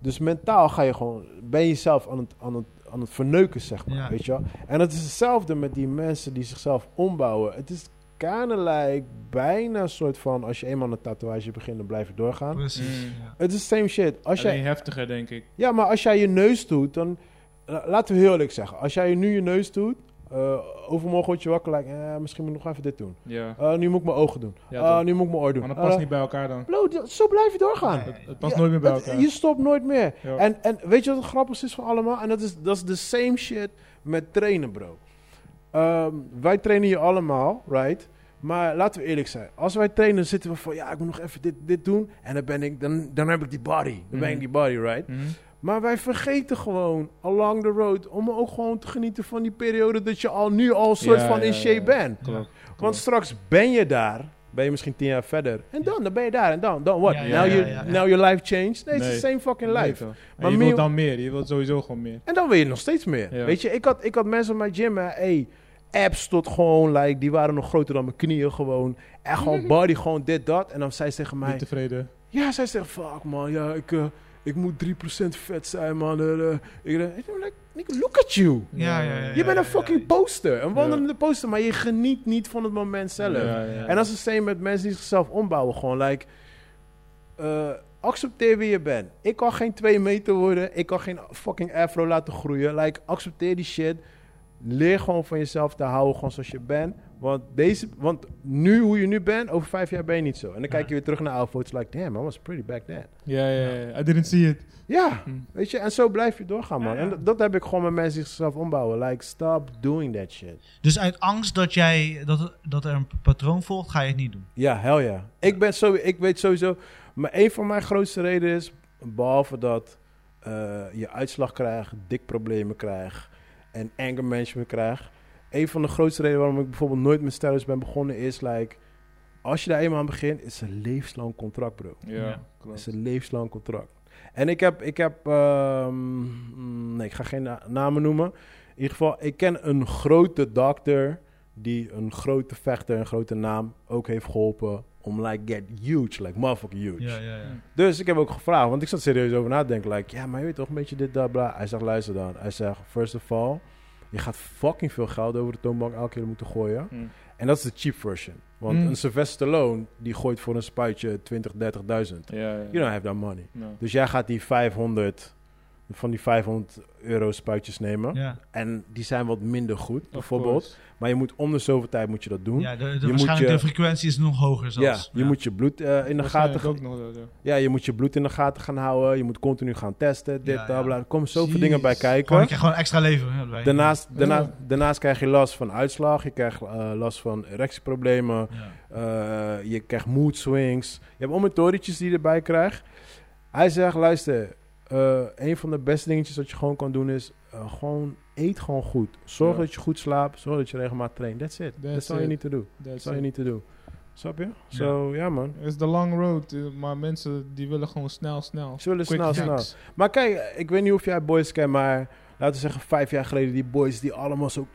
Speaker 2: dus mentaal ga je gewoon, ben je jezelf aan het, aan het, aan het verneuken, zeg maar,
Speaker 1: Ja.
Speaker 2: weet je wel? En het is hetzelfde met die mensen die zichzelf ombouwen. Het is kinda like bijna een soort van, als je eenmaal een tatoeage begint, dan blijf je doorgaan.
Speaker 1: Precies.
Speaker 3: Mm.
Speaker 1: ja.
Speaker 2: Het is same shit. Als jij,
Speaker 3: Alleen heftiger, denk ik.
Speaker 2: ja, maar als jij je neus doet, dan... la- Laten we heel eerlijk zeggen. Als jij nu je neus doet... eh, overmorgen word je wakker, like, eh, misschien moet ik nog even dit doen.
Speaker 3: Ja.
Speaker 2: Eh, nu moet ik mijn ogen doen.
Speaker 3: Ja,
Speaker 2: Eh,
Speaker 3: toch.
Speaker 2: nu moet ik mijn oor doen.
Speaker 3: Maar dat past
Speaker 2: Eh,
Speaker 3: niet bij elkaar dan.
Speaker 2: bro, d- zo blijf je doorgaan.
Speaker 1: Nee.
Speaker 3: Het past
Speaker 2: Ja,
Speaker 3: nooit meer bij
Speaker 2: het-
Speaker 3: elkaar.
Speaker 2: je stopt nooit meer.
Speaker 3: Ja.
Speaker 2: En, en weet je wat het grappigste is van allemaal? En dat is, dat is de same shit met trainen, bro. Ehm, wij trainen hier allemaal, right? Maar laten we eerlijk zijn. Als wij trainen, zitten we van... Ja, ik moet nog even dit, dit doen. En dan, ben ik, dan, dan heb ik die body. Dan ben ik die body, right?
Speaker 3: Mhm.
Speaker 2: Maar wij vergeten gewoon along the road om ook gewoon te genieten van die periode dat je al nu al een soort
Speaker 3: Ja,
Speaker 2: van
Speaker 3: ja,
Speaker 2: in
Speaker 3: ja,
Speaker 2: shape
Speaker 3: ja.
Speaker 2: bent.
Speaker 3: Klopt.
Speaker 2: Want straks ben je daar, ben je misschien tien jaar verder. En dan, dan ben je daar en dan, dan what?
Speaker 1: Ja,
Speaker 3: ja,
Speaker 2: now,
Speaker 3: ja,
Speaker 2: you,
Speaker 1: ja, ja.
Speaker 2: now your life changed? Nee,
Speaker 3: Nee.
Speaker 2: it's the same fucking
Speaker 3: Nee,
Speaker 2: life.
Speaker 3: toch. En
Speaker 2: Maar
Speaker 3: je
Speaker 2: meer-
Speaker 3: wilt dan meer. Je wilt sowieso gewoon meer.
Speaker 2: En dan wil je nog steeds meer.
Speaker 3: Ja.
Speaker 2: Weet je, ik had, ik had mensen op mijn gym, hè, hey, abs tot gewoon, like, die waren nog groter dan mijn knieën gewoon. En gewoon body, gewoon dit, dat. En dan zei ze tegen mij,
Speaker 3: Niet tevreden.
Speaker 2: ja, zij zegt, fuck man, ja, ik, eh, ik moet 3% vet zijn man. eh, eh." ik denk, ik denk, like, nigga, look at you.
Speaker 1: Ja, ja, ja,
Speaker 2: Je bent een
Speaker 1: ja,
Speaker 2: fucking
Speaker 1: ja.
Speaker 2: poster, een wandelende poster, maar je geniet niet van het moment zelf.
Speaker 3: Ja, ja, ja.
Speaker 2: En dat is het same met mensen die zichzelf ombouwen. Gewoon, like, eh, accepteer wie je bent. Ik kan geen twee meter worden, ik kan geen fucking afro laten groeien. Like, accepteer die shit. Leer gewoon van jezelf te houden, gewoon zoals je bent. Want, deze, want nu, hoe je nu bent, over vijf jaar ben je niet zo. En dan kijk je weer terug naar oude foto's, like, damn, I was pretty back then.
Speaker 4: Ja, ja, ja.
Speaker 3: I didn't see it.
Speaker 2: Ja,
Speaker 4: Hmm.
Speaker 2: weet je, en zo blijf je doorgaan, man.
Speaker 1: Ja, ja.
Speaker 2: En dat, dat heb ik gewoon met mensen die zichzelf ombouwen. Like, stop doing that shit.
Speaker 1: Dus uit angst dat, jij, dat, dat er een patroon volgt, ga je het niet doen.
Speaker 2: Ja, hell ja. Ik, ben zo, ik weet sowieso... Maar een van mijn grootste redenen is... Behalve dat eh, je uitslag krijgt, dikproblemen krijgt... en anger management krijgt... Een van de grootste redenen waarom ik bijvoorbeeld nooit met stellers ben begonnen is... like, Als je daar eenmaal aan begint, is het een levenslang contract, bro.
Speaker 3: Ja,
Speaker 2: Het is
Speaker 3: klopt.
Speaker 2: een levenslang contract. En ik heb, ik heb ehm, mm, nee, ik ga geen na- namen noemen. In ieder geval, ik ken een grote dokter die een grote vechter, een grote naam ook heeft geholpen om like get huge, like motherfucking huge.
Speaker 1: ja, ja.
Speaker 2: Dus ik heb ook gevraagd, want ik zat serieus over na te denken, like, ja, maar je weet toch een beetje dit, dat, bla. Hij zegt, luister dan. Hij zegt, first of all, je gaat fucking veel geld over de toonbank elke keer moeten gooien.
Speaker 3: Mm.
Speaker 2: En dat is de cheap version. Want
Speaker 3: Mm.
Speaker 2: een Sylvester Stallone, die gooit voor een spuitje 20, 30.000.
Speaker 3: Ja, ja.
Speaker 2: You don't have that money.
Speaker 3: No.
Speaker 2: Dus jij gaat die 500 van die 500 euro spuitjes nemen.
Speaker 1: Ja,
Speaker 2: En die zijn wat minder goed,
Speaker 3: Of
Speaker 2: bijvoorbeeld.
Speaker 3: course.
Speaker 2: Maar je moet om de zoveel tijd moet je dat doen. Ja,
Speaker 1: ja de, de-
Speaker 2: moet
Speaker 1: waarschijnlijk
Speaker 2: je-
Speaker 1: de frequentie is nog hoger zelfs.
Speaker 2: je moet je bloed eh, in de gaten.
Speaker 3: Waarschijnlijk ook
Speaker 2: gaan-
Speaker 3: nog wel, ja.
Speaker 2: Ja, je moet je bloed in de gaten gaan houden. Je moet continu gaan testen. Dit,
Speaker 1: Ja,
Speaker 2: bla,
Speaker 1: ja.
Speaker 2: bla. Er komen zoveel
Speaker 3: Jeez.
Speaker 2: dingen bij kijken.
Speaker 1: Gewoon, ik krijg gewoon extra leven. hè, erbij.
Speaker 2: Daarnaast,
Speaker 3: Ja.
Speaker 2: daarnaast, daarnaast krijg je last van uitslag. Je krijgt eh, last van erectieproblemen.
Speaker 1: Ja.
Speaker 2: Eh, je krijgt mood swings. Je hebt allemaal torentjes die je erbij krijgt. Hij zegt, luister, eh, een van de beste dingetjes dat je gewoon kan doen is... eh, gewoon eet gewoon goed. Zorg
Speaker 3: Ja.
Speaker 2: dat je goed slaapt. Zorg dat je regelmatig traint. That's it.
Speaker 3: That's
Speaker 2: dat zal je
Speaker 3: it.
Speaker 2: niet te doen. Dat
Speaker 3: That's
Speaker 2: zal je
Speaker 3: it.
Speaker 2: niet te doen. Snap je? Zo, ja man.
Speaker 3: Het is de long road, eh, maar mensen die willen gewoon snel, snel.
Speaker 2: Ze willen
Speaker 3: Quick
Speaker 2: snel,
Speaker 3: fix.
Speaker 2: snel. Maar kijk, ik weet niet of jij boys kent, maar... Laten we zeggen, vijf jaar geleden, die boys die allemaal zo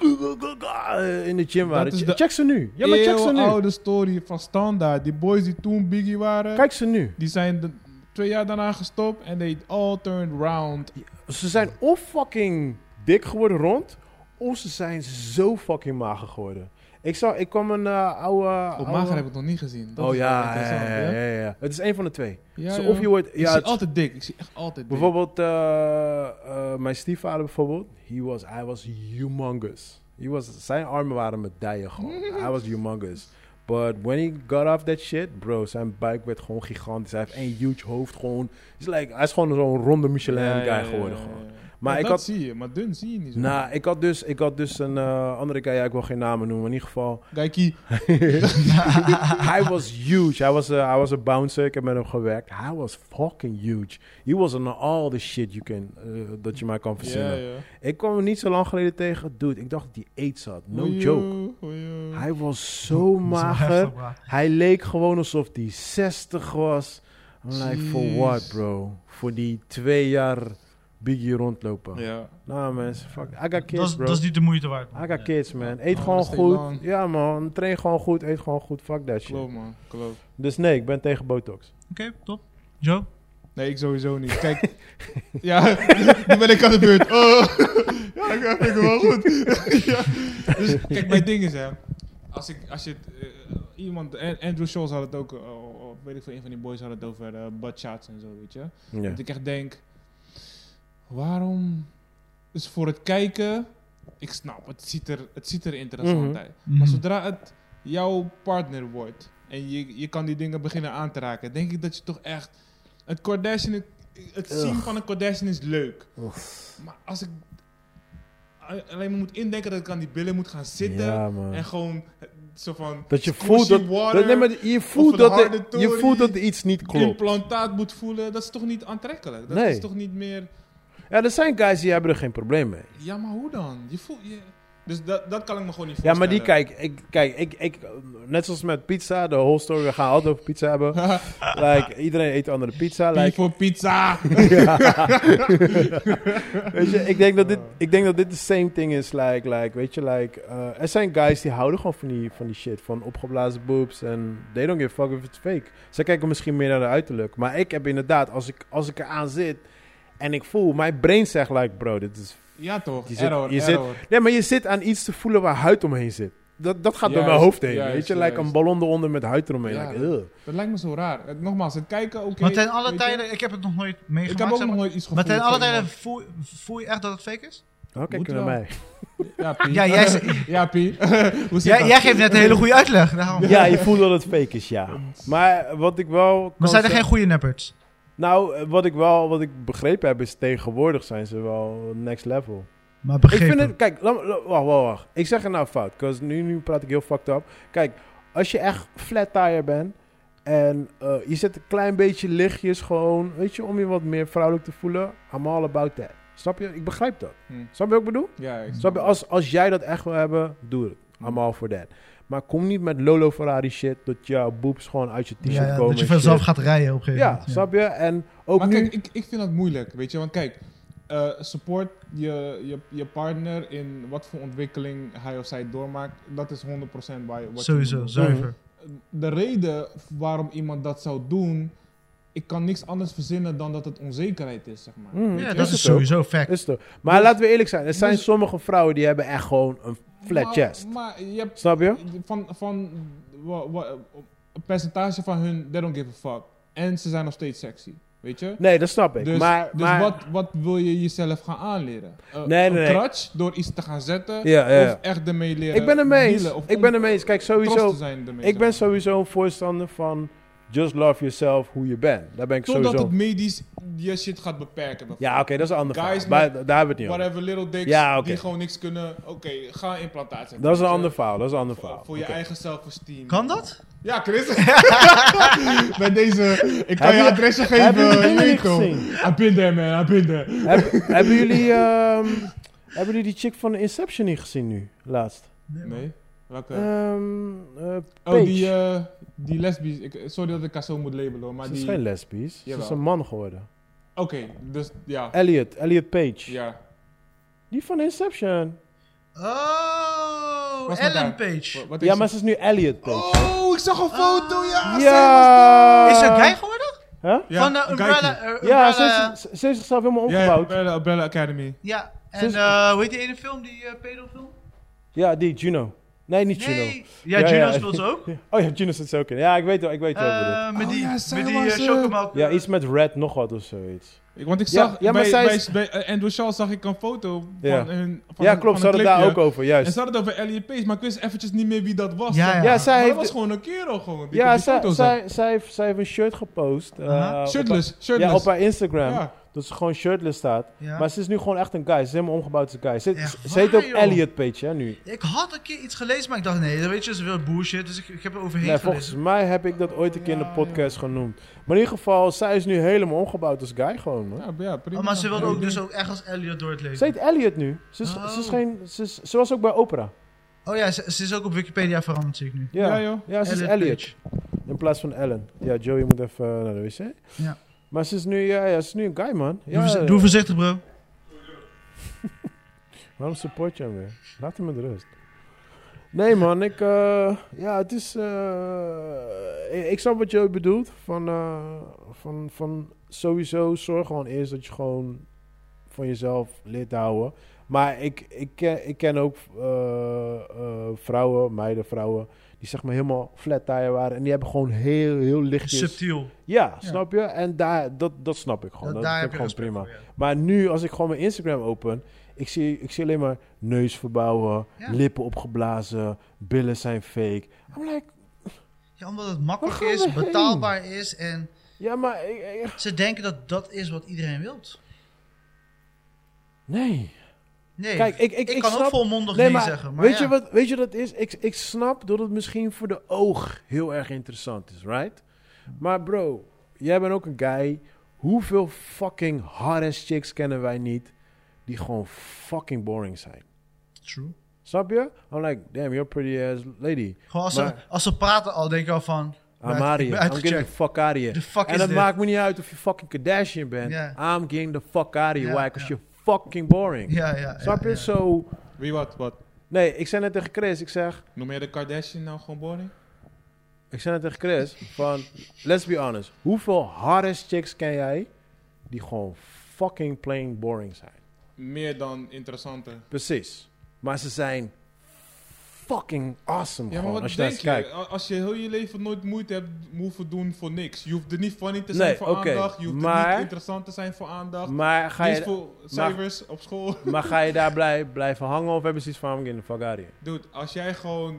Speaker 2: eh, in de gym waren.
Speaker 3: is
Speaker 2: Che-
Speaker 3: de
Speaker 2: Check ze nu. Ja, maar check ze nu.
Speaker 3: oude story van standaard. Die boys die toen Biggie waren,
Speaker 2: Kijk ze nu.
Speaker 3: die zijn de- twee jaar daarna gestopt en they all turned round.
Speaker 2: Ze zijn of fucking dik geworden rond, of ze zijn zo fucking mager geworden. Ik, zag, ik kwam een eh, oude...
Speaker 3: Op
Speaker 2: oude-
Speaker 3: mager heb ik het nog niet gezien. Dat
Speaker 2: Oh
Speaker 3: is wel
Speaker 2: ja, ja,
Speaker 3: interessant,
Speaker 2: ja, ja, ja. Het is een van de twee.
Speaker 3: Ja,
Speaker 2: Zo
Speaker 3: ja.
Speaker 2: of je wordt...
Speaker 3: ik
Speaker 2: Ja,
Speaker 3: zie
Speaker 2: het-
Speaker 3: altijd dik. Ik zie echt altijd dik.
Speaker 2: bijvoorbeeld eh, eh, mijn stiefvader bijvoorbeeld. He was, hij was humongous. He was, zijn armen waren met dijen gewoon. hij was humongous. But when he got off that shit, bro, zijn buik werd gewoon gigantisch. Hij heeft één huge hoofd gewoon. He's like, hij is gewoon zo'n ronde Michelin
Speaker 3: Ja, ja,
Speaker 2: guy
Speaker 3: ja, ja,
Speaker 2: geworden
Speaker 3: ja,
Speaker 2: gewoon.
Speaker 3: ja.
Speaker 2: Maar
Speaker 3: Ja,
Speaker 2: ik
Speaker 3: dat
Speaker 2: had-
Speaker 3: zie je, maar dun zie je niet zo.
Speaker 2: Nou, ik had dus, ik had dus een eh, andere guy, ja, ik wil geen namen noemen, maar in ieder geval.
Speaker 3: Geikie,
Speaker 2: hij was huge. Hij was, eh, hij was een bouncer, ik heb met hem gewerkt. Hij was fucking huge. He was on all the shit you can, eh, dat je maar kan verzinnen.
Speaker 3: ja, ja.
Speaker 2: Ik kwam hem niet zo lang geleden tegen. Dude, ik dacht dat hij aids had. No joke. Hij was zo
Speaker 1: Zo
Speaker 2: mager.
Speaker 1: heftig, maar-
Speaker 2: Hij leek gewoon alsof hij 60 was. I'm like, for
Speaker 3: Jeez.
Speaker 2: what, bro? Voor die twee jaar biggie rondlopen.
Speaker 3: Ja.
Speaker 2: Nou, mensen, fuck. I got
Speaker 1: Dat
Speaker 2: kids,
Speaker 1: is-
Speaker 2: bro.
Speaker 1: dat is niet de moeite waard. man.
Speaker 2: I got
Speaker 1: Ja.
Speaker 2: kids, man. Eet
Speaker 3: Oh,
Speaker 2: gewoon
Speaker 3: dat is
Speaker 2: goed.
Speaker 3: te lang.
Speaker 2: Ja, man. Train gewoon goed. Eet gewoon goed. Fuck that shit.
Speaker 3: Klopt man, klopt.
Speaker 2: Dus nee, ik ben tegen botox.
Speaker 1: Oké, top. Joe?
Speaker 3: Nee, ik sowieso niet. Kijk, ja, nu ben ik aan de beurt. Oh. ja, ik vind het wel goed. ja. Dus kijk, mijn ding is hè, als, ik, als je het, eh, iemand, en- Andrew Scholz had het ook, eh, of weet ik veel, een van die boys had het over eh butt shots en zo, weet je.
Speaker 2: Ja.
Speaker 3: Dat ik echt denk, waarom is voor het kijken, ik snap, het ziet er, het ziet er interessant
Speaker 2: Mhm.
Speaker 3: uit. Maar zodra het jouw partner wordt en je, je kan die dingen beginnen aan te raken, denk ik dat je toch echt. Het Kardashian, het, het zien
Speaker 2: Ugh.
Speaker 3: van een Kardashian is leuk.
Speaker 2: Oef.
Speaker 3: Maar als ik a- alleen maar moet indenken dat ik aan die billen moet gaan zitten
Speaker 2: Ja, man.
Speaker 3: en gewoon eh, zo van.
Speaker 2: Dat je
Speaker 3: squishy
Speaker 2: voelt dat,
Speaker 3: water,
Speaker 2: dat, nee, maar je,
Speaker 3: een
Speaker 2: voelt dat er,
Speaker 3: harde
Speaker 2: je
Speaker 3: tory.
Speaker 2: voelt dat er iets niet klopt.
Speaker 3: implantaat moet voelen, dat is toch niet aantrekkelijk? Dat
Speaker 2: Nee.
Speaker 3: is toch niet meer.
Speaker 2: Ja, er zijn guys die hebben er geen probleem mee.
Speaker 3: Ja, maar hoe dan? Je voelt je. Dus dat, dat kan ik me gewoon niet
Speaker 2: Ja,
Speaker 3: voorstellen.
Speaker 2: maar die kijk, ik, kijk ik, ik, net zoals met pizza, de whole story, we gaan altijd over pizza hebben. like, iedereen eet andere pizza.
Speaker 3: Pie
Speaker 2: Like,
Speaker 3: voor pizza!
Speaker 2: weet je, ik denk dat
Speaker 3: Oh.
Speaker 2: dit, ik denk dat dit de same thing is. Like, like, weet je, like, eh, er zijn guys die houden gewoon van die, van die shit, van opgeblazen boobs en they don't give a fuck if it's fake. Ze kijken misschien meer naar de uiterlijk, maar ik heb inderdaad, als ik, als ik eraan zit en ik voel, mijn brain zegt like, bro, dit is
Speaker 3: Ja, toch?
Speaker 2: Je zit-
Speaker 3: error,
Speaker 2: je zit-
Speaker 3: error.
Speaker 2: Nee, maar je zit aan iets te voelen waar huid omheen zit. Dat, dat gaat door
Speaker 3: Juist,
Speaker 2: mijn hoofd heen.
Speaker 3: juist,
Speaker 2: weet je,
Speaker 3: juist.
Speaker 2: lijkt een ballon eronder met huid eromheen.
Speaker 3: Ja.
Speaker 2: Like, ugh.
Speaker 3: Dat lijkt me zo raar. Het- Nogmaals, het kijken, oké.
Speaker 1: Maar ten alle
Speaker 3: weet je.
Speaker 1: tijden, ik heb het nog nooit
Speaker 3: Ik
Speaker 1: meegemaakt.
Speaker 3: heb ook
Speaker 1: zeg
Speaker 3: nog
Speaker 1: maar.
Speaker 3: nooit iets
Speaker 1: maar
Speaker 3: gevoeld.
Speaker 1: ten alle
Speaker 3: van
Speaker 1: tijden
Speaker 3: iemand.
Speaker 1: voel, voel je echt dat het fake is?
Speaker 2: Oh, kijk
Speaker 3: Moet
Speaker 2: je naar
Speaker 3: wel.
Speaker 2: mij.
Speaker 3: Ja, Pie.
Speaker 1: Ja, jij z-
Speaker 3: ja, Pie. Hoe zit
Speaker 1: Jij,
Speaker 3: dat?
Speaker 1: jij geeft net een hele goede uitleg. Daarom.
Speaker 2: Ja, je voelt dat het fake is, ja. Maar wat ik wel...
Speaker 1: Maar
Speaker 2: kan
Speaker 1: zijn er geen
Speaker 2: zeggen-
Speaker 1: goede neppers?
Speaker 2: Nou, eh, wat ik wel wat ik begrepen heb is tegenwoordig zijn ze wel next level.
Speaker 1: Maar begrepen.
Speaker 2: Ik vind het, kijk, laat me- la- wacht, wacht, wacht. Ik zeg het nou fout, want nu, nu praat ik heel fucked up. Kijk, als je echt flat tire bent en eh, je zet een klein beetje lichtjes gewoon, weet je, om je wat meer vrouwelijk te voelen. I'm all about that. Snap je? Ik begrijp dat.
Speaker 3: Hm.
Speaker 2: Snap je wat ik bedoel?
Speaker 3: Ja, ik
Speaker 2: Snap je? Als, als jij dat echt wil hebben, doe het.
Speaker 3: Hm.
Speaker 2: I'm all for that. Maar kom niet met Lolo Ferrari shit, dat jouw boobs gewoon uit je t-shirt
Speaker 1: Ja, ja,
Speaker 2: komen.
Speaker 1: dat je
Speaker 2: en
Speaker 1: vanzelf
Speaker 2: shit.
Speaker 1: gaat rijden op een gegeven
Speaker 2: Ja,
Speaker 1: moment.
Speaker 2: snap je? En ook
Speaker 3: maar
Speaker 2: nu...
Speaker 3: kijk, ik, ik vind dat moeilijk, weet je. Want kijk, eh, support je, je, je partner in wat voor ontwikkeling hij of zij doormaakt. Dat is 100% waar je wat je moet
Speaker 1: Sowieso,
Speaker 3: doen.
Speaker 1: zuiver.
Speaker 3: De reden waarom iemand dat zou doen, ik kan niks anders verzinnen dan dat het onzekerheid is, zeg maar.
Speaker 1: Ja,
Speaker 2: Mm, is
Speaker 1: dat
Speaker 2: het
Speaker 1: is
Speaker 2: ook.
Speaker 1: sowieso fact.
Speaker 2: Is toch? Maar
Speaker 3: Dus-
Speaker 2: laten we eerlijk zijn. Er zijn
Speaker 3: dus-
Speaker 2: sommige vrouwen die hebben echt gewoon een flat
Speaker 3: maar,
Speaker 2: chest.
Speaker 3: Maar je hebt
Speaker 2: Snap je?
Speaker 3: van, van wa- wa- een percentage van hun, they don't give a fuck. En ze zijn nog steeds sexy, weet je?
Speaker 2: Nee, dat snap ik.
Speaker 3: Dus,
Speaker 2: maar,
Speaker 3: dus
Speaker 2: maar,
Speaker 3: wat, wat wil je jezelf gaan aanleren? Eh,
Speaker 2: Nee, nee,
Speaker 3: een
Speaker 2: nee.
Speaker 3: crutch door iets te gaan zetten?
Speaker 2: Ja, ja, ja.
Speaker 3: Of echt ermee leren
Speaker 2: ik ben het mee eens.
Speaker 3: dealen, Of
Speaker 2: Ik
Speaker 3: om
Speaker 2: ben het mee eens. Kijk,
Speaker 3: trots
Speaker 2: sowieso.
Speaker 3: te zijn ermee,
Speaker 2: Ik ben
Speaker 3: zeg maar.
Speaker 2: sowieso een voorstander van just love yourself hoe je bent. Daar ben ik
Speaker 3: Totdat
Speaker 2: sowieso.
Speaker 3: het medisch je shit gaat beperken.
Speaker 2: Ja, oké, dat is een ander
Speaker 3: Guys
Speaker 2: verhaal.
Speaker 3: met
Speaker 2: Maar daar hebben we het niet over.
Speaker 3: Whatever little dicks
Speaker 2: Ja, oké.
Speaker 3: die gewoon niks kunnen. Oké, ga een implantaat
Speaker 2: Dat is een
Speaker 3: weet je.
Speaker 2: ander verhaal. Dat is een ander verhaal.
Speaker 3: Voor je
Speaker 2: Oké.
Speaker 3: eigen zelfesteem.
Speaker 1: Kan dat?
Speaker 3: Ja, Chris. Bij deze, ik kan
Speaker 2: Heb
Speaker 3: je
Speaker 2: je-
Speaker 3: adresje
Speaker 2: heb je de
Speaker 3: geven. Je
Speaker 2: dingen
Speaker 3: weet toch.
Speaker 2: gezien?
Speaker 3: I been there, man. I been there.
Speaker 2: Heb- hebben jullie. ehm, hebben jullie die chick van Inception niet gezien nu? Laatst.
Speaker 3: Nee? Welke?
Speaker 2: Ehm eh,
Speaker 3: oh, die,
Speaker 2: Paige.
Speaker 3: eh, die lesbisch. Ik, sorry dat ik haar zo moet labelen, hoor. Maar
Speaker 2: Ze is
Speaker 3: Ah, die...
Speaker 2: geen lesbisch. Ze is
Speaker 3: Jawel.
Speaker 2: een man geworden.
Speaker 3: Oké, dus ja.
Speaker 2: Elliot. Elliot Page.
Speaker 3: Ja.
Speaker 2: Die van Inception.
Speaker 1: Oh,
Speaker 3: Was met
Speaker 1: Ellen
Speaker 3: haar.
Speaker 1: Page.
Speaker 3: Wa- Wat
Speaker 2: Ja,
Speaker 3: is-
Speaker 2: maar ze is nu Elliot Page.
Speaker 3: Oh, ik zag een foto, ja. zij
Speaker 2: ja!
Speaker 1: Oh, Is ze guy geworden?
Speaker 2: Huh?
Speaker 3: was- Ja,
Speaker 1: Van eh,
Speaker 3: een
Speaker 1: Umbrella.
Speaker 3: kijkie.
Speaker 1: eh,
Speaker 2: Ja,
Speaker 1: Umbrella-
Speaker 2: ze heeft, ze- ze heeft zichzelf helemaal
Speaker 3: Ja, ja,
Speaker 2: omgebouwd. Ja,
Speaker 3: Umbrella, Umbrella Academy.
Speaker 1: Ja, en
Speaker 2: Sinds-
Speaker 1: eh, hoe heet die ene film, die eh, pedofilm?
Speaker 2: die Juno. Nee, niet Juno.
Speaker 1: Nee, ja,
Speaker 2: Ja,
Speaker 1: Juno
Speaker 2: ja.
Speaker 1: speelt ze ook.
Speaker 2: Oh ja, Juno zit ze ook in. Ja, ik weet wel, ik weet wel. wat
Speaker 1: Eh, met
Speaker 3: Oh
Speaker 1: die,
Speaker 3: ja, zij
Speaker 1: met die
Speaker 3: was,
Speaker 1: eh,
Speaker 3: eh,
Speaker 1: chocomelk.
Speaker 2: ja, iets met red nog wat of zoiets.
Speaker 3: Ik- Want ik
Speaker 2: Ja,
Speaker 3: zag,
Speaker 2: ja, maar
Speaker 3: bij,
Speaker 2: zij
Speaker 3: bij,
Speaker 2: is-
Speaker 3: bij eh, Andrew Shaw zag ik een foto van
Speaker 2: Ja.
Speaker 3: hun van
Speaker 2: ja,
Speaker 3: een-
Speaker 2: klopt, ze
Speaker 3: van een
Speaker 2: hadden het daar
Speaker 3: clipje.
Speaker 2: ook over,
Speaker 3: En
Speaker 2: juist.
Speaker 3: ze hadden het over Elliot Page, maar ik wist eventjes niet meer wie dat was.
Speaker 1: Ja,
Speaker 3: zeg
Speaker 1: ja.
Speaker 3: maar.
Speaker 2: ja, zij
Speaker 3: Maar dat
Speaker 2: heeft,
Speaker 3: was gewoon een kerel gewoon. Die
Speaker 2: ja,
Speaker 3: die
Speaker 2: zij,
Speaker 3: foto zag.
Speaker 2: zij, zij, heeft, zij heeft een shirt gepost. eh,
Speaker 1: Aha.
Speaker 2: op haar-
Speaker 3: Shirtless, shirtless.
Speaker 2: Ja, op haar Instagram.
Speaker 3: Ja.
Speaker 2: Dat ze gewoon shirtless staat.
Speaker 1: Ja.
Speaker 2: Maar ze is nu gewoon echt een guy. Ze is helemaal omgebouwd als een guy. Ze,
Speaker 1: Echt
Speaker 2: ze- ze heet ook
Speaker 1: waar, joh.
Speaker 2: Elliot Page, hè, nu.
Speaker 1: Ik had een keer iets gelezen, maar ik dacht, nee, dat weet je, ze wil bullshit, dus ik, ik heb er overheen
Speaker 2: Nee, volgens
Speaker 1: gelezen.
Speaker 2: mij heb ik dat ooit een keer in de podcast genoemd. Maar in ieder geval, zij is nu helemaal omgebouwd als guy gewoon, man.
Speaker 3: Ja, ja, prima.
Speaker 1: Oh, maar ze wilde
Speaker 3: Ja,
Speaker 1: ook dus ook echt als Elliot door het leven.
Speaker 2: Ze heet Elliot nu. Ze, is,
Speaker 1: Oh.
Speaker 2: ze, is geen, ze, is- ze was ook bij Opera.
Speaker 1: Oh ja, ze, ze is ook op Wikipedia veranderd, zie ik nu.
Speaker 2: Ja,
Speaker 3: Ja,
Speaker 2: ja,
Speaker 3: joh.
Speaker 2: ze is
Speaker 1: Elliot
Speaker 2: Elliot. In plaats van Ellen. Ja, Joey moet even eh, naar de wc.
Speaker 1: Ja.
Speaker 2: Maar ze is nu, ja, ja, ze is nu een guy, man.
Speaker 1: doe,
Speaker 2: Ja,
Speaker 1: verzi- doe voorzichtig, bro.
Speaker 2: Waarom support je hem weer? Laat hem met rust. Nee, man, ik... eh, ja, het is... eh, ik, ik snap wat je bedoelt. Van, eh, van, van sowieso zorg gewoon eerst dat je gewoon van jezelf leert te houden. Maar ik, ik, ken, ik ken ook eh, eh, vrouwen, meiden, vrouwen... die zeg maar helemaal flat tire waren. En die hebben gewoon heel, heel lichtjes...
Speaker 1: Subtiel.
Speaker 2: Ja, snap je? En daar, dat, dat snap ik gewoon.
Speaker 1: Da-
Speaker 2: Dat,
Speaker 1: daar
Speaker 2: vind
Speaker 1: heb
Speaker 2: ik
Speaker 1: je
Speaker 2: gewoon
Speaker 1: respect
Speaker 2: prima.
Speaker 1: voor, ja.
Speaker 2: Maar nu, als ik gewoon mijn Instagram open, ik zie, ik zie alleen maar neus verbouwen,
Speaker 1: Ja.
Speaker 2: lippen opgeblazen, billen zijn fake. I'm like,
Speaker 1: Ja, omdat het makkelijk
Speaker 2: Waar gaan
Speaker 1: is,
Speaker 2: we heen?
Speaker 1: betaalbaar is en
Speaker 2: ja, maar ik- ik-
Speaker 1: ze denken dat dat is wat iedereen wilt.
Speaker 2: nee.
Speaker 1: Nee,
Speaker 2: Kijk, ik, ik,
Speaker 1: ik, kan
Speaker 2: snap,
Speaker 1: ook volmondig nee,
Speaker 2: nee, maar,
Speaker 1: zeggen. Maar
Speaker 2: weet,
Speaker 1: ja.
Speaker 2: je wat, weet je wat het is? Ik, ik snap dat het misschien voor de oog heel erg interessant is, right? Maar bro, jij bent ook een guy. Hoeveel fucking hard-ass chicks kennen wij niet die gewoon fucking boring zijn?
Speaker 1: True.
Speaker 2: Snap je? I'm like, damn, you're a pretty ass lady.
Speaker 1: Gewoon als, ze,
Speaker 2: Maar-
Speaker 1: als ze praten al, denk ik al van...
Speaker 2: I'm
Speaker 3: Ah,
Speaker 1: right,
Speaker 2: out
Speaker 1: ik ben
Speaker 2: here. I'm getting the
Speaker 1: uitgecheckt.
Speaker 2: fuck out of here.
Speaker 1: The fuck
Speaker 2: en
Speaker 1: is
Speaker 2: het
Speaker 1: dit?
Speaker 2: maakt me niet uit of je fucking Kardashian bent.
Speaker 1: Ja.
Speaker 2: I'm getting the fuck out of here.
Speaker 1: Ja,
Speaker 2: Why?
Speaker 1: ja.
Speaker 2: Because you're fucking boring.
Speaker 1: Ja, ja,
Speaker 2: Snap je?
Speaker 1: ja, ja.
Speaker 2: Zo...
Speaker 3: Wie wat, wat?
Speaker 2: Nee, ik zei net tegen Chris, ik zeg...
Speaker 3: Noem jij de Kardashian nou gewoon boring?
Speaker 2: Ik zei net tegen Chris van... Let's be honest. Hoeveel hardest chicks ken jij die gewoon fucking plain boring zijn?
Speaker 3: Meer dan interessante.
Speaker 2: Precies. Maar ze zijn fucking awesome.
Speaker 3: Ja, maar
Speaker 2: gewoon,
Speaker 3: wat
Speaker 2: als je daar
Speaker 3: denk
Speaker 2: eens
Speaker 3: je?
Speaker 2: kijkt.
Speaker 3: A- Als je heel je leven nooit moeite hebt hoeven doen voor niks. Je hoeft er niet funny te
Speaker 2: Nee,
Speaker 3: zijn voor
Speaker 2: oké,
Speaker 3: aandacht. Je hoeft er
Speaker 2: maar-
Speaker 3: niet interessant te zijn voor aandacht.
Speaker 2: Maar ga,
Speaker 3: Niet
Speaker 2: je,
Speaker 3: voor cijfers op school.
Speaker 2: maar ga je daar blij, blijven hangen of hebben ze iets van in de fuck out of here?
Speaker 3: Dude, als jij gewoon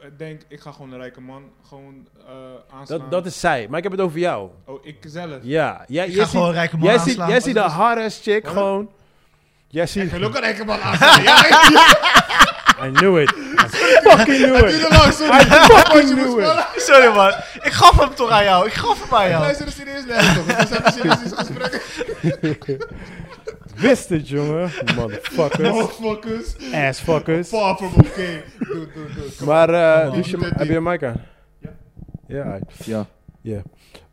Speaker 3: eh, denkt, ik ga gewoon een rijke man gewoon eh aanslaan.
Speaker 2: Dat, dat is zij, maar ik heb het over jou.
Speaker 3: Oh, ik zelf.
Speaker 2: Ja, jij,
Speaker 1: Ik
Speaker 2: jij
Speaker 1: ga
Speaker 2: ziet,
Speaker 1: gewoon een rijke man
Speaker 2: jij ziet,
Speaker 1: aanslaan.
Speaker 2: jij ziet de
Speaker 3: Wat-
Speaker 2: hardest chick
Speaker 3: Wat?
Speaker 2: gewoon. Jij ziet,
Speaker 3: Ik wil ook een rijke man aanslaan. Ja, ik
Speaker 2: I knew it. I fucking knew
Speaker 3: doe
Speaker 2: it.
Speaker 3: er lang, sorry.
Speaker 2: I
Speaker 3: Als
Speaker 2: fucking
Speaker 3: je moest
Speaker 2: knew it.
Speaker 3: vallen.
Speaker 1: Sorry man, ik gaf hem toch aan jou. Ik gaf hem aan jou.
Speaker 3: Luister er serieus naar toch? We zijn serieus in gesprek.
Speaker 2: Wist het, jongen. Motherfuckers.
Speaker 3: Motherfuckers.
Speaker 2: Assfuckers.
Speaker 3: Far from okay. Doe, doe, doe. Kom
Speaker 2: Maar, eh,
Speaker 3: Oh,
Speaker 2: dus je,
Speaker 3: die- die-
Speaker 2: heb je een mic aan?
Speaker 3: Ja.
Speaker 2: Ja, aight.
Speaker 3: Ja.
Speaker 2: Ja.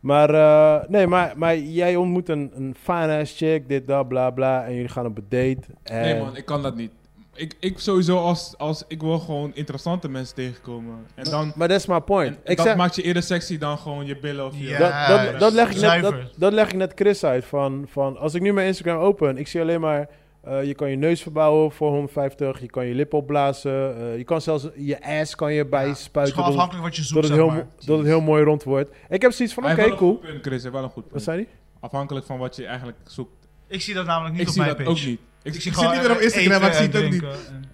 Speaker 2: Maar, eh, nee, maar, maar jij ontmoet een, een fine-ass chick, dit, dat, bla, bla. En jullie gaan op een date. En
Speaker 3: Nee man, ik kan dat niet. Ik, ik sowieso als, als ik wil gewoon interessante mensen tegenkomen. En dan
Speaker 2: Maar that's my point.
Speaker 3: en
Speaker 2: ik
Speaker 3: dat
Speaker 2: zeg,
Speaker 3: maakt je eerder sexy dan gewoon je billen of je.
Speaker 1: Ja.
Speaker 2: dat, dat, dat, leg ik net,
Speaker 1: Zuiver.
Speaker 2: dat, dat leg ik net Chris uit. Van, van, als ik nu mijn Instagram open, ik zie alleen maar... eh, je kan je neus verbouwen voor 150. Je kan je lip opblazen. eh, je kan zelfs je ass kan je
Speaker 1: Het is
Speaker 2: bijspuiten.
Speaker 1: gewoon
Speaker 2: tot het-
Speaker 1: afhankelijk wat je
Speaker 2: tot,
Speaker 1: zoekt,
Speaker 2: het
Speaker 1: zeg
Speaker 2: heel,
Speaker 1: maar.
Speaker 2: mo- tot het heel mooi rond wordt. Ik heb zoiets van,
Speaker 3: Hij
Speaker 2: oké,
Speaker 3: heeft wel een
Speaker 2: cool.
Speaker 3: goed punt, Chris, hij heeft wel een goed
Speaker 2: Wat
Speaker 3: punt.
Speaker 2: zei die?
Speaker 3: Afhankelijk van wat je eigenlijk zoekt.
Speaker 1: Ik zie dat namelijk niet
Speaker 3: ik
Speaker 1: op
Speaker 3: zie
Speaker 1: mijn
Speaker 3: dat
Speaker 1: page.
Speaker 3: ook niet. Ik, ik zie
Speaker 1: gewoon e-
Speaker 3: niet meer op Instagram,
Speaker 1: eten
Speaker 3: maar ik zie
Speaker 1: en
Speaker 3: het ook niet.
Speaker 1: drinken en-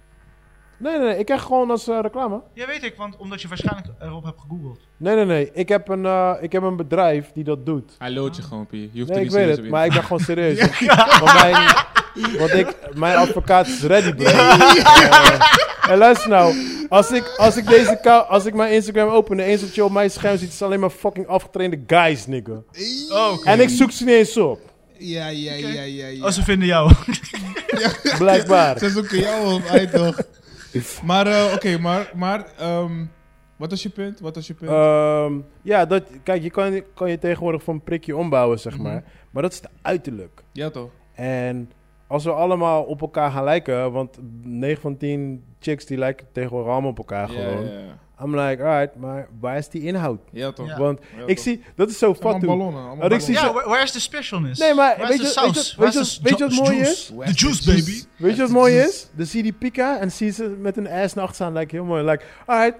Speaker 2: Nee, nee, nee. Ik krijg gewoon als eh, reclame.
Speaker 1: Ja, weet ik, want omdat je waarschijnlijk erop hebt gegoogeld.
Speaker 2: Nee, nee, nee. Ik heb een, eh, ik heb een bedrijf die dat doet.
Speaker 3: Hij loodt je gewoon, Pier. Je hoeft
Speaker 2: Nee,
Speaker 3: er
Speaker 2: ik
Speaker 3: niet
Speaker 2: weet
Speaker 3: serieus
Speaker 2: het,
Speaker 3: op
Speaker 2: maar ik ben gewoon serieus. Want, mijn, want ik, mijn advocaat is ready, bro. Eh, en luister nou, als ik, als ik, deze ka- als ik mijn Instagram open en eens dat je op mijn scherm ziet, is alleen maar fucking afgetrainde guys, nigga.
Speaker 3: in.
Speaker 1: Oh,
Speaker 2: En ik zoek ze niet eens op,
Speaker 3: Ja, ja, ja, ja, ja.
Speaker 1: Oh, ze vinden jou.
Speaker 2: blijkbaar.
Speaker 3: Ze zoeken jou op, uit toch. Maar eh, oké, maar, maar ehm, wat was je punt? Wat was je punt?
Speaker 2: Ehm, ja, dat, kijk, je kan, kan je tegenwoordig van een prikje ombouwen, zeg maar. Maar dat is het uiterlijk.
Speaker 3: ja toch?
Speaker 2: En als we allemaal op elkaar gaan lijken, want 9 van 10 chicks die lijken tegenwoordig allemaal op elkaar
Speaker 3: Ja,
Speaker 2: gewoon.
Speaker 3: ja, ja.
Speaker 2: I'm like, alright, maar waar is die inhoud?
Speaker 3: Ja toch?
Speaker 1: Ja.
Speaker 2: Want
Speaker 3: Ja,
Speaker 2: ik
Speaker 3: toch.
Speaker 2: zie, dat is zo
Speaker 3: Allemaal
Speaker 2: fatu.
Speaker 3: ballonnen. allemaal
Speaker 2: Had ik
Speaker 3: ballonnen.
Speaker 2: zie
Speaker 1: Ja,
Speaker 2: zo-
Speaker 1: where- where's the specialness?
Speaker 2: Nee, maar
Speaker 1: Where's
Speaker 2: weet
Speaker 1: the
Speaker 2: je- weet je-
Speaker 1: saus?
Speaker 2: weet je-
Speaker 1: Where's the
Speaker 2: weet je wat
Speaker 1: ju-
Speaker 2: mooi
Speaker 1: juice?
Speaker 2: is?
Speaker 1: The juice, baby.
Speaker 2: Weet je wat mooi is? Dan zie je die pika en zie je ze met een ass naar achter staan, lijkt heel mooi. Like, alright,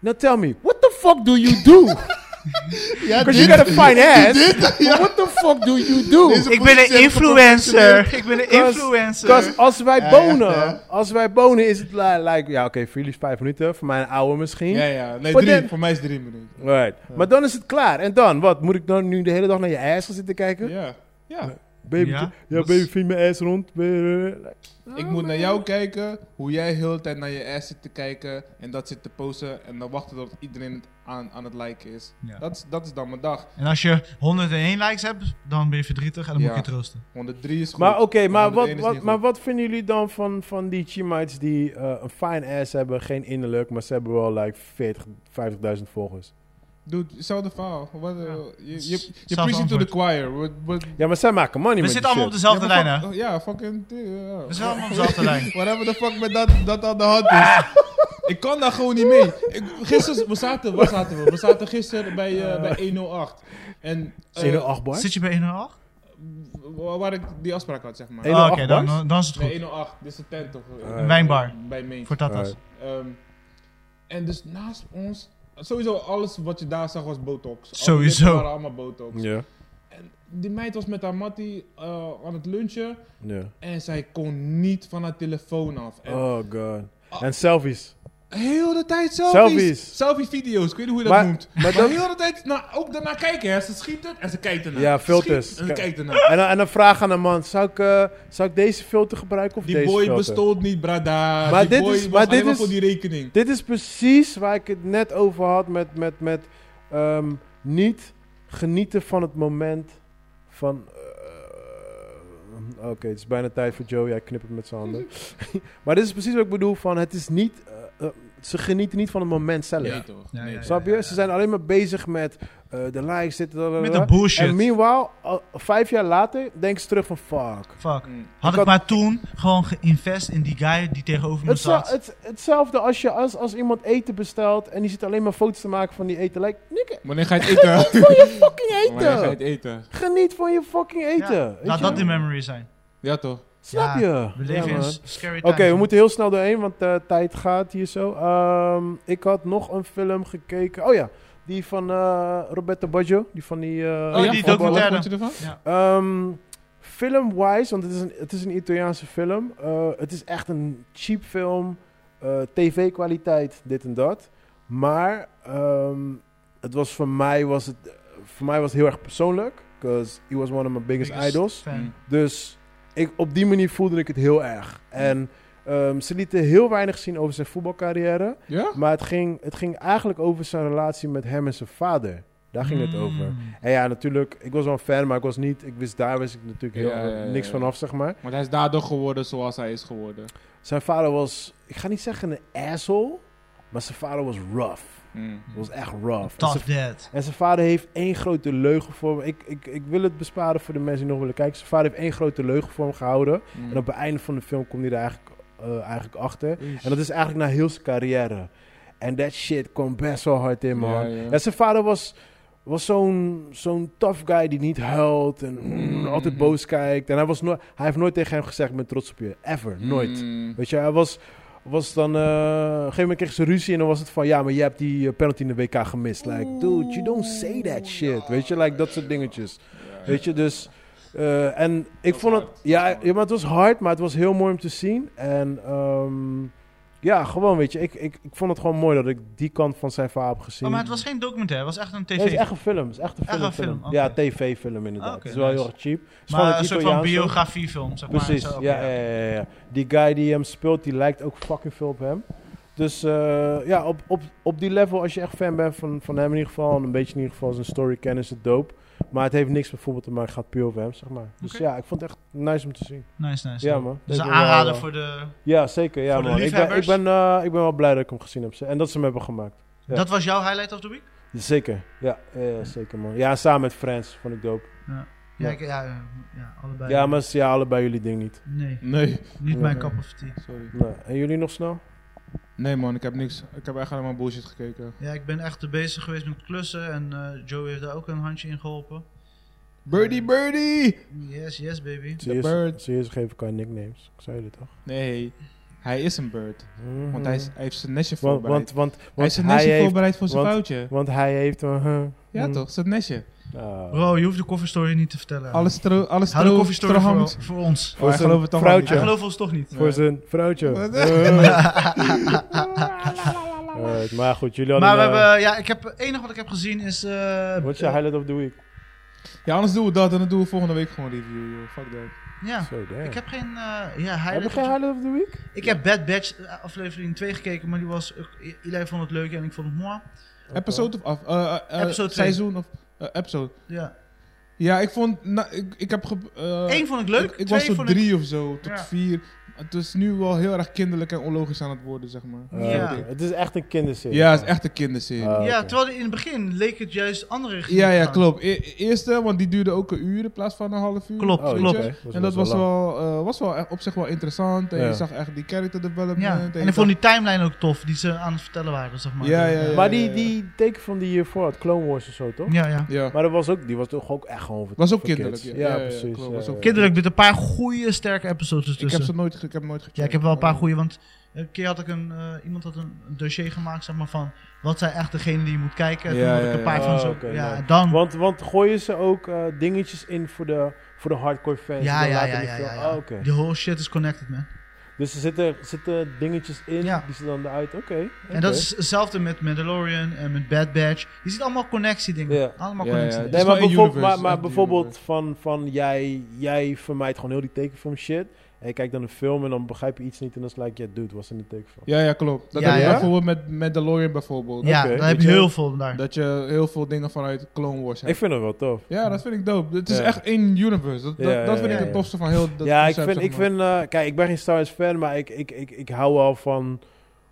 Speaker 2: now tell me, what the fuck do you do? Because you got a fine ass, but what the fuck do you do?
Speaker 1: Ik ben een influencer. Ik ben een
Speaker 2: Cause-
Speaker 1: influencer.
Speaker 2: Because als wij
Speaker 3: ja,
Speaker 2: bonen,
Speaker 3: ja.
Speaker 2: als wij bonen is het li- like, ja oké, voor jullie is vijf minuten, voor mij een ouwe misschien.
Speaker 3: Ja, ja. Nee,
Speaker 2: But
Speaker 3: drie.
Speaker 2: then-
Speaker 3: Voor mij is drie minuten.
Speaker 2: Right. Maar dan is het klaar. En dan, wat? Moet ik dan nu de hele dag naar je ass gaan zitten kijken?
Speaker 3: Ja. Ja.
Speaker 2: Baby,
Speaker 1: Ja.
Speaker 2: ja,
Speaker 3: Dat is-
Speaker 2: baby, vind mijn ass rond.
Speaker 3: Ik moet naar jou kijken, hoe jij heel de tijd naar je ass zit te kijken en dat zit te posen en dan wachten tot iedereen het aan, aan het liken is.
Speaker 1: Ja.
Speaker 3: Dat, is. dat is dan mijn dag.
Speaker 1: En als je 101 likes hebt, dan ben je verdrietig en dan moet
Speaker 3: Ja.
Speaker 1: ik je troosten.
Speaker 3: 103 is goed.
Speaker 2: Maar oké, maar,
Speaker 3: 101
Speaker 2: wat,
Speaker 3: is
Speaker 2: wat,
Speaker 3: niet
Speaker 2: maar
Speaker 3: goed.
Speaker 2: wat vinden jullie dan van, van die chimates die eh, een fine ass hebben, geen innerlijk, maar ze hebben wel like 40, 50.000 volgers?
Speaker 3: Dude, hetzelfde verhaal. Wat, eh,
Speaker 1: Ja.
Speaker 3: Je, je,
Speaker 1: Hetzelfde
Speaker 3: je preaching to the
Speaker 1: antwoord.
Speaker 3: choir. What- what-
Speaker 2: Ja, maar zij maken money
Speaker 1: We
Speaker 2: met
Speaker 1: zitten
Speaker 2: die
Speaker 1: allemaal op
Speaker 2: shit.
Speaker 1: dezelfde
Speaker 3: ja,
Speaker 1: lijn,
Speaker 3: maar
Speaker 1: hè?
Speaker 3: fuck- Ja, fucking... Ja.
Speaker 1: We zijn allemaal op dezelfde lijn.
Speaker 3: Whatever the fuck met dat, dat aan de hand
Speaker 2: Ah.
Speaker 3: is. Ik kan daar gewoon niet mee. Ik, gisteren, we zaten, waar zaten we? We zaten gisteren bij, eh,
Speaker 2: Ah.
Speaker 3: bij 108. En, eh,
Speaker 2: Zijn er acht boys?
Speaker 1: Zit je bij 108?
Speaker 3: Waar waar ik die afspraak had, zeg maar.
Speaker 2: Eén-
Speaker 1: Oh, Oké,
Speaker 2: 108
Speaker 1: dan,
Speaker 2: bars?
Speaker 1: dan, dan is het
Speaker 3: Nee,
Speaker 1: goed.
Speaker 3: 108. Dit is de tent toch?
Speaker 2: Een
Speaker 1: wijnbar.
Speaker 3: Bij Main.
Speaker 1: Voor Tata's.
Speaker 2: Alright.
Speaker 3: Ehm, en dus naast ons... Sowieso alles wat je daar zag was botox. Alle
Speaker 1: Sowieso.
Speaker 3: lippen waren allemaal botox.
Speaker 2: Ja.
Speaker 3: En die meid was met haar mattie eh, aan het lunchen.
Speaker 2: ja.
Speaker 3: En zij kon niet van haar telefoon af. En
Speaker 2: Oh god.
Speaker 1: Ah.
Speaker 2: En selfies.
Speaker 3: Heel de tijd selfies.
Speaker 2: Selfies.
Speaker 3: Selfie-video's, ik weet niet hoe je
Speaker 2: Maar-
Speaker 3: dat noemt.
Speaker 2: maar
Speaker 3: Maar,
Speaker 2: dat-
Speaker 3: heel de tijd nou, ook daarna kijken, hè. Ze schiet het en ze kijkt ernaar.
Speaker 2: Ja,
Speaker 3: Ze
Speaker 2: filters.
Speaker 3: schiet en ze
Speaker 2: Ka-
Speaker 3: kijkt ernaar.
Speaker 2: En, dan- en dan vraag aan een man, zou ik, eh, zou ik deze filter gebruiken of
Speaker 3: Die
Speaker 2: deze
Speaker 3: boy
Speaker 2: filter?
Speaker 3: bestond niet, brada.
Speaker 2: Maar
Speaker 3: die
Speaker 2: dit
Speaker 3: boy
Speaker 2: is-
Speaker 3: was
Speaker 2: maar dit
Speaker 3: alleen
Speaker 2: is-
Speaker 3: voor die rekening.
Speaker 2: Dit is precies waar ik het net over had met, met, met ehm, niet genieten van het moment van... eh, Oké, het is bijna tijd voor Joe. Jij knipt het met zijn handen. maar dit is precies wat ik bedoel van het is niet... eh, eh, ze genieten niet van het moment zelf.
Speaker 3: Nee, toch?
Speaker 1: Ja,
Speaker 3: nee,
Speaker 1: ja,
Speaker 3: toch.
Speaker 2: Snap je? Ze zijn alleen maar bezig met eh, de likes, dit, dat, dat,
Speaker 1: Met de
Speaker 2: dat. En
Speaker 1: bullshit.
Speaker 2: meanwhile, al- vijf jaar later, denken ze terug van fuck.
Speaker 1: Fuck.
Speaker 3: Mm.
Speaker 1: Had
Speaker 2: Ik
Speaker 1: ik
Speaker 2: had-
Speaker 1: maar toen gewoon geïnvest in die guy die tegenover me
Speaker 2: Het zou-
Speaker 1: zat.
Speaker 2: het, hetzelfde als je als, als iemand eten bestelt en die zit alleen maar foto's te maken van die eten. Like, nikke,
Speaker 3: Wanneer ga je het eten?
Speaker 2: van je fucking
Speaker 3: Wanneer ga
Speaker 2: eten.
Speaker 3: je het eten?
Speaker 2: Geniet van je fucking eten.
Speaker 1: Ja,
Speaker 2: weet
Speaker 1: laat
Speaker 2: je?
Speaker 1: dat de memory zijn.
Speaker 3: Ja, toch?
Speaker 2: Snap
Speaker 1: Ja,
Speaker 2: je?
Speaker 1: We leven
Speaker 2: Ja,
Speaker 1: in
Speaker 2: man.
Speaker 1: s- scary
Speaker 2: Oké,
Speaker 1: times.
Speaker 2: we
Speaker 1: man.
Speaker 2: moeten heel snel doorheen, want de tijd gaat hier zo. Ehm, ik had nog een film gekeken. Oh ja, die van eh, Roberto Baggio. Die van die... eh,
Speaker 1: Oh, die
Speaker 3: voetballer,
Speaker 1: documentaire.
Speaker 3: vond je ervan?
Speaker 2: Ehm, Film-wise, want het is een, het is een Italiaanse film. eh, het is echt een cheap film. eh, TV-kwaliteit, dit en dat. Maar ehm, het was voor mij, was het, voor mij was het heel erg persoonlijk. Because he was one of my biggest, idols.
Speaker 1: fan.
Speaker 3: Mm.
Speaker 2: Dus ik, op die manier voelde ik het heel erg. En ehm, ze lieten heel weinig zien over zijn voetbalcarrière.
Speaker 3: Ja?
Speaker 2: Maar het ging, het ging eigenlijk over zijn relatie met hem en zijn vader. Daar ging het over.
Speaker 1: Mm.
Speaker 2: En ja, natuurlijk, ik was wel een fan, maar ik was niet, ik wist daar wist ik natuurlijk heel,
Speaker 3: Ja, ja, ja,
Speaker 2: niks
Speaker 3: ja.
Speaker 2: vanaf, zeg maar.
Speaker 3: Want hij is daardoor geworden zoals hij is geworden.
Speaker 2: Zijn vader was, ik ga niet zeggen een asshole, maar zijn vader was rough.
Speaker 3: Mm.
Speaker 2: Was echt rough. En
Speaker 1: Tough
Speaker 2: zijn,
Speaker 1: Dad.
Speaker 2: en zijn vader heeft één grote leugen voor me. Ik, ik, ik wil het besparen voor de mensen die nog willen kijken. Zijn vader heeft één grote leugen voor hem gehouden.
Speaker 3: Mm.
Speaker 2: En op het einde van de film komt hij er eigenlijk, eh, eigenlijk achter. En dat is eigenlijk na heel zijn carrière. En that shit kwam best wel hard in, man.
Speaker 3: Ja, ja.
Speaker 2: Ja, zijn vader was, was zo'n zo'n tough guy die niet huilt en mm, altijd boos kijkt. En hij, was nooit hij heeft nooit tegen hem gezegd, ik ben trots op je. Ever, nooit.
Speaker 3: Mm.
Speaker 2: Weet je, hij was, was dan... eh, op een gegeven moment kreeg ze ruzie en dan was het van... Ja, maar je hebt die eh, penalty in de WK gemist. Like, dude, you don't say that shit. Weet je, like dat soort dingetjes.
Speaker 3: Ja,
Speaker 2: Weet je, dus... eh, en ik
Speaker 3: was
Speaker 2: vond het...
Speaker 3: hard.
Speaker 2: Ja, ja, maar het was hard, maar het was heel mooi om te zien. En ehm, ja, gewoon, weet je. Ik, ik, ik vond het gewoon mooi dat ik die kant van zijn verhaal heb gezien.
Speaker 1: Oh, maar het was geen documentaire, het was echt een tv.
Speaker 2: Hmm. Nee, het is echt een film. Het is echt een
Speaker 1: Echt
Speaker 2: film.
Speaker 1: een film,
Speaker 2: film.
Speaker 1: oké.
Speaker 2: Ja, tv-film inderdaad.
Speaker 1: Oké,
Speaker 2: het is wel
Speaker 1: nice.
Speaker 2: heel erg cheap. Het is gewoon
Speaker 1: maar een soort van
Speaker 2: Italiaanse.
Speaker 1: biografiefilm, zeg maar.
Speaker 2: Precies,
Speaker 1: Zo, oké,
Speaker 2: ja, ja, ja, ja. Die guy die hem speelt, die lijkt ook fucking veel op hem. Dus eh, ja, op, op, op die level, als je echt fan bent van, van hem in ieder geval... en een beetje in ieder geval zijn story kennen, is het dope. Maar het heeft niks bijvoorbeeld te maken, het gaat puur over hem, zeg maar. Dus
Speaker 1: Oké.
Speaker 2: ja, ik vond het echt nice om te zien.
Speaker 1: Nice, nice.
Speaker 2: Ja, man.
Speaker 1: Dus
Speaker 2: Deze
Speaker 1: een
Speaker 2: wel,
Speaker 1: aanrader
Speaker 2: eh,
Speaker 1: voor de...
Speaker 2: Ja, zeker. Ja,
Speaker 1: voor de
Speaker 2: man. Ik ben, ik,
Speaker 1: liefhebbers.
Speaker 2: ben, eh, ik ben wel blij dat ik hem gezien heb. En dat ze hem hebben gemaakt. Ja.
Speaker 1: Dat was jouw highlight of the week?
Speaker 2: Zeker. Ja, eh, zeker, man. Ja, samen met Friends vond ik dope. Ja.
Speaker 1: Ja, ik- ja, eh, ja allebei.
Speaker 2: Ja, maar ja, allebei jullie ding niet.
Speaker 1: Nee,
Speaker 3: Nee.
Speaker 1: niet
Speaker 2: Ja.
Speaker 1: mijn cup of tea.
Speaker 3: Sorry.
Speaker 2: Nou, en jullie nog snel?
Speaker 3: Nee man, ik heb niks. Ik heb echt alleen maar bullshit gekeken.
Speaker 1: Ja, ik ben echt te bezig geweest met klussen en eh Joey heeft daar ook een handje in geholpen.
Speaker 3: Birdie, birdie!
Speaker 1: Yes, yes baby.
Speaker 2: Ze eerst-
Speaker 3: bird.
Speaker 2: ze eerst geven elkaar nicknames. Ik zei dit toch?
Speaker 3: Nee, hij is een bird. Want hij, is,
Speaker 1: Mm.
Speaker 3: hij heeft zijn nestje
Speaker 2: Want, want,
Speaker 3: voorbereid.
Speaker 2: want,
Speaker 3: hij
Speaker 2: want
Speaker 3: is zijn nestje
Speaker 2: heeft,
Speaker 3: voorbereid voor zijn
Speaker 2: want-
Speaker 3: foutje.
Speaker 2: Want hij heeft... eh, huh,
Speaker 3: Ja
Speaker 2: hm.
Speaker 3: toch, zijn nestje.
Speaker 2: Ah.
Speaker 1: Bro, je hoeft de kofferstory niet te vertellen.
Speaker 3: Alles tro, alles
Speaker 1: Hou de
Speaker 3: tro,
Speaker 1: kofferstory voor,
Speaker 3: strohammend.
Speaker 1: voor ons.
Speaker 2: Voor
Speaker 3: Oh, hij
Speaker 2: zijn
Speaker 3: gelooft het toch wel
Speaker 2: vrouwtje.
Speaker 1: Hij gelooft ons toch niet.
Speaker 2: Voor
Speaker 3: Nee.
Speaker 2: zijn vrouwtje.
Speaker 3: Wat?
Speaker 2: Eh. Alright, maar goed, jullie hadden...
Speaker 1: Maar we
Speaker 2: eh,
Speaker 1: hebben, ja, ik heb, het enige wat ik heb gezien is... eh,
Speaker 2: Wat is je highlight of the week?
Speaker 3: Ja, anders doen we dat en dan doen we volgende week gewoon review. joh. Fuck that.
Speaker 1: Ja,
Speaker 2: Zo, damn.
Speaker 1: Ah, ik heb geen, eh, ja,
Speaker 2: Heb je
Speaker 1: highlight.
Speaker 2: geen highlight of the week?
Speaker 1: Ik heb Bad Batch eh, aflevering 2 gekeken, maar die was, eh, iedereen vond het leuk en ik vond het mooi.
Speaker 3: Episode of af? eh, eh, eh,
Speaker 1: Episode twee.
Speaker 3: Seizoen of eh, episode?
Speaker 1: Ja.
Speaker 3: Ja, ik vond... na- ik, ik heb... ge- eh,
Speaker 1: Eén vond ik leuk,
Speaker 3: Ik, ik
Speaker 1: twee
Speaker 3: was tot
Speaker 1: vond
Speaker 3: drie of zo, tot
Speaker 1: Ja.
Speaker 3: vier. Het is nu wel heel erg kinderlijk en onlogisch aan het worden, zeg maar.
Speaker 2: Eh,
Speaker 1: Ja.
Speaker 2: oké. Het is echt een kinderserie.
Speaker 3: Ja, het is echt een kinderserie.
Speaker 2: Ah,
Speaker 1: ik... Ja,
Speaker 2: oké.
Speaker 1: terwijl in het begin leek het juist andere richting
Speaker 3: ja,
Speaker 1: te
Speaker 3: ja,
Speaker 1: gaan.
Speaker 3: klopt. E- e- eerste, want die duurde ook een uur in plaats van een half uur.
Speaker 1: Klopt,
Speaker 2: Oh,
Speaker 3: weet
Speaker 1: klopt.
Speaker 3: je.
Speaker 2: oké.
Speaker 3: En dat was
Speaker 2: best lang.
Speaker 3: wel, eh, was wel echt op zich wel interessant. En
Speaker 2: Ja.
Speaker 3: je zag echt die character development.
Speaker 1: Ja,
Speaker 3: je
Speaker 1: en ik vond die timeline ook tof, die ze aan het vertellen waren, zeg maar.
Speaker 3: Ja, ja, ja.
Speaker 2: Maar die, die tekenfilm die hiervoor had, Clone Wars of zo, toch?
Speaker 1: Ja, ja.
Speaker 3: eh, Ja.
Speaker 2: Maar dat was ook, die was toch ook echt gewoon voor
Speaker 3: Was ook
Speaker 2: voor
Speaker 3: kinderlijk,
Speaker 2: kids.
Speaker 3: ja. Ja, ja,
Speaker 2: precies.
Speaker 3: klopt, was ook
Speaker 1: Kinderlijk, er zitten een paar goede, sterke episodes tussen.
Speaker 3: ik heb ze nooit, ge- ik heb nooit gecheckt.
Speaker 1: Ja, ik heb wel een paar goede, want een keer had ik een, eh, iemand had een dossier gemaakt, zeg maar, van wat zijn echt degenen die je moet kijken. En
Speaker 3: Ja,
Speaker 1: toen had
Speaker 3: ja,
Speaker 1: ik een
Speaker 3: ja.
Speaker 1: paar van
Speaker 2: Oh,
Speaker 1: zo.
Speaker 2: oké,
Speaker 1: ja,
Speaker 2: nice.
Speaker 1: en dan.
Speaker 2: Want, want gooien ze ook eh, dingetjes in voor de, voor de hardcore fans?
Speaker 1: ja,
Speaker 2: die dan
Speaker 1: ja,
Speaker 2: later
Speaker 1: ja,
Speaker 2: die
Speaker 1: ja,
Speaker 2: film-
Speaker 1: ja, ja.
Speaker 2: Oh, oké.
Speaker 1: The whole shit is connected, man.
Speaker 2: Dus er zitten, zitten dingetjes in,
Speaker 1: Ja.
Speaker 2: die ze dan eruit... Oké. oké.
Speaker 1: En dat is hetzelfde met Mandalorian en met Bad Batch. Je ziet allemaal connectiedingen.
Speaker 2: Ja.
Speaker 1: Allemaal
Speaker 3: Ja,
Speaker 1: connectie.
Speaker 3: ja,
Speaker 1: dingen.
Speaker 3: dat
Speaker 2: Nee, maar,
Speaker 3: is wel in
Speaker 2: bijvoorbeeld, maar,
Speaker 3: universe,
Speaker 2: maar
Speaker 3: echt in
Speaker 2: bijvoorbeeld
Speaker 3: universe.
Speaker 2: van, van jij, jij vermijdt gewoon heel die tekenfilm shit. En je kijkt dan een film en dan begrijp je iets niet en dan is het like, ja dude, was in de tekenfilm.
Speaker 3: Ja, ja, klopt. Dat
Speaker 1: Ja,
Speaker 3: heb je
Speaker 1: ja?
Speaker 3: bijvoorbeeld met Mandalorian bijvoorbeeld.
Speaker 1: Ja,
Speaker 2: Oké,
Speaker 1: daar heb
Speaker 3: weet
Speaker 1: je
Speaker 3: je.
Speaker 1: heel veel daar.
Speaker 3: Dat je heel veel dingen vanuit Clone Wars hebt.
Speaker 2: Ik vind het wel tof.
Speaker 3: Ja, dat vind ik dope. Het is
Speaker 2: Ja.
Speaker 3: echt één universe. Dat, dat,
Speaker 2: Ja,
Speaker 3: dat
Speaker 2: ja,
Speaker 3: vind ik
Speaker 2: ja,
Speaker 3: het
Speaker 2: ja.
Speaker 3: tofste van heel dat
Speaker 2: ja, ik
Speaker 3: concept,
Speaker 2: vind,
Speaker 3: zeg
Speaker 2: ik
Speaker 3: maar.
Speaker 2: vind eh, kijk, ik ben geen Star Wars fan, maar ik, ik, ik, ik hou wel van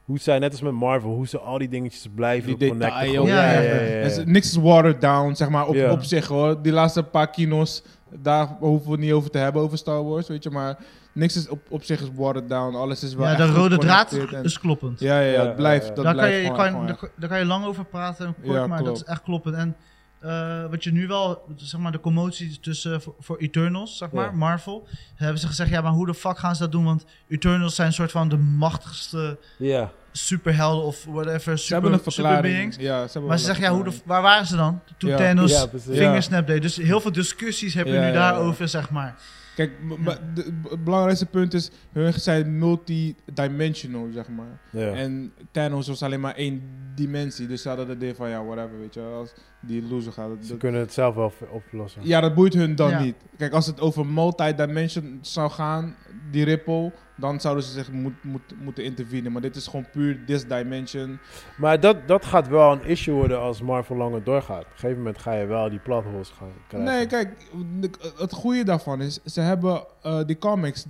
Speaker 2: hoe zij, net als met Marvel, hoe ze al die dingetjes blijven
Speaker 3: die
Speaker 2: connecten.
Speaker 3: detail.
Speaker 2: gewoon.
Speaker 1: ja, ja, ja,
Speaker 3: Het is- Niks is watered down, zeg maar, op,
Speaker 2: Ja.
Speaker 3: op zich hoor. Die laatste paar kino's, daar hoeven we het niet over te hebben, over Star Wars, weet je. Maar niks is op, op zich is watered down. Alles is wel
Speaker 1: ja,
Speaker 3: echt
Speaker 1: de
Speaker 3: goed
Speaker 1: rode draad
Speaker 3: geconnecteerd en-
Speaker 1: is kloppend.
Speaker 3: Ja, ja, ja,
Speaker 2: Ja,
Speaker 3: het blijft,
Speaker 2: ja, ja.
Speaker 3: dat
Speaker 1: daar, kan
Speaker 3: blijft
Speaker 1: je, je
Speaker 3: gewoon-
Speaker 1: kan,
Speaker 3: gewoon
Speaker 1: daar, daar kan je lang over praten, en kort,
Speaker 3: Ja,
Speaker 1: maar dat
Speaker 3: klopt.
Speaker 1: is echt kloppend. En eh, wat je nu wel, zeg maar, de commotie tussen eh, voor, voor Eternals, zeg maar,
Speaker 2: Ja.
Speaker 1: Marvel. Hebben ze gezegd, ja, maar hoe de fuck gaan ze dat doen? Want Eternals zijn een soort van de machtigste
Speaker 2: Ja.
Speaker 1: superhelden of whatever,
Speaker 3: Ze hebben een
Speaker 1: super,
Speaker 3: verklaring.
Speaker 1: superbeings.
Speaker 3: Ja, ze hebben
Speaker 1: Maar ze
Speaker 3: wel
Speaker 1: zeggen,
Speaker 3: een
Speaker 1: ja, hoe de,
Speaker 3: verklaring.
Speaker 1: waar waren ze dan? Toen
Speaker 3: Ja.
Speaker 1: Thanos
Speaker 2: Ja, precies.
Speaker 1: vingersnap deed. Dus heel veel discussies hebben we
Speaker 3: Ja,
Speaker 1: nu
Speaker 3: ja, ja.
Speaker 1: daarover, zeg maar.
Speaker 3: Kijk, m- maar de- het belangrijkste punt is, hun zijn multidimensional, zeg maar.
Speaker 2: Ja.
Speaker 3: En Thanos was alleen maar één dimensie, dus ze hadden de idee van, ja, whatever, weet je wel. Als die loser gaat, dat-
Speaker 2: Ze
Speaker 3: dat-
Speaker 2: kunnen het zelf wel v- oplossen.
Speaker 3: ja, dat boeit hun dan
Speaker 1: Ja.
Speaker 3: niet. Kijk, als het over multidimension zou gaan, die ripple, dan zouden ze zich moet, moet, moeten intervenen. Maar dit is gewoon puur this dimension.
Speaker 2: Maar dat, dat gaat wel een issue worden als Marvel langer doorgaat. Op een gegeven moment ga je wel die platholes gaan krijgen.
Speaker 3: Nee, kijk, de- het goede daarvan is, ze hebben eh, die comics, d-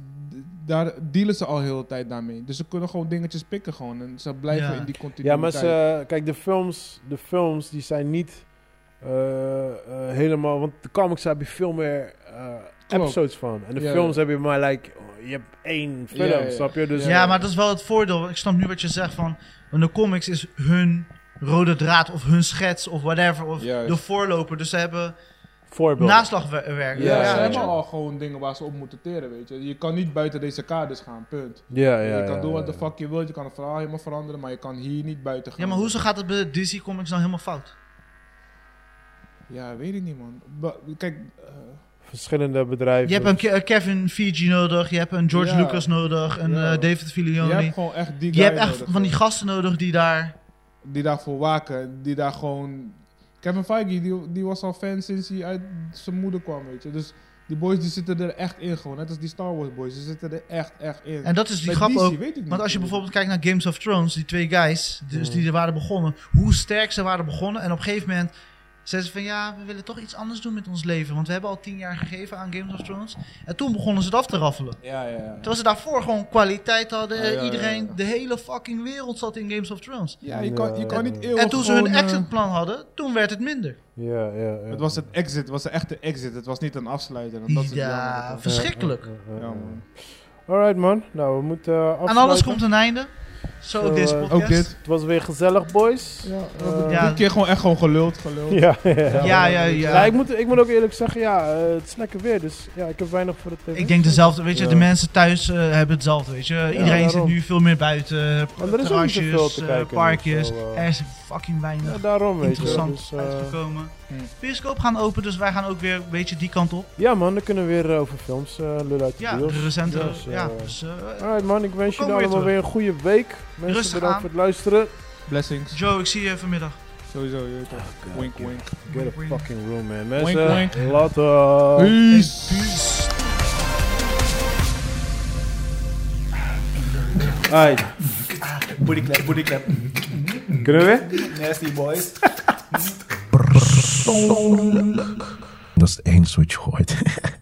Speaker 3: daar dealen ze al heel de tijd daarmee. Dus ze kunnen gewoon dingetjes pikken gewoon en ze blijven
Speaker 1: Ja.
Speaker 3: in die
Speaker 2: Ja,
Speaker 3: continuïteit.
Speaker 2: maar ze, kijk, de films, de films die zijn niet eh, eh, helemaal... Want de comics heb je veel meer eh,
Speaker 3: Klopt.
Speaker 2: episodes van. En de
Speaker 3: Ja,
Speaker 2: films heb je maar, like, je hebt één film,
Speaker 3: Ja, ja.
Speaker 2: snap je? Dus,
Speaker 1: Ja, maar dat is wel het voordeel. Ik snap nu wat je zegt van, want de comics is hun rode draad of hun schets of whatever. Of
Speaker 3: Juist.
Speaker 1: de voorloper. Dus ze hebben
Speaker 2: Voorbeeld.
Speaker 1: naslagwerk.
Speaker 3: Ja,
Speaker 2: Ja,
Speaker 3: ze
Speaker 2: ja,
Speaker 3: hebben
Speaker 2: ja.
Speaker 3: al Oh, gewoon dingen waar ze op moeten teren, weet je. Je kan niet buiten deze kaders gaan, punt.
Speaker 2: Ja, ja,
Speaker 3: je kan
Speaker 2: ja,
Speaker 3: doen wat
Speaker 2: ja,
Speaker 3: de fuck je wilt, je kan het verhaal helemaal veranderen, maar je kan hier niet buiten gaan.
Speaker 1: Ja, maar hoezo gaat het bij DC Comics dan helemaal fout?
Speaker 3: Ja, weet ik niet, man. Ba- kijk, eh,
Speaker 2: Verschillende bedrijven.
Speaker 1: Je hebt een Ke- eh, Kevin Feige nodig, je hebt een George
Speaker 3: Ja.
Speaker 1: Lucas nodig, een
Speaker 3: Ja.
Speaker 1: eh, David
Speaker 3: je
Speaker 1: Filioni.
Speaker 3: hebt gewoon echt die
Speaker 1: Je
Speaker 3: guy
Speaker 1: hebt echt
Speaker 3: nodig,
Speaker 1: van die gasten nodig die daar...
Speaker 3: die daarvoor waken, die daar gewoon... Kevin Feige, die, die was al fan sinds hij uit zijn moeder kwam, weet je. Dus die boys die zitten er echt in gewoon, net als die Star Wars boys, die zitten er echt, echt in.
Speaker 1: En dat is die
Speaker 3: Bij
Speaker 1: grap
Speaker 3: DC
Speaker 1: ook.
Speaker 3: weet ik niet.
Speaker 1: Want als je bijvoorbeeld kijkt naar Games of Thrones, die twee guys, dus die er waren begonnen, hoe sterk ze waren begonnen. En op een gegeven moment zeiden ze van ja, we willen toch iets anders doen met ons leven. Want we hebben al tien jaar gegeven aan Games of Thrones. En toen begonnen ze het af te raffelen.
Speaker 3: Ja, ja, ja.
Speaker 1: Terwijl ze daarvoor gewoon kwaliteit hadden.
Speaker 3: Ja, ja, ja,
Speaker 1: Iedereen,
Speaker 3: ja.
Speaker 1: de hele fucking wereld zat in Games of Thrones.
Speaker 3: Ja, je kan, je kan niet eeuwig
Speaker 1: En toen ze hun
Speaker 3: gewoon, eh,
Speaker 1: exitplan hadden, toen werd het minder.
Speaker 2: Ja, ja, ja.
Speaker 3: Het was het exit, het was de echte exit. Het was niet een afsluiter. En dat is het
Speaker 1: Ja,
Speaker 3: jammer.
Speaker 1: verschrikkelijk.
Speaker 2: Ja, ja, ja.
Speaker 3: Ja, man.
Speaker 2: Alright, man. Nou, we moeten eh, afsluiten.
Speaker 1: Aan alles komt een einde. Zo ook
Speaker 2: Zo,
Speaker 1: deze
Speaker 2: eh,
Speaker 1: podcast.
Speaker 3: Ook dit.
Speaker 2: Het was weer gezellig, boys.
Speaker 3: Ja,
Speaker 2: Eh,
Speaker 1: Ja.
Speaker 3: Dit keer gewoon echt gewoon geluld, geluld.
Speaker 2: Ja,
Speaker 1: Ja, ja, ja.
Speaker 2: ik, moet, ik moet ook eerlijk zeggen, ja, eh, het is lekker weer, dus ja, ik heb weinig voor de tv.
Speaker 1: Ik denk dezelfde, weet je,
Speaker 2: Ja.
Speaker 1: de mensen thuis eh, hebben hetzelfde, weet je. Iedereen zit
Speaker 2: daarom.
Speaker 1: nu veel meer buiten,
Speaker 2: Maar er is ook niet
Speaker 1: terrasjes,
Speaker 2: zoveel te
Speaker 1: eh,
Speaker 2: kijken,
Speaker 1: parkjes.
Speaker 2: dus wel, eh.
Speaker 1: Er is fucking weinig
Speaker 2: Ja, daarom, weet je. wel.
Speaker 1: interessant
Speaker 2: Dus, eh, hmm.
Speaker 1: uitgekomen.
Speaker 3: Hm.
Speaker 1: Periscope gaan open, dus wij gaan ook weer een beetje die kant op.
Speaker 2: ja, man, dan kunnen we weer eh, over films eh, lullen uit de
Speaker 1: Ja,
Speaker 2: deals.
Speaker 1: de recentere,
Speaker 2: Dus, eh,
Speaker 1: ja, dus, eh,
Speaker 2: Alright, man, ik wens
Speaker 1: We komen
Speaker 2: jullie
Speaker 1: weer
Speaker 2: allemaal weer een goede week. Mensen,
Speaker 1: Rustig
Speaker 2: bedankt
Speaker 1: aan.
Speaker 2: voor het luisteren.
Speaker 3: Blessings.
Speaker 1: Joe, ik zie je vanmiddag.
Speaker 3: Sowieso, je weet toch. Wink, wink.
Speaker 2: Get a fucking room, man.
Speaker 3: Wink,
Speaker 2: Mensen,
Speaker 3: wink.
Speaker 2: later.
Speaker 3: Peace.
Speaker 2: Hey,
Speaker 4: Booty clap, booty clap.
Speaker 2: kunnen we weer?
Speaker 4: Nasty boys.
Speaker 5: Dat is één switch gooit.